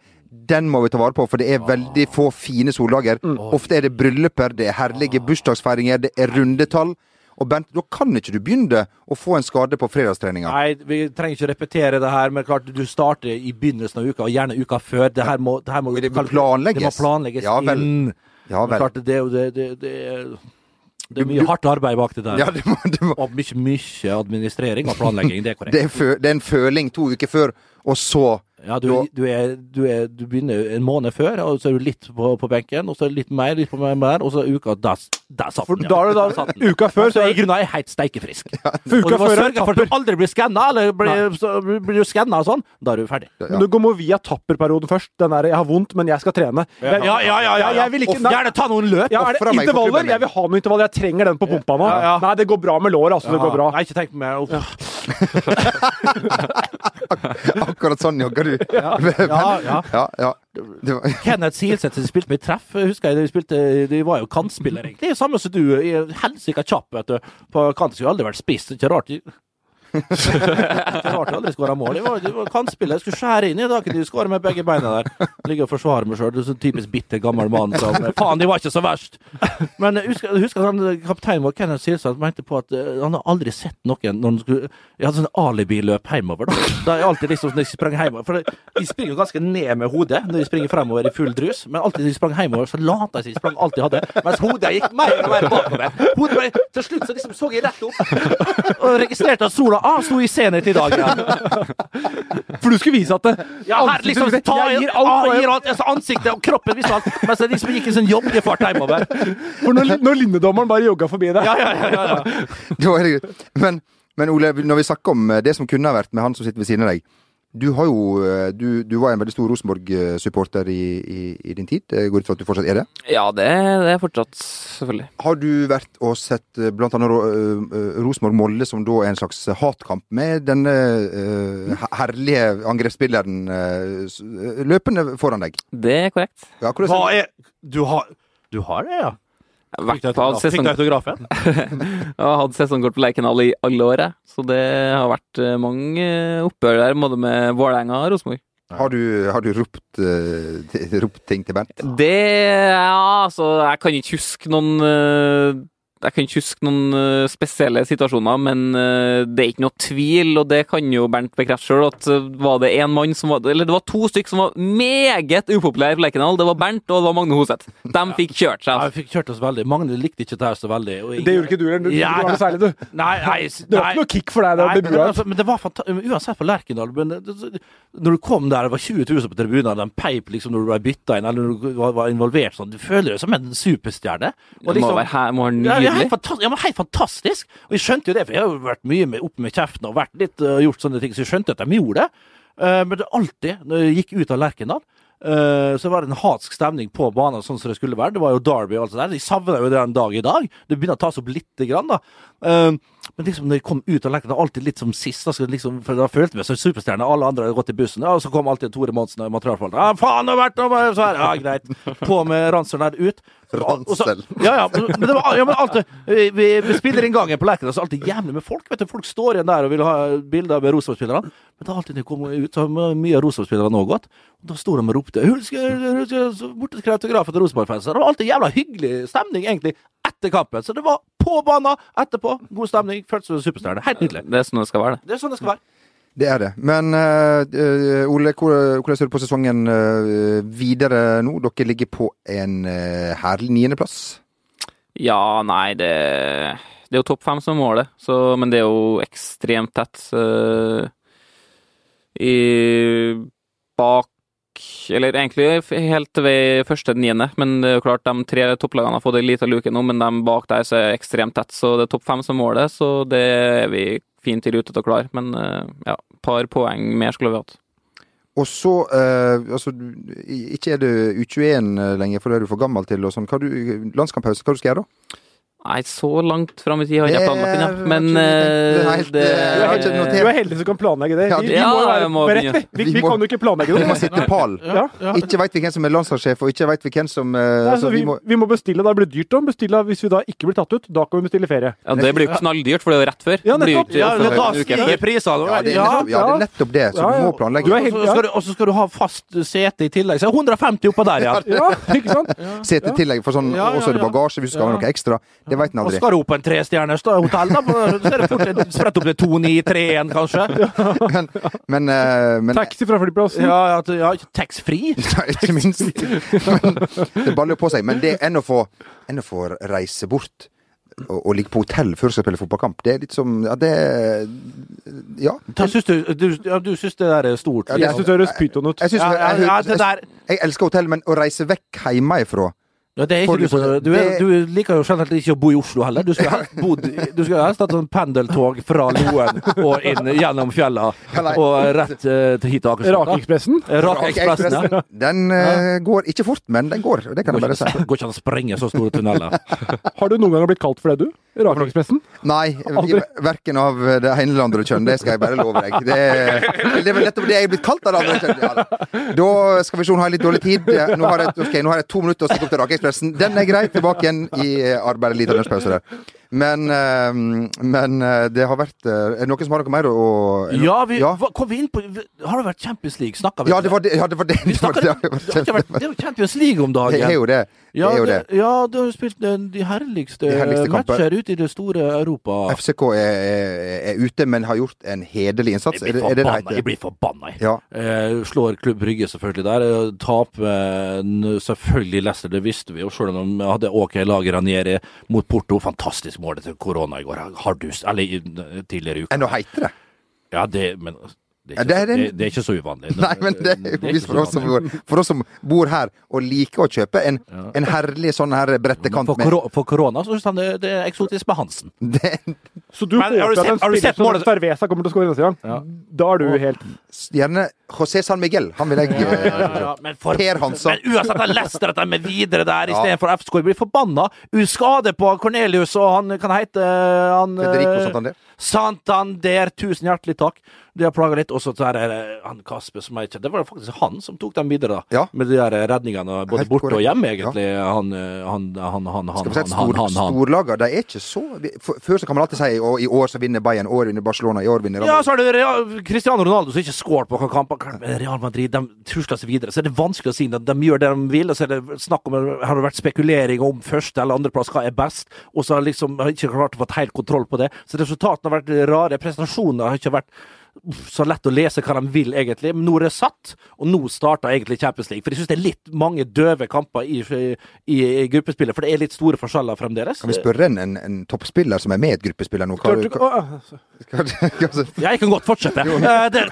den må vi ta vare på, for det er veldig få fine soldager.
Mm.
Ofte er det brylluper, det er herlige
Ah.
bursdagsfeiringer, det er rundetall. Og Bent, da kan ikke du begynne å få en skade på fredagstreninga.
Nei, vi trenger ikke repetere det her, men klart du starter i begynnelsen av uka, og gjerne uka før. Det her må, det her må,
Det må planlegges.
Det må planlegges
Ja, vel.
inn.
Ja
Men
vel.
klart, det er jo det, det, det, er- det er
Du-
mye
du-
hardt arbeid bak det der.
Ja, det, må, det, må,
Og mye, mye administrering og planlegging. Det er korrekt.
det, er fø, det er en føling to uker før, og så
Ja, du,
Da-
du, er, du, er, du begynner en måned før, og så er du litt på, på benken, og så er det litt mer, litt på mer, mer, og så er uka Der, der satt
For
den, ja.
da er det da-
Der satt den.
uka før,
Altså,
så er-
I grunnen er jeg helt steikefrisk.
For
og du
uka
må
før er
sørge for at du
tapper.
aldri blir skanna, eller blir, så blir du skanna og sånn. Da er du ferdig.
Ja.
Men Du går må via tapperperioden først. Den der 'jeg har vondt, men jeg skal trene'. Jeg- Jeg, jeg vil ikke,
Og
nei,
gjerne ta noen løp.
ja, er det
Offra meg for klubben
intervaller?
min.
Jeg vil ha noe intervall. Jeg trenger den på pumpa nå.
Ja, ja.
Nei, det går bra med låret. Altså, det går bra.
Nei, ikke tenk på meg. Uff.
Akkurat sånn jogger du. Ja,
Ja, ja.
ja. Det var,
Kenneth Silseth som spilte med i treff, husker jeg. De, spilte, de var jo kantspillere, egentlig. Det er samme som du. i Helsike kjapp, vet du. På kant skulle jeg aldri vært spiss. Ikke rart de Ikke rart de aldri skåra mål. De var, de var kantspillere. Skulle skjære inn i dag, de skåra med begge beina der. Ligger og forsvarer meg sjøl. Du er sånn typisk bitter gammel mann som Faen, de var ikke så verst! Men jeg husker, jeg husker at han, eh, kapteinen vår, Kenneth Silseth, mente på at eh, han har aldri sett noen når han skulle Jeg hadde sånn alibiløp hjemover, da. Da er jeg alltid liksom når jeg sprang hjemover For det- de springer jo ganske ned med hodet når de springer fremover i full drus, men alltid når de sprang hjemover, så lot de som de sprang alt de hadde, mens hodet gikk mer og mer bakover. Hodet bare, Til slutt så liksom så jeg rett opp og registrerte at sola ah, sto i senhet i dag. Ja.
For du skulle vise at det,
Ja, her liksom
ansiktet-
ta,
Jeg gir
ah,
alt.
gir alt altså, Ansiktet og kroppen viste alt, mens de liksom gikk i sånn joggefart hjemover.
For når, når linjedommeren bare jogga forbi deg
Ja, ja, ja, ja, ja.
det var helt greit. Men, men Ole, når vi snakker om eh, det som kunne ha vært med han som sitter ved siden av deg Du, har jo, eh, du, du var en veldig stor Rosenborg-supporter i, i, i din tid. Jeg går ut fra at du fortsatt er det.
Ja, det, det er fortsatt, selvfølgelig.
Har du vært og sett eh, blant annet Ro- eh, eh, Rosenborg-Molde, som da er en slags eh, hatkamp med denne eh, her- herlige angrepsspilleren eh, s- eh, løpende foran deg?
Det er korrekt.
Ja, hvordan-
Hva er Du har, du har det, ja?
Jeg har
Fikk
vært
du
på
autograf- fikk
sesong,
du autografen?
jeg har hatt sesongkort på Lerkendal i alle år, jeg. Så det har vært eh, mange oppgjør der, både med Vålerenga og Rosenborg.
Har du, har du ropt, eh, t- ropt ting til Bernt?
Det Ja, altså, jeg kan ikke huske noen eh, Jeg kan ikke huske noen eh, spesielle situasjoner, men eh, det er ikke noe tvil, og det kan jo Bernt bekrefte sjøl, at eh, var det én mann som var Eller det var to stykk som var meget upopulære på Lerkendal. Det var Bernt, og det var Magne Hoseth. De fikk kjørt
Ja,
seg.
vi fikk kjørt oss veldig. Magne likte ikke det her så veldig. og jeg-
Det gjorde ikke du heller. Du,
Ja.
du var noe særlig, du.
Nei, nei, s-
Det var
nei.
ikke noe kick for deg da,
Nei,
det
men,
burde
altså, men det var fanta- Uansett på Lerkendal men det- det- Når du kom der, det var 20 000 på tribunen, de peip liksom når du ble bytta inn, eller når du var, var involvert sånn. Du føler deg som en superstjerne. Og
Det må være her, må være
liksom- ja, ja, helt,
nydelig.
fantastisk, ja, men helt fantastisk! Og jeg skjønte jo det, for jeg har jo vært mye med, opp med kjeften og vært litt, øh, gjort sånne ting, så jeg skjønte at de gjorde det. Eh, men det alltid, når jeg gikk ut av Lerkendal, eh, så var det en hatsk stemning på banen, sånn som det skulle være. Det var jo Derby og alt det der. Jeg savner jo det en dag i dag. Det begynner å tas opp lite grann, da. Eh, men liksom når jeg kom ut av Lerkendal, alltid litt som sist, da, så liksom, for da følte jeg meg som superstjerne. Alle andre hadde gått i bussen, ja, og så kom alltid Tore Monsen og materialforvalteren. Ja, faen, det har vært noe så her. Ja, greit. På med ranselen der ut. Og så-
Ransel.
ja, ja, men det var, ja, men alltid, vi, vi, vi spiller inn gangen på Lerkendal, så er det alltid jævlig med folk. vet du, Folk står igjen der og vil ha bilder med Rosenborg-spillerne. Men da alltid når jeg kom ut, så har mye av Rosenborg-spillerne òg gått. Og da sto de og ropte «Hulsker, Hulsker», så borte til autografen til Rosenborg-fansen. Det var alltid jævla hyggelig stemning, egentlig, etter kampen. Så det var på banen etterpå. God stemning. Føltes som en superstjerne. Helt nydelig.
Det er sånn det skal være, det.
Det er sånn det skal være.
Det er det. Men eh, eh, Ole, hvor- hvordan ser du på sesongen eh, videre nå? Dere ligger på en eh, herlig niendeplass.
Ja, nei, det, det er jo topp fem som er målet, så, men det er jo ekstremt tett. eh, i, bak Eller egentlig f- helt til vei første til niende, men det er jo klart de tre topplagene har fått ei lita luke nå, men de bak der så er det ekstremt tett, så det er topp fem som er målet, så det er vi fint i rute til å klare. Men eh, ja, par poeng mer skulle vi hatt.
Og så eh, altså, du- i- Ikke er du U21 eh, lenger, for det er du for gammel til. Og sånn. Hva du, landskamppause, hva du skal gjøre da?
Nei, så langt fram i tid har jeg ikke planlagt den, ja. Men
Det er
eh,
helt- det er helt
Du
notert.
er heldig som kan planlegge det.
Ja,
Vi,
det-
vi må jo
Ja,
være
jeg må
på rett, vi. Vi,
Vi
vi
må-
kan jo ikke planlegge
Vi
det.
må sitte pall.
Ja.
altså,
Ikke veit vi hvem som er landslagssjef, og ikke veit vi hvem som eh,
Nei,
altså,
så
vi må,
vi må bestille. Da blir det dyrt. Da. Bestille, hvis vi da ikke blir tatt ut, da kan vi bestille ferie.
ja, det blir jo knalldyrt, for det er jo rett før.
Ja,
Det blir jo
nettopp.
ikke
Ja, men
før
da
en uke etter.
stiger prisene.
ja, det er
Ja,
nettopp, ja, det er
ja.
nettopp det, så
Ja,
du
ja.
må planlegge.
Du
Og
er helt-
så skal du- Og så skal du ha fast sete i tillegg. Så 150 oppå der, ja.
Ja, ikke sant?
Se til tillegg, for sånn,
Ja, ja,
og så er det
ja.
bagasje hvis du skal ha noe ekstra. Det veit en
Og
aldri.
skal du på en trestjerners da, hotell, da, så er det fort en- spredt opp til 2-9-3-1, kanskje.
Men, men, eh, men
Taxi fra flyplassen.
Ja, ja, ja Taxfree.
Nei, ikke minst. Men, det baller jo på seg. Men det enn å få, enn å få reise bort og, og ligge på hotell før du skal spille fotballkamp, det er litt som Ja, det Ja.
Da syns du, du, ja, du syns det der er stort?
Ja, det-
Jeg syns det høres pyton ut.
Jeg, synes,
Ja,
jeg,
ja,
jeg,
ja,
jeg,
det der
elsker hotell, men å reise vekk hjemmefra
ja, det er ikke
Får du
du, som-
på-
du, er,
det-
du liker jo generelt ikke å bo i Oslo heller. Du skulle helst bodd i- Du skulle helst hatt sånn pendeltog fra Loen og inn gjennom fjella
Ja, nei.
og rett eh, til hit til Akershus.
Rakekspressen.
da. Rakekspressen, ja.
Den eh, går ikke fort, men den går. Det kan jeg
Går
bare
ikke,
si.
an- går ikke an å sprenge så store tunneler.
Har du noen gang blitt kalt for det, du? Rakekspressen?
Nei,
Aldri.
verken av det ene eller andre kjønn. Det skal jeg bare love deg. Det, det er vel nettopp det jeg er blitt kalt av det andre kjønn. Ja, da. da skal vi se, nå har jeg litt dårlig tid. Nå har jeg, ok, nå har jeg to minutter å stikke opp til Rakekspressen. Den er grei. Tilbake igjen i eh, arbeid. Liten lunsjpause der. Men, eh, men eh, det har vært eh, Er det noen som har noe mer å er det-
Ja, vi,
ja.
hva- kom vi inn på Har det vært Champions League? Snakka vi
ja,
om
det var det. Ja, det, var det.
Vi
det, var
snakker,
det.
det, har ikke vært, det er jo Champions League om dagen.
Det er jo det. Det
Ja,
er jo det.
det- ja, du har jo spilt eh, de herligste,
De herligste kamper.
matcher ute i det store Europa.
FCK er, er, er ute, men har gjort en hederlig innsats.
Jeg
Er det
blir
er det det
forbanna, jeg
heter?
blir forbanna. jeg.
Ja.
Eh, slår Klubb Brygge selvfølgelig der. eh, Taper eh, n- selvfølgelig Leicester, det visste vi jo, selv om de hadde OK lag Ranieri mot Porto. Fantastisk mål til korona i går. Har du s- Eller i- tidligere i uka.
Enn å heite det.
Ja, det, men Det
Ja,
er
det er
ikke, så-
den-
det, det er ikke så uvanlig.
Nei, men det er sånn.
ikke
uvisst
så
for oss som
uvanlig.
bor, for oss som bor her og liker å kjøpe en, en herlig sånn her brettekant
For,
med
koro- for korona så syns han det, det er eksotisk med Hansen.
det,
Så du
Men har du
håper at
sett- har
en
du
spiller
sett
som
målet-
Starvesa kommer til å skåre neste gang? Da er du helt
Gjerne José San Miguel. Han vil jeg eh,
Men, for,
Per Hansson.
men uansett at Leicester at de er videre der istedenfor ja. FSK, blir forbanna. Uskade på Cornelius og han kan hete han, eh,
Federico Santander.
Santander, tusen hjertelig takk. De har plaga litt. Og så der er det eh, han Kasper som er ikke Det var faktisk han som tok dem videre, da.
Ja.
Med de der redningene både
Helt
borte og
korrekt.
hjemme, egentlig. Han, eh, han, han, han,
Skal
han,
vi si at
han, han,
stor,
han, han.
storlaga, de er ikke så vi- f- Før så kan man alltid si å, i år så vinner Bayern, i år vinner Barcelona, i år vinner Real
Ja,
Madrid.
så har du Real, Cristiano Ronaldo som ikke scorer på noen kamper. Men Real Madrid de tusler seg videre, så er det vanskelig å si. De, de gjør det de vil, og så er det snakk om Har det vært spekulering om første- eller andreplass, hva er best? Og så har liksom har ikke klart å få helt kontroll på det. Så resultatene har vært rare. Presentasjonene har ikke vært uff, så lett å lese hva de vil, egentlig. Men nå er det satt, og nå starter egentlig Champions League. For jeg syns det er litt mange døve kamper i, i, i gruppespillet, for det er litt store forskjeller fremdeles.
Kan vi spørre en, en, en toppspiller som er med i et gruppespiller nå? Hva,
Klart du ikke-
hva,
Å, å,
hva, altså,
Jeg kan godt fortsette. Eh, det,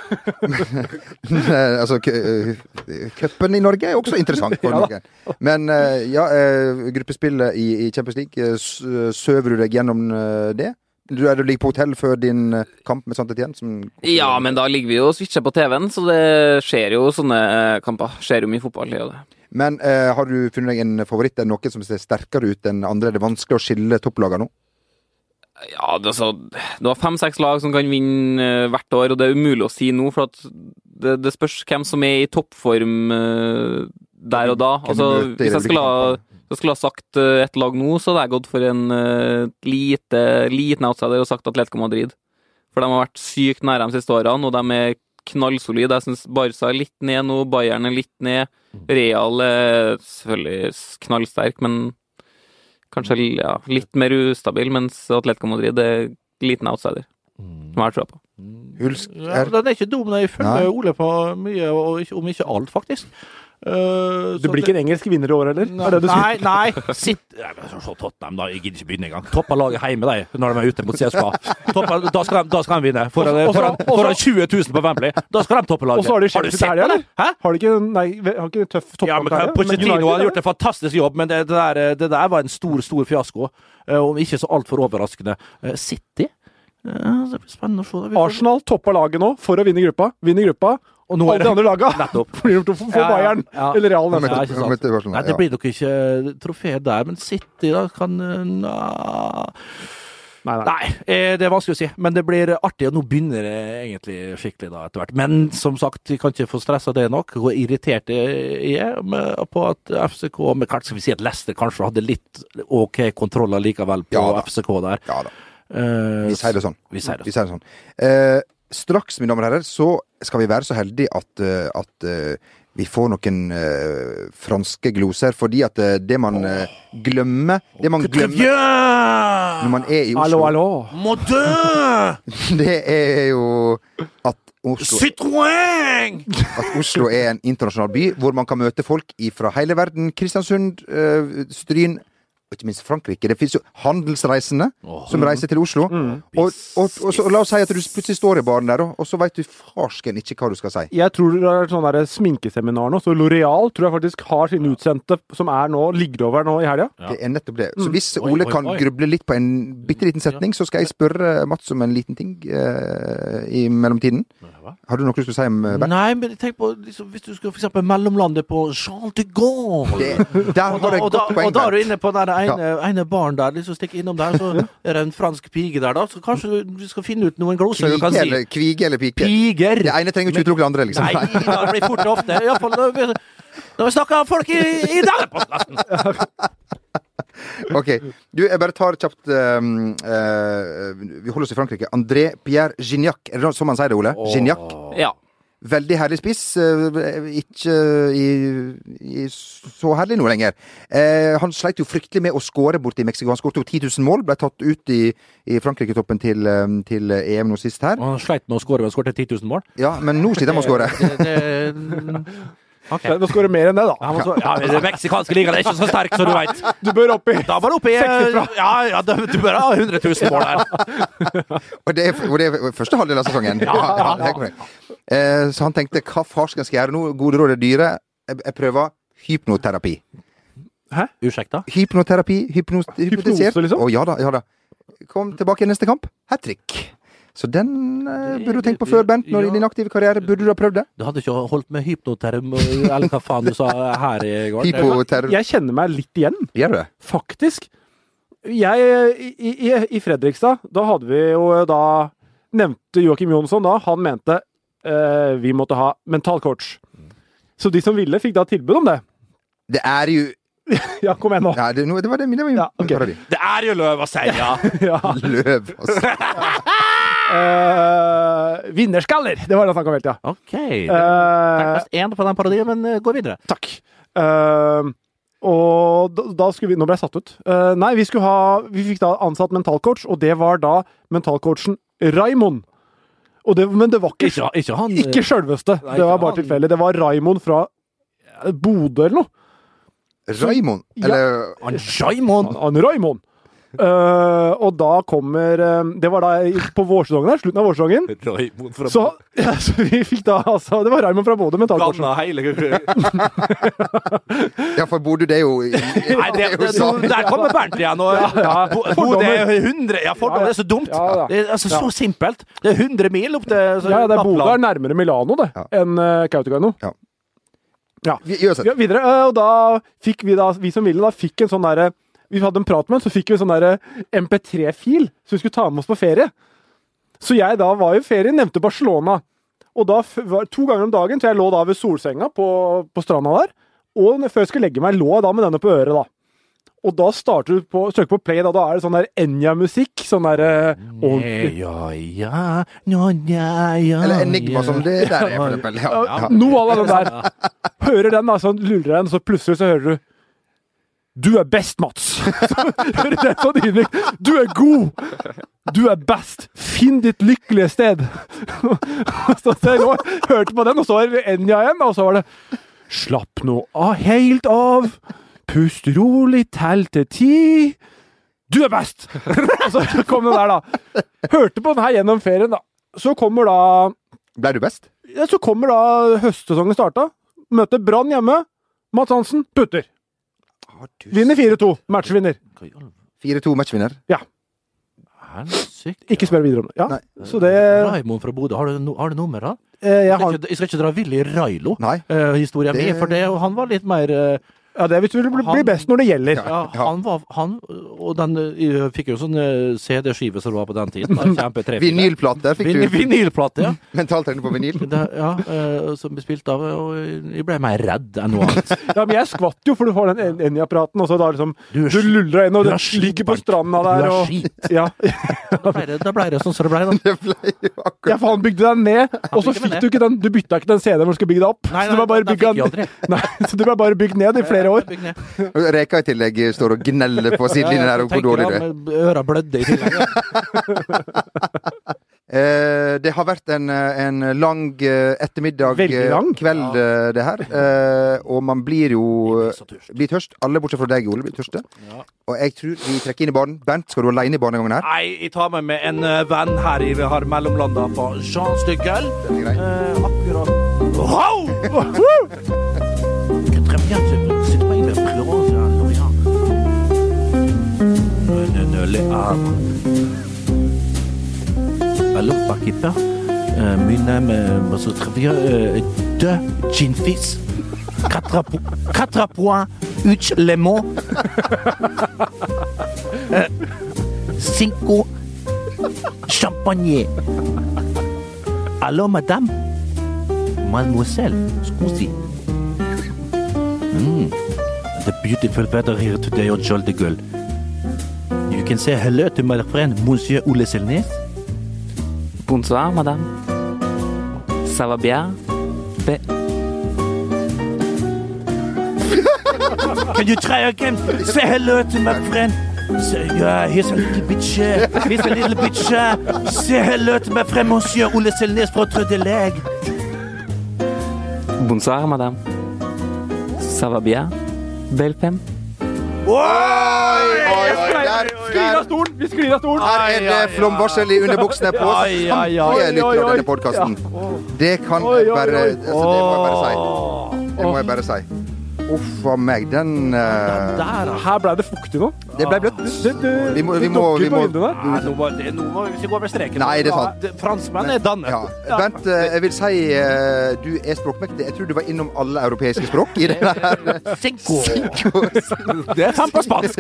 Eh, altså, kø- eh, cupen i Norge er også interessant for Norge. Men eh, ja, eh, gruppespillet i, i Champions League, eh, s- eh, søver du deg gjennom eh, det? Du er du ligger på hotell før din eh, kamp med Sant Etienne? Som,
Ja, men da ligger vi jo og switcher på TV-en, så det skjer jo sånne eh, kamper. Skjer jo mye fotball. det gjør det.
Men eh, har du funnet deg en favoritt? Er det noen som ser sterkere ut enn andre? Er det vanskelig å skille topplagene nå?
Ja, det, er så, du har fem-seks lag som kan vinne eh, hvert år, og det er umulig å si nå, for at det, det spørs hvem som er i toppform eh, der og da.
Hvem
Altså,
du møter i
hvis
det
jeg skulle ha,
ulike
hvis jeg skulle ha sagt eh, et lag nå, så hadde jeg gått for en eh, lite, liten outsider og sagt Atletico Madrid. For de har vært sykt nære de siste årene, og de er knallsolide. Jeg syns Barca er litt ned nå, Bayern er litt ned.
Mm.
Real er selvfølgelig knallsterk, men kanskje ja, litt mer ustabil, mens Atletico Madrid er liten outsider.
Mm.
Som jeg har trua på.
Hulsk
Ja,
er
den er ikke dum. nei. Jeg følger
Nei.
Ole på mye, og ikke, om ikke alt, faktisk. Eh,
Du blir ikke en engelsk vinner i år heller? Er det du sier?
Nei, nei! Sitt Nei, men så- så Tottenhjem, da. Jeg gidder ikke begynne engang. Topper laget hjemme, de, når de er ute mot CSKA. Topper, da, skal de, da skal de vinne. Foran,
Og så-
foran,
og så-
foran 20 000 på Wembley. Da skal de toppe laget.
Og så har de Chelsea til helga, eller?
Hæ?
Har de ikke Nei, har de ikke en tøff
Ja,
toppkamp?
men Pochettino har gjort en fantastisk jobb, men det, det, der, det der var en stor, stor fiasko. Eh, Om ikke så altfor overraskende. Eh, City? Eh, Det blir spennende å se. da. Vi får-
Arsenal toppa laget nå for å vinne gruppa. Vinner gruppa.
Og nå er
Alle de
det-
andre laga
Nettopp.
blir gjort å få få
Ja, ja,
Bayern
ja.
eller Real
Ja,
neste
men-
gang.
Nei, ikke sant.
Men det var sånn,
Nei, det
ja.
blir nok ikke eh, trofé der, men City da kan eh, na-
Nei, nei.
Nei, eh, det er vanskelig å si, men det blir artig. Og nå begynner det egentlig skikkelig da etter hvert. Men som sagt, vi kan ikke få stressa det nok. Hvor irritert jeg er med- på at FCK Men kanskje skal vi si at Leicester kanskje hadde litt OK kontroll likevel på
Ja da.
FCK der.
Ja da,
Eh,
vi sier det sånn.
Vi sier det.
Vi sier det sånn. Eh, straks, mine damer og herrer, så skal vi være så heldige at, eh, at eh, vi får noen eh, franske gloser, fordi at eh, det man eh, glemmer Det man glemmer
Trevien!
når man er i Oslo,
Hallo, hallo.
Modin!
det er jo at Oslo,
Citroën!
at Oslo er en internasjonal by hvor man kan møte folk fra hele verden. Kristiansund, eh, Stryn og ikke minst Frankrike. Det fins jo handelsreisende som reiser til Oslo. Og, og, og, så, la oss si at du plutselig står i baren der, og, og så veit du farsken ikke hva du skal si.
Jeg tror det er sånn der sminkeseminar nå, så Loreal tror jeg faktisk har sine utsendte som er nå, ligger over nå i helga.
Ja.
Det er nettopp det. Så hvis Ole
Oi, oi,
kan
oi.
gruble litt på en bitte liten setning, så skal jeg spørre Mats om en liten ting eh, i mellomtiden. Har du noe du skulle si om eh, Bert?
Nei, men tenk på liksom, hvis du skulle for eksempel mellomlande på Charles de Gaulle.
Det, der
Og
har jeg
da, og,
et
da,
godt
og
poeng.
da er du
Bert.
inne på den ene, ene baren der, liksom stikk innom der, så er det en fransk pige der, da. Så kanskje du- vi skal finne ut noen gloser du kan
Kvige
si.
eller, kvige eller pike?
Piger!
Det ene trenger ikke utelukke det andre, liksom.
Nei, det blir fort og ofte. Iallfall når vi, når vi snakker om folk i, i denne podkasten.
Ok. Du, jeg bare tar kjapt ehm, eh, Vi holder oss i Frankrike. André Pierre Gignac. Er det noe- som han sier det, Ole? Gignac.
Ja.
Veldig herlig spiss. eh, Ikke eh, i, i så herlig nå lenger. Eh, han sleit jo fryktelig med å skåre borti Mexico. Han skåret jo 10 000 mål. Ble tatt ut i, i Frankrike-toppen til, eh, til EM nå sist her.
Han sleit med å skåre, men skåret 10 000 mål.
Ja, men nå sliter han med å skåre.
Det, det,
Så Du må skåre mer enn det, da.
Ja, men Den meksikanske ligaen er ikke så sterk, som du veit.
Du bør opp i
Da var det oppe i
Sekssifra.
Ja, ja, da- du bør ha 100 000 mål her.
Og det, er, og det er første halvdel av sesongen. Ja, det er korrekt. Eh, så han tenkte hva farsken skal jeg gjøre nå? Gode råd er dyre. Jeg, jeg prøver hypnoterapi.
Ursäkta?
Hypnoterapi, hypnos, hypnotisert.
Hypnose, liksom?
Å, ja da, ja da. Kom tilbake i neste kamp. Hat trick. Så den eh, burde du tenkt på før, Bent. Når I din aktive karriere burde du ha prøvd det.
Du hadde ikke holdt med hypnoterm eh, eller hva faen du sa eh, her i går?
Hypoterapi.
Jeg kjenner meg litt igjen,
Gjør du det?
faktisk. Jeg I, i, i Fredrikstad, da hadde vi jo eh, da Nevnte Joakim Jonsson da, han mente eh, vi måtte ha mental coach.
Mm.
Så de som ville, fikk da tilbud om det.
Det er jo
Ja, kom igjen nå.
ja, det, nå- det var det, det var min
Ja, ok.
parodi.
Det er jo løv å si, ja!
Ja.
Løv, altså.
Eh, vinnerskaller! Det var det han snakka om hele tida.
OK.
Eh,
Terningkast én på den parodien, men eh, gå videre.
takk. Eh, og da, da skulle vi Nå ble jeg satt ut. Eh, nei, vi skulle ha Vi fikk da ansatt mentalcoach, og det var da mentalcoachen Raimond. Og det, men det var ikke
Ikke, ikke han eh,
Ikke sjølveste.
Nei,
Det var
ikke
bare
han.
tilfeldig. Det var Raimond fra eh, Bodø eller noe.
Raymond,
Ja.
eller
han Jaimond!
Han Raimond. Eh, og da kommer eh, Det var da i- på vårsesongen her, slutten av vårsesongen.
Raimond fra
Så, ja, så vi fikk da altså Det var Raimond fra Bodø, mentalcoachen.
Ganna hele
Ja, for Bodø, det er jo
Nei, det,
er jo sånn.
det,
sant.
der kommer Bernt igjen. Og,
ja.
Bo- Bodø er 100 Ja, fordommer det er så dumt.
Ja, ja.
Det er altså Så simpelt. Det er 100 mil opp til så,
Ja, ja, det er Bodø er
Lappland.
nærmere Milano det,
Ja.
enn eh, Kautokeino.
Vi- Uansett.
Ja, videre, eh, og da fikk vi da, vi som ville da, fikk en sånn derre Vi hadde en prat med ham, så fikk vi en sånn derre MP3-fil som vi skulle ta med oss på ferie. Så jeg da var jo i ferie, nevnte Barcelona. Og da f- var to ganger om dagen, så jeg lå da ved solsenga på, på stranda der. Og når- før jeg skulle legge meg, lå jeg da med denne på øret, da. Og da starter du på, søker på play, da, da er det sånn der Enja-musikk. Sånn der eh, ordentlig
Ja, ja, ja, ja, ja,
Eller Enigma,
ja.
som det der er, for eksempel. Ja, ja.
Noe av det der. Hører den, da, sånn lurer den, så plutselig så hører du Du er best, Mats! Så hører den sånn innrykk. Du er god! Du er best! Finn ditt lykkelige sted! Så jeg lå, hørte på den, og så var det Enja igjen, og så var det Slapp nå av, helt av. Pust rolig, tell til ti. Du er best! Og så kom den der, da. Hørte på den her gjennom ferien, da. Så kommer da
Ble du best?
ja, så kommer da høstsesongen starta. Møter Brann hjemme. Mats Hansen putter. Vinner 4-2. Matchvinner.
4-2 matchvinner.
Helsike.
Ikke spør videre om det. Ja.
Nei.
Så det
Raimond fra Bodø, har du, no, har du nummer, da?
eh, jeg
Jeg skal
har,
ikke, jeg skal ikke dra Willy Railo.
Nei.
eh, historien
Det-
min, for det, og han var litt mer eh,
ja, Det er hvis du vil bli, bli best når det gjelder.
ja, Han var han, Og den eh, fikk jo sånn eh, CD-skive som det var på den tiden. da, Kjempe
Vinylplater fikk
Vin,
du.
vinylplate, ja.
Mentaltrening på vinyl.
Det, ja eh, som ble spilt av Og jeg ble mer redd enn noe annet.
Ja, men jeg skvatt jo, for du har den en- Enja-praten, og så da liksom
Du er
Du
sl-
luller deg inn, og
du
du
er slitt,
ligger på
Bernt.
stranda
Du
der
er
og
skit.
Ja.
Da ble det, da ble det sånn som det ble, da.
Det ble jo akkurat
Ja, for han bygde deg ned, og så
bygde meg
fikk du ikke den Du bytta ikke den CD-en hvor du skulle bygge deg opp.
Nei,
så du
nei,
ble bare
den
bygget
fikk jeg
ned- Nei, så du ble bare bygd ned i flere år.
Bygg ned.
Reka i tillegg står og gneller på sidelinjen der og hvor
Tenker
dårlig du
han
er.
med Øra blødde i tillegg. ja.
Eh, det har vært en, eh, en lang eh, ettermiddag,
Veldig
eh,
lang.
kveld, eh, det her. Eh, og man blir jo eh,
Jeg blir så tørst.
blir tørst. Alle bortsett fra deg, Ole, blir tørste. Og jeg tror vi trekker inn i banen. Bernt, skal du aleine i barnegangen her?
Nei, jeg tar meg med en eh, venn her i har mellomlanda på Jean Stugel.
er grei.
Eh, akkurat Wow! Que très bien, je- c'est pas une préférence, hein, Lorient. Ne- ne- ne le Havre. Alors, par qui part, euh, mon âme, euh, me se trouve, euh, de Gin Fizz. Quatre po- quatre points, huit lemons. Cinco champagne. Allô, madame? Mademoiselle, scusi. Mm, the beautiful weather here today on Charles de Gaulle. You can say hello to my friend Monsieur Ole Selnes.
Bonsoir, madame. Ça va bien? Be
Can you try again? Say hello to my friend. Say, yeah, he's a little bit shy. He's a little bit shy. Say hello to my friend Monsieur Ole Selnes, votre deleg.
Bonsoir, madame. Ça va bien? Belle femme?
Oi, oi, oi, der,
Sklir av
der.
stolen! Vi sklir av stolen!
Her er det flomvarsel i underbuksene på
Ai, ai, ai.
samtlige lyttere av denne podkasten. Det kan jeg
Oi, oi,
bare
oi.
altså, Det må jeg bare si. Det må jeg bare si. Uff a meg, den eh,
Der, ah.
Her ble det fuktig nå.
Det ble bløtt.
Det, det,
Vi må- vi
det
må-
dukker
vi
på
må-
vinduene.
Nei, nå må, det, nå må vi gå over streken.
Nei, det er sant.
Ja, Franskmenn er dannet.
Ja. Bent, eh, jeg vil si eh, du er språkmektig. Jeg tror du var innom alle europeiske språk i denne her.
Cinco. Det er fem på spansk.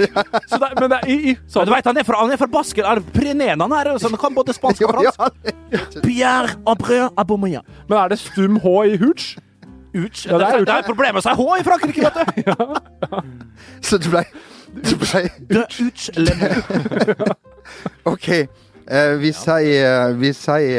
Så det, men det er i, i
Men du vet, han er fra, han er fra Basker. Er Pirenenen her, så han kan både spansk og fransk. Pierre Abreu Aboumia.
Men er det stum H i hooch?
Uch.
Ja,
det,
det er
er,
uch.
det er problemet med å si H i Frankrike, vet du.
Så du ble, du ble
Det er uch le mot.
OK. Eh, vi sier, eh, vi sier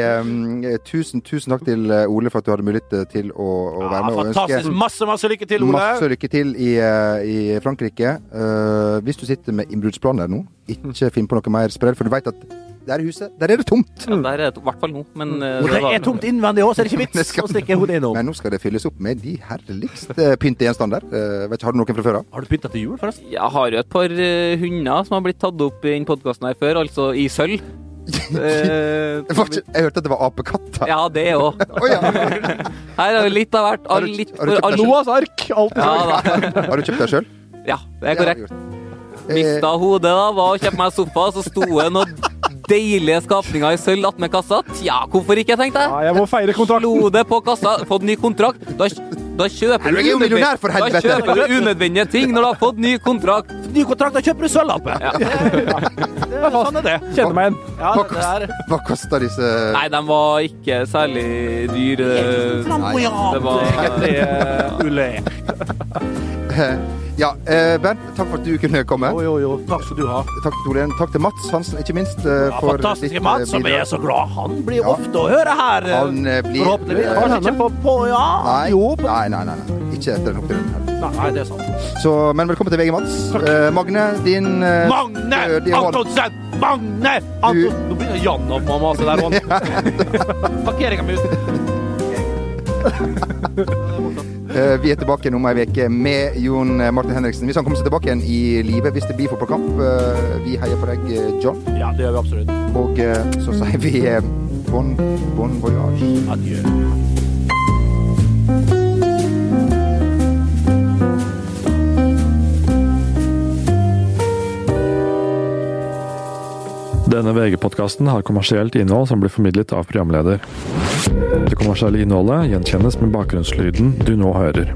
eh, tusen, tusen takk til eh, Ole for at du hadde mulighet til å, å
Ja,
være med. og ønske-
fantastisk. Masse, masse lykke til, Ole.
Masse lykke til i, eh, i Frankrike. Eh, hvis du sitter med innbruddsplaner nå, ikke finn på noe mer sprell, for du vet at der i huset, der er det tomt.
Ja, der er det i hvert fall nå, men eh,
Det
var-
er tomt innvendig òg, så er det ikke
Det
vits
skal-
å stikke hodet innom.
Men nå skal det fylles opp med de herligste eh, pyntegjenstander. Eh, vet ikke, har du noen fra før av?
Har du pynta til jul, forresten?
Jeg har jo et par eh, hunder som har blitt tatt opp i denne podkasten her før, altså i sølv. Eh,
Jeg var ikke- jeg hørte at det var apekatter.
ja, det òg.
Å, ja.
Her er jo litt av hvert.
Har
All,
du-
litt,
har du kjøpt
all,
deg selv?
Noahs ark. Alt i
ja,
sak.
da.
Har du kjøpt deg sjøl?
ja, det er korrekt.
Eh,
Mista hodet da, var og kjøpte meg sofa, så sto det noen deilige skapninger i sølv attmed kassa. Tja, hvorfor ikke, tenkte
Ja,
jeg.
jeg må feire kontrakten.
Slo det på kassa, fått ny kontrakt. Da, da kjøper
Er du ikke
unødvendige-
millionær, for
Da
helvete?
kjøper du unødvendige ting når du har fått ny kontrakt.
Ny kontrakt, da kjøper du sølvlappe. Det
Ja.
er- Sånn er det.
Kjenner meg igjen.
Ja,
Hva
det er
koster, hva koster disse
Nei, de var ikke særlig dyre.
Flamboyant.
Det var-
egentlig, eh, Ole.
Ja, eh, Bernt, takk for at du kunne komme.
Jo, jo, jo. Takk skal du ha.
Takk til Ole. Takk til Mats Hansen, ikke minst. eh,
Ja,
for
fantastiske
ditt, eh,
Mats, som
bidrag.
er så glad. Han blir
Ja.
ofte å høre her. eh,
Han eh, blir
Forhåpentligvis.
eh,
Kanskje ikke på, på Ja,
Nei,
jo. På,
nei, nei, nei, nei. Ikke etter den opptredenen her.
nei, det er sant.
Så, men velkommen til VG, Mats. Eh, Magne, din eh,
Magne
dødelige hånd.
Antonsen! Magne Antonsen! Nå begynner Jan å mase der òg. Parkeringa mi
Eh, vi er tilbake igjen om ei uke med Jon eh, Martin Henriksen. Hvis han kommer seg tilbake igjen i live hvis det blir fotballkamp. Eh, vi heier på deg, eh, John.
Ja, det gjør vi absolutt.
Og eh, så sier vi eh, bon, bon voyage.
Adjø.
Denne VG-podkasten har kommersielt innhold som blir formidlet av programleder. Det kommersielle innholdet gjenkjennes med bakgrunnslyden du nå hører.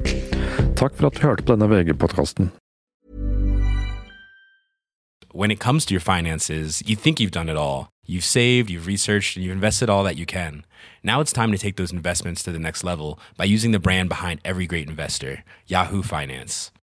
Takk for at du hørte på denne VG-podkasten.
when it comes to your finances, you think you've done it all. You've saved, you've researched, and you've invested all that you can. Now it's time to take those investments to the next level by using the brand behind every great investor, Yahoo Finance.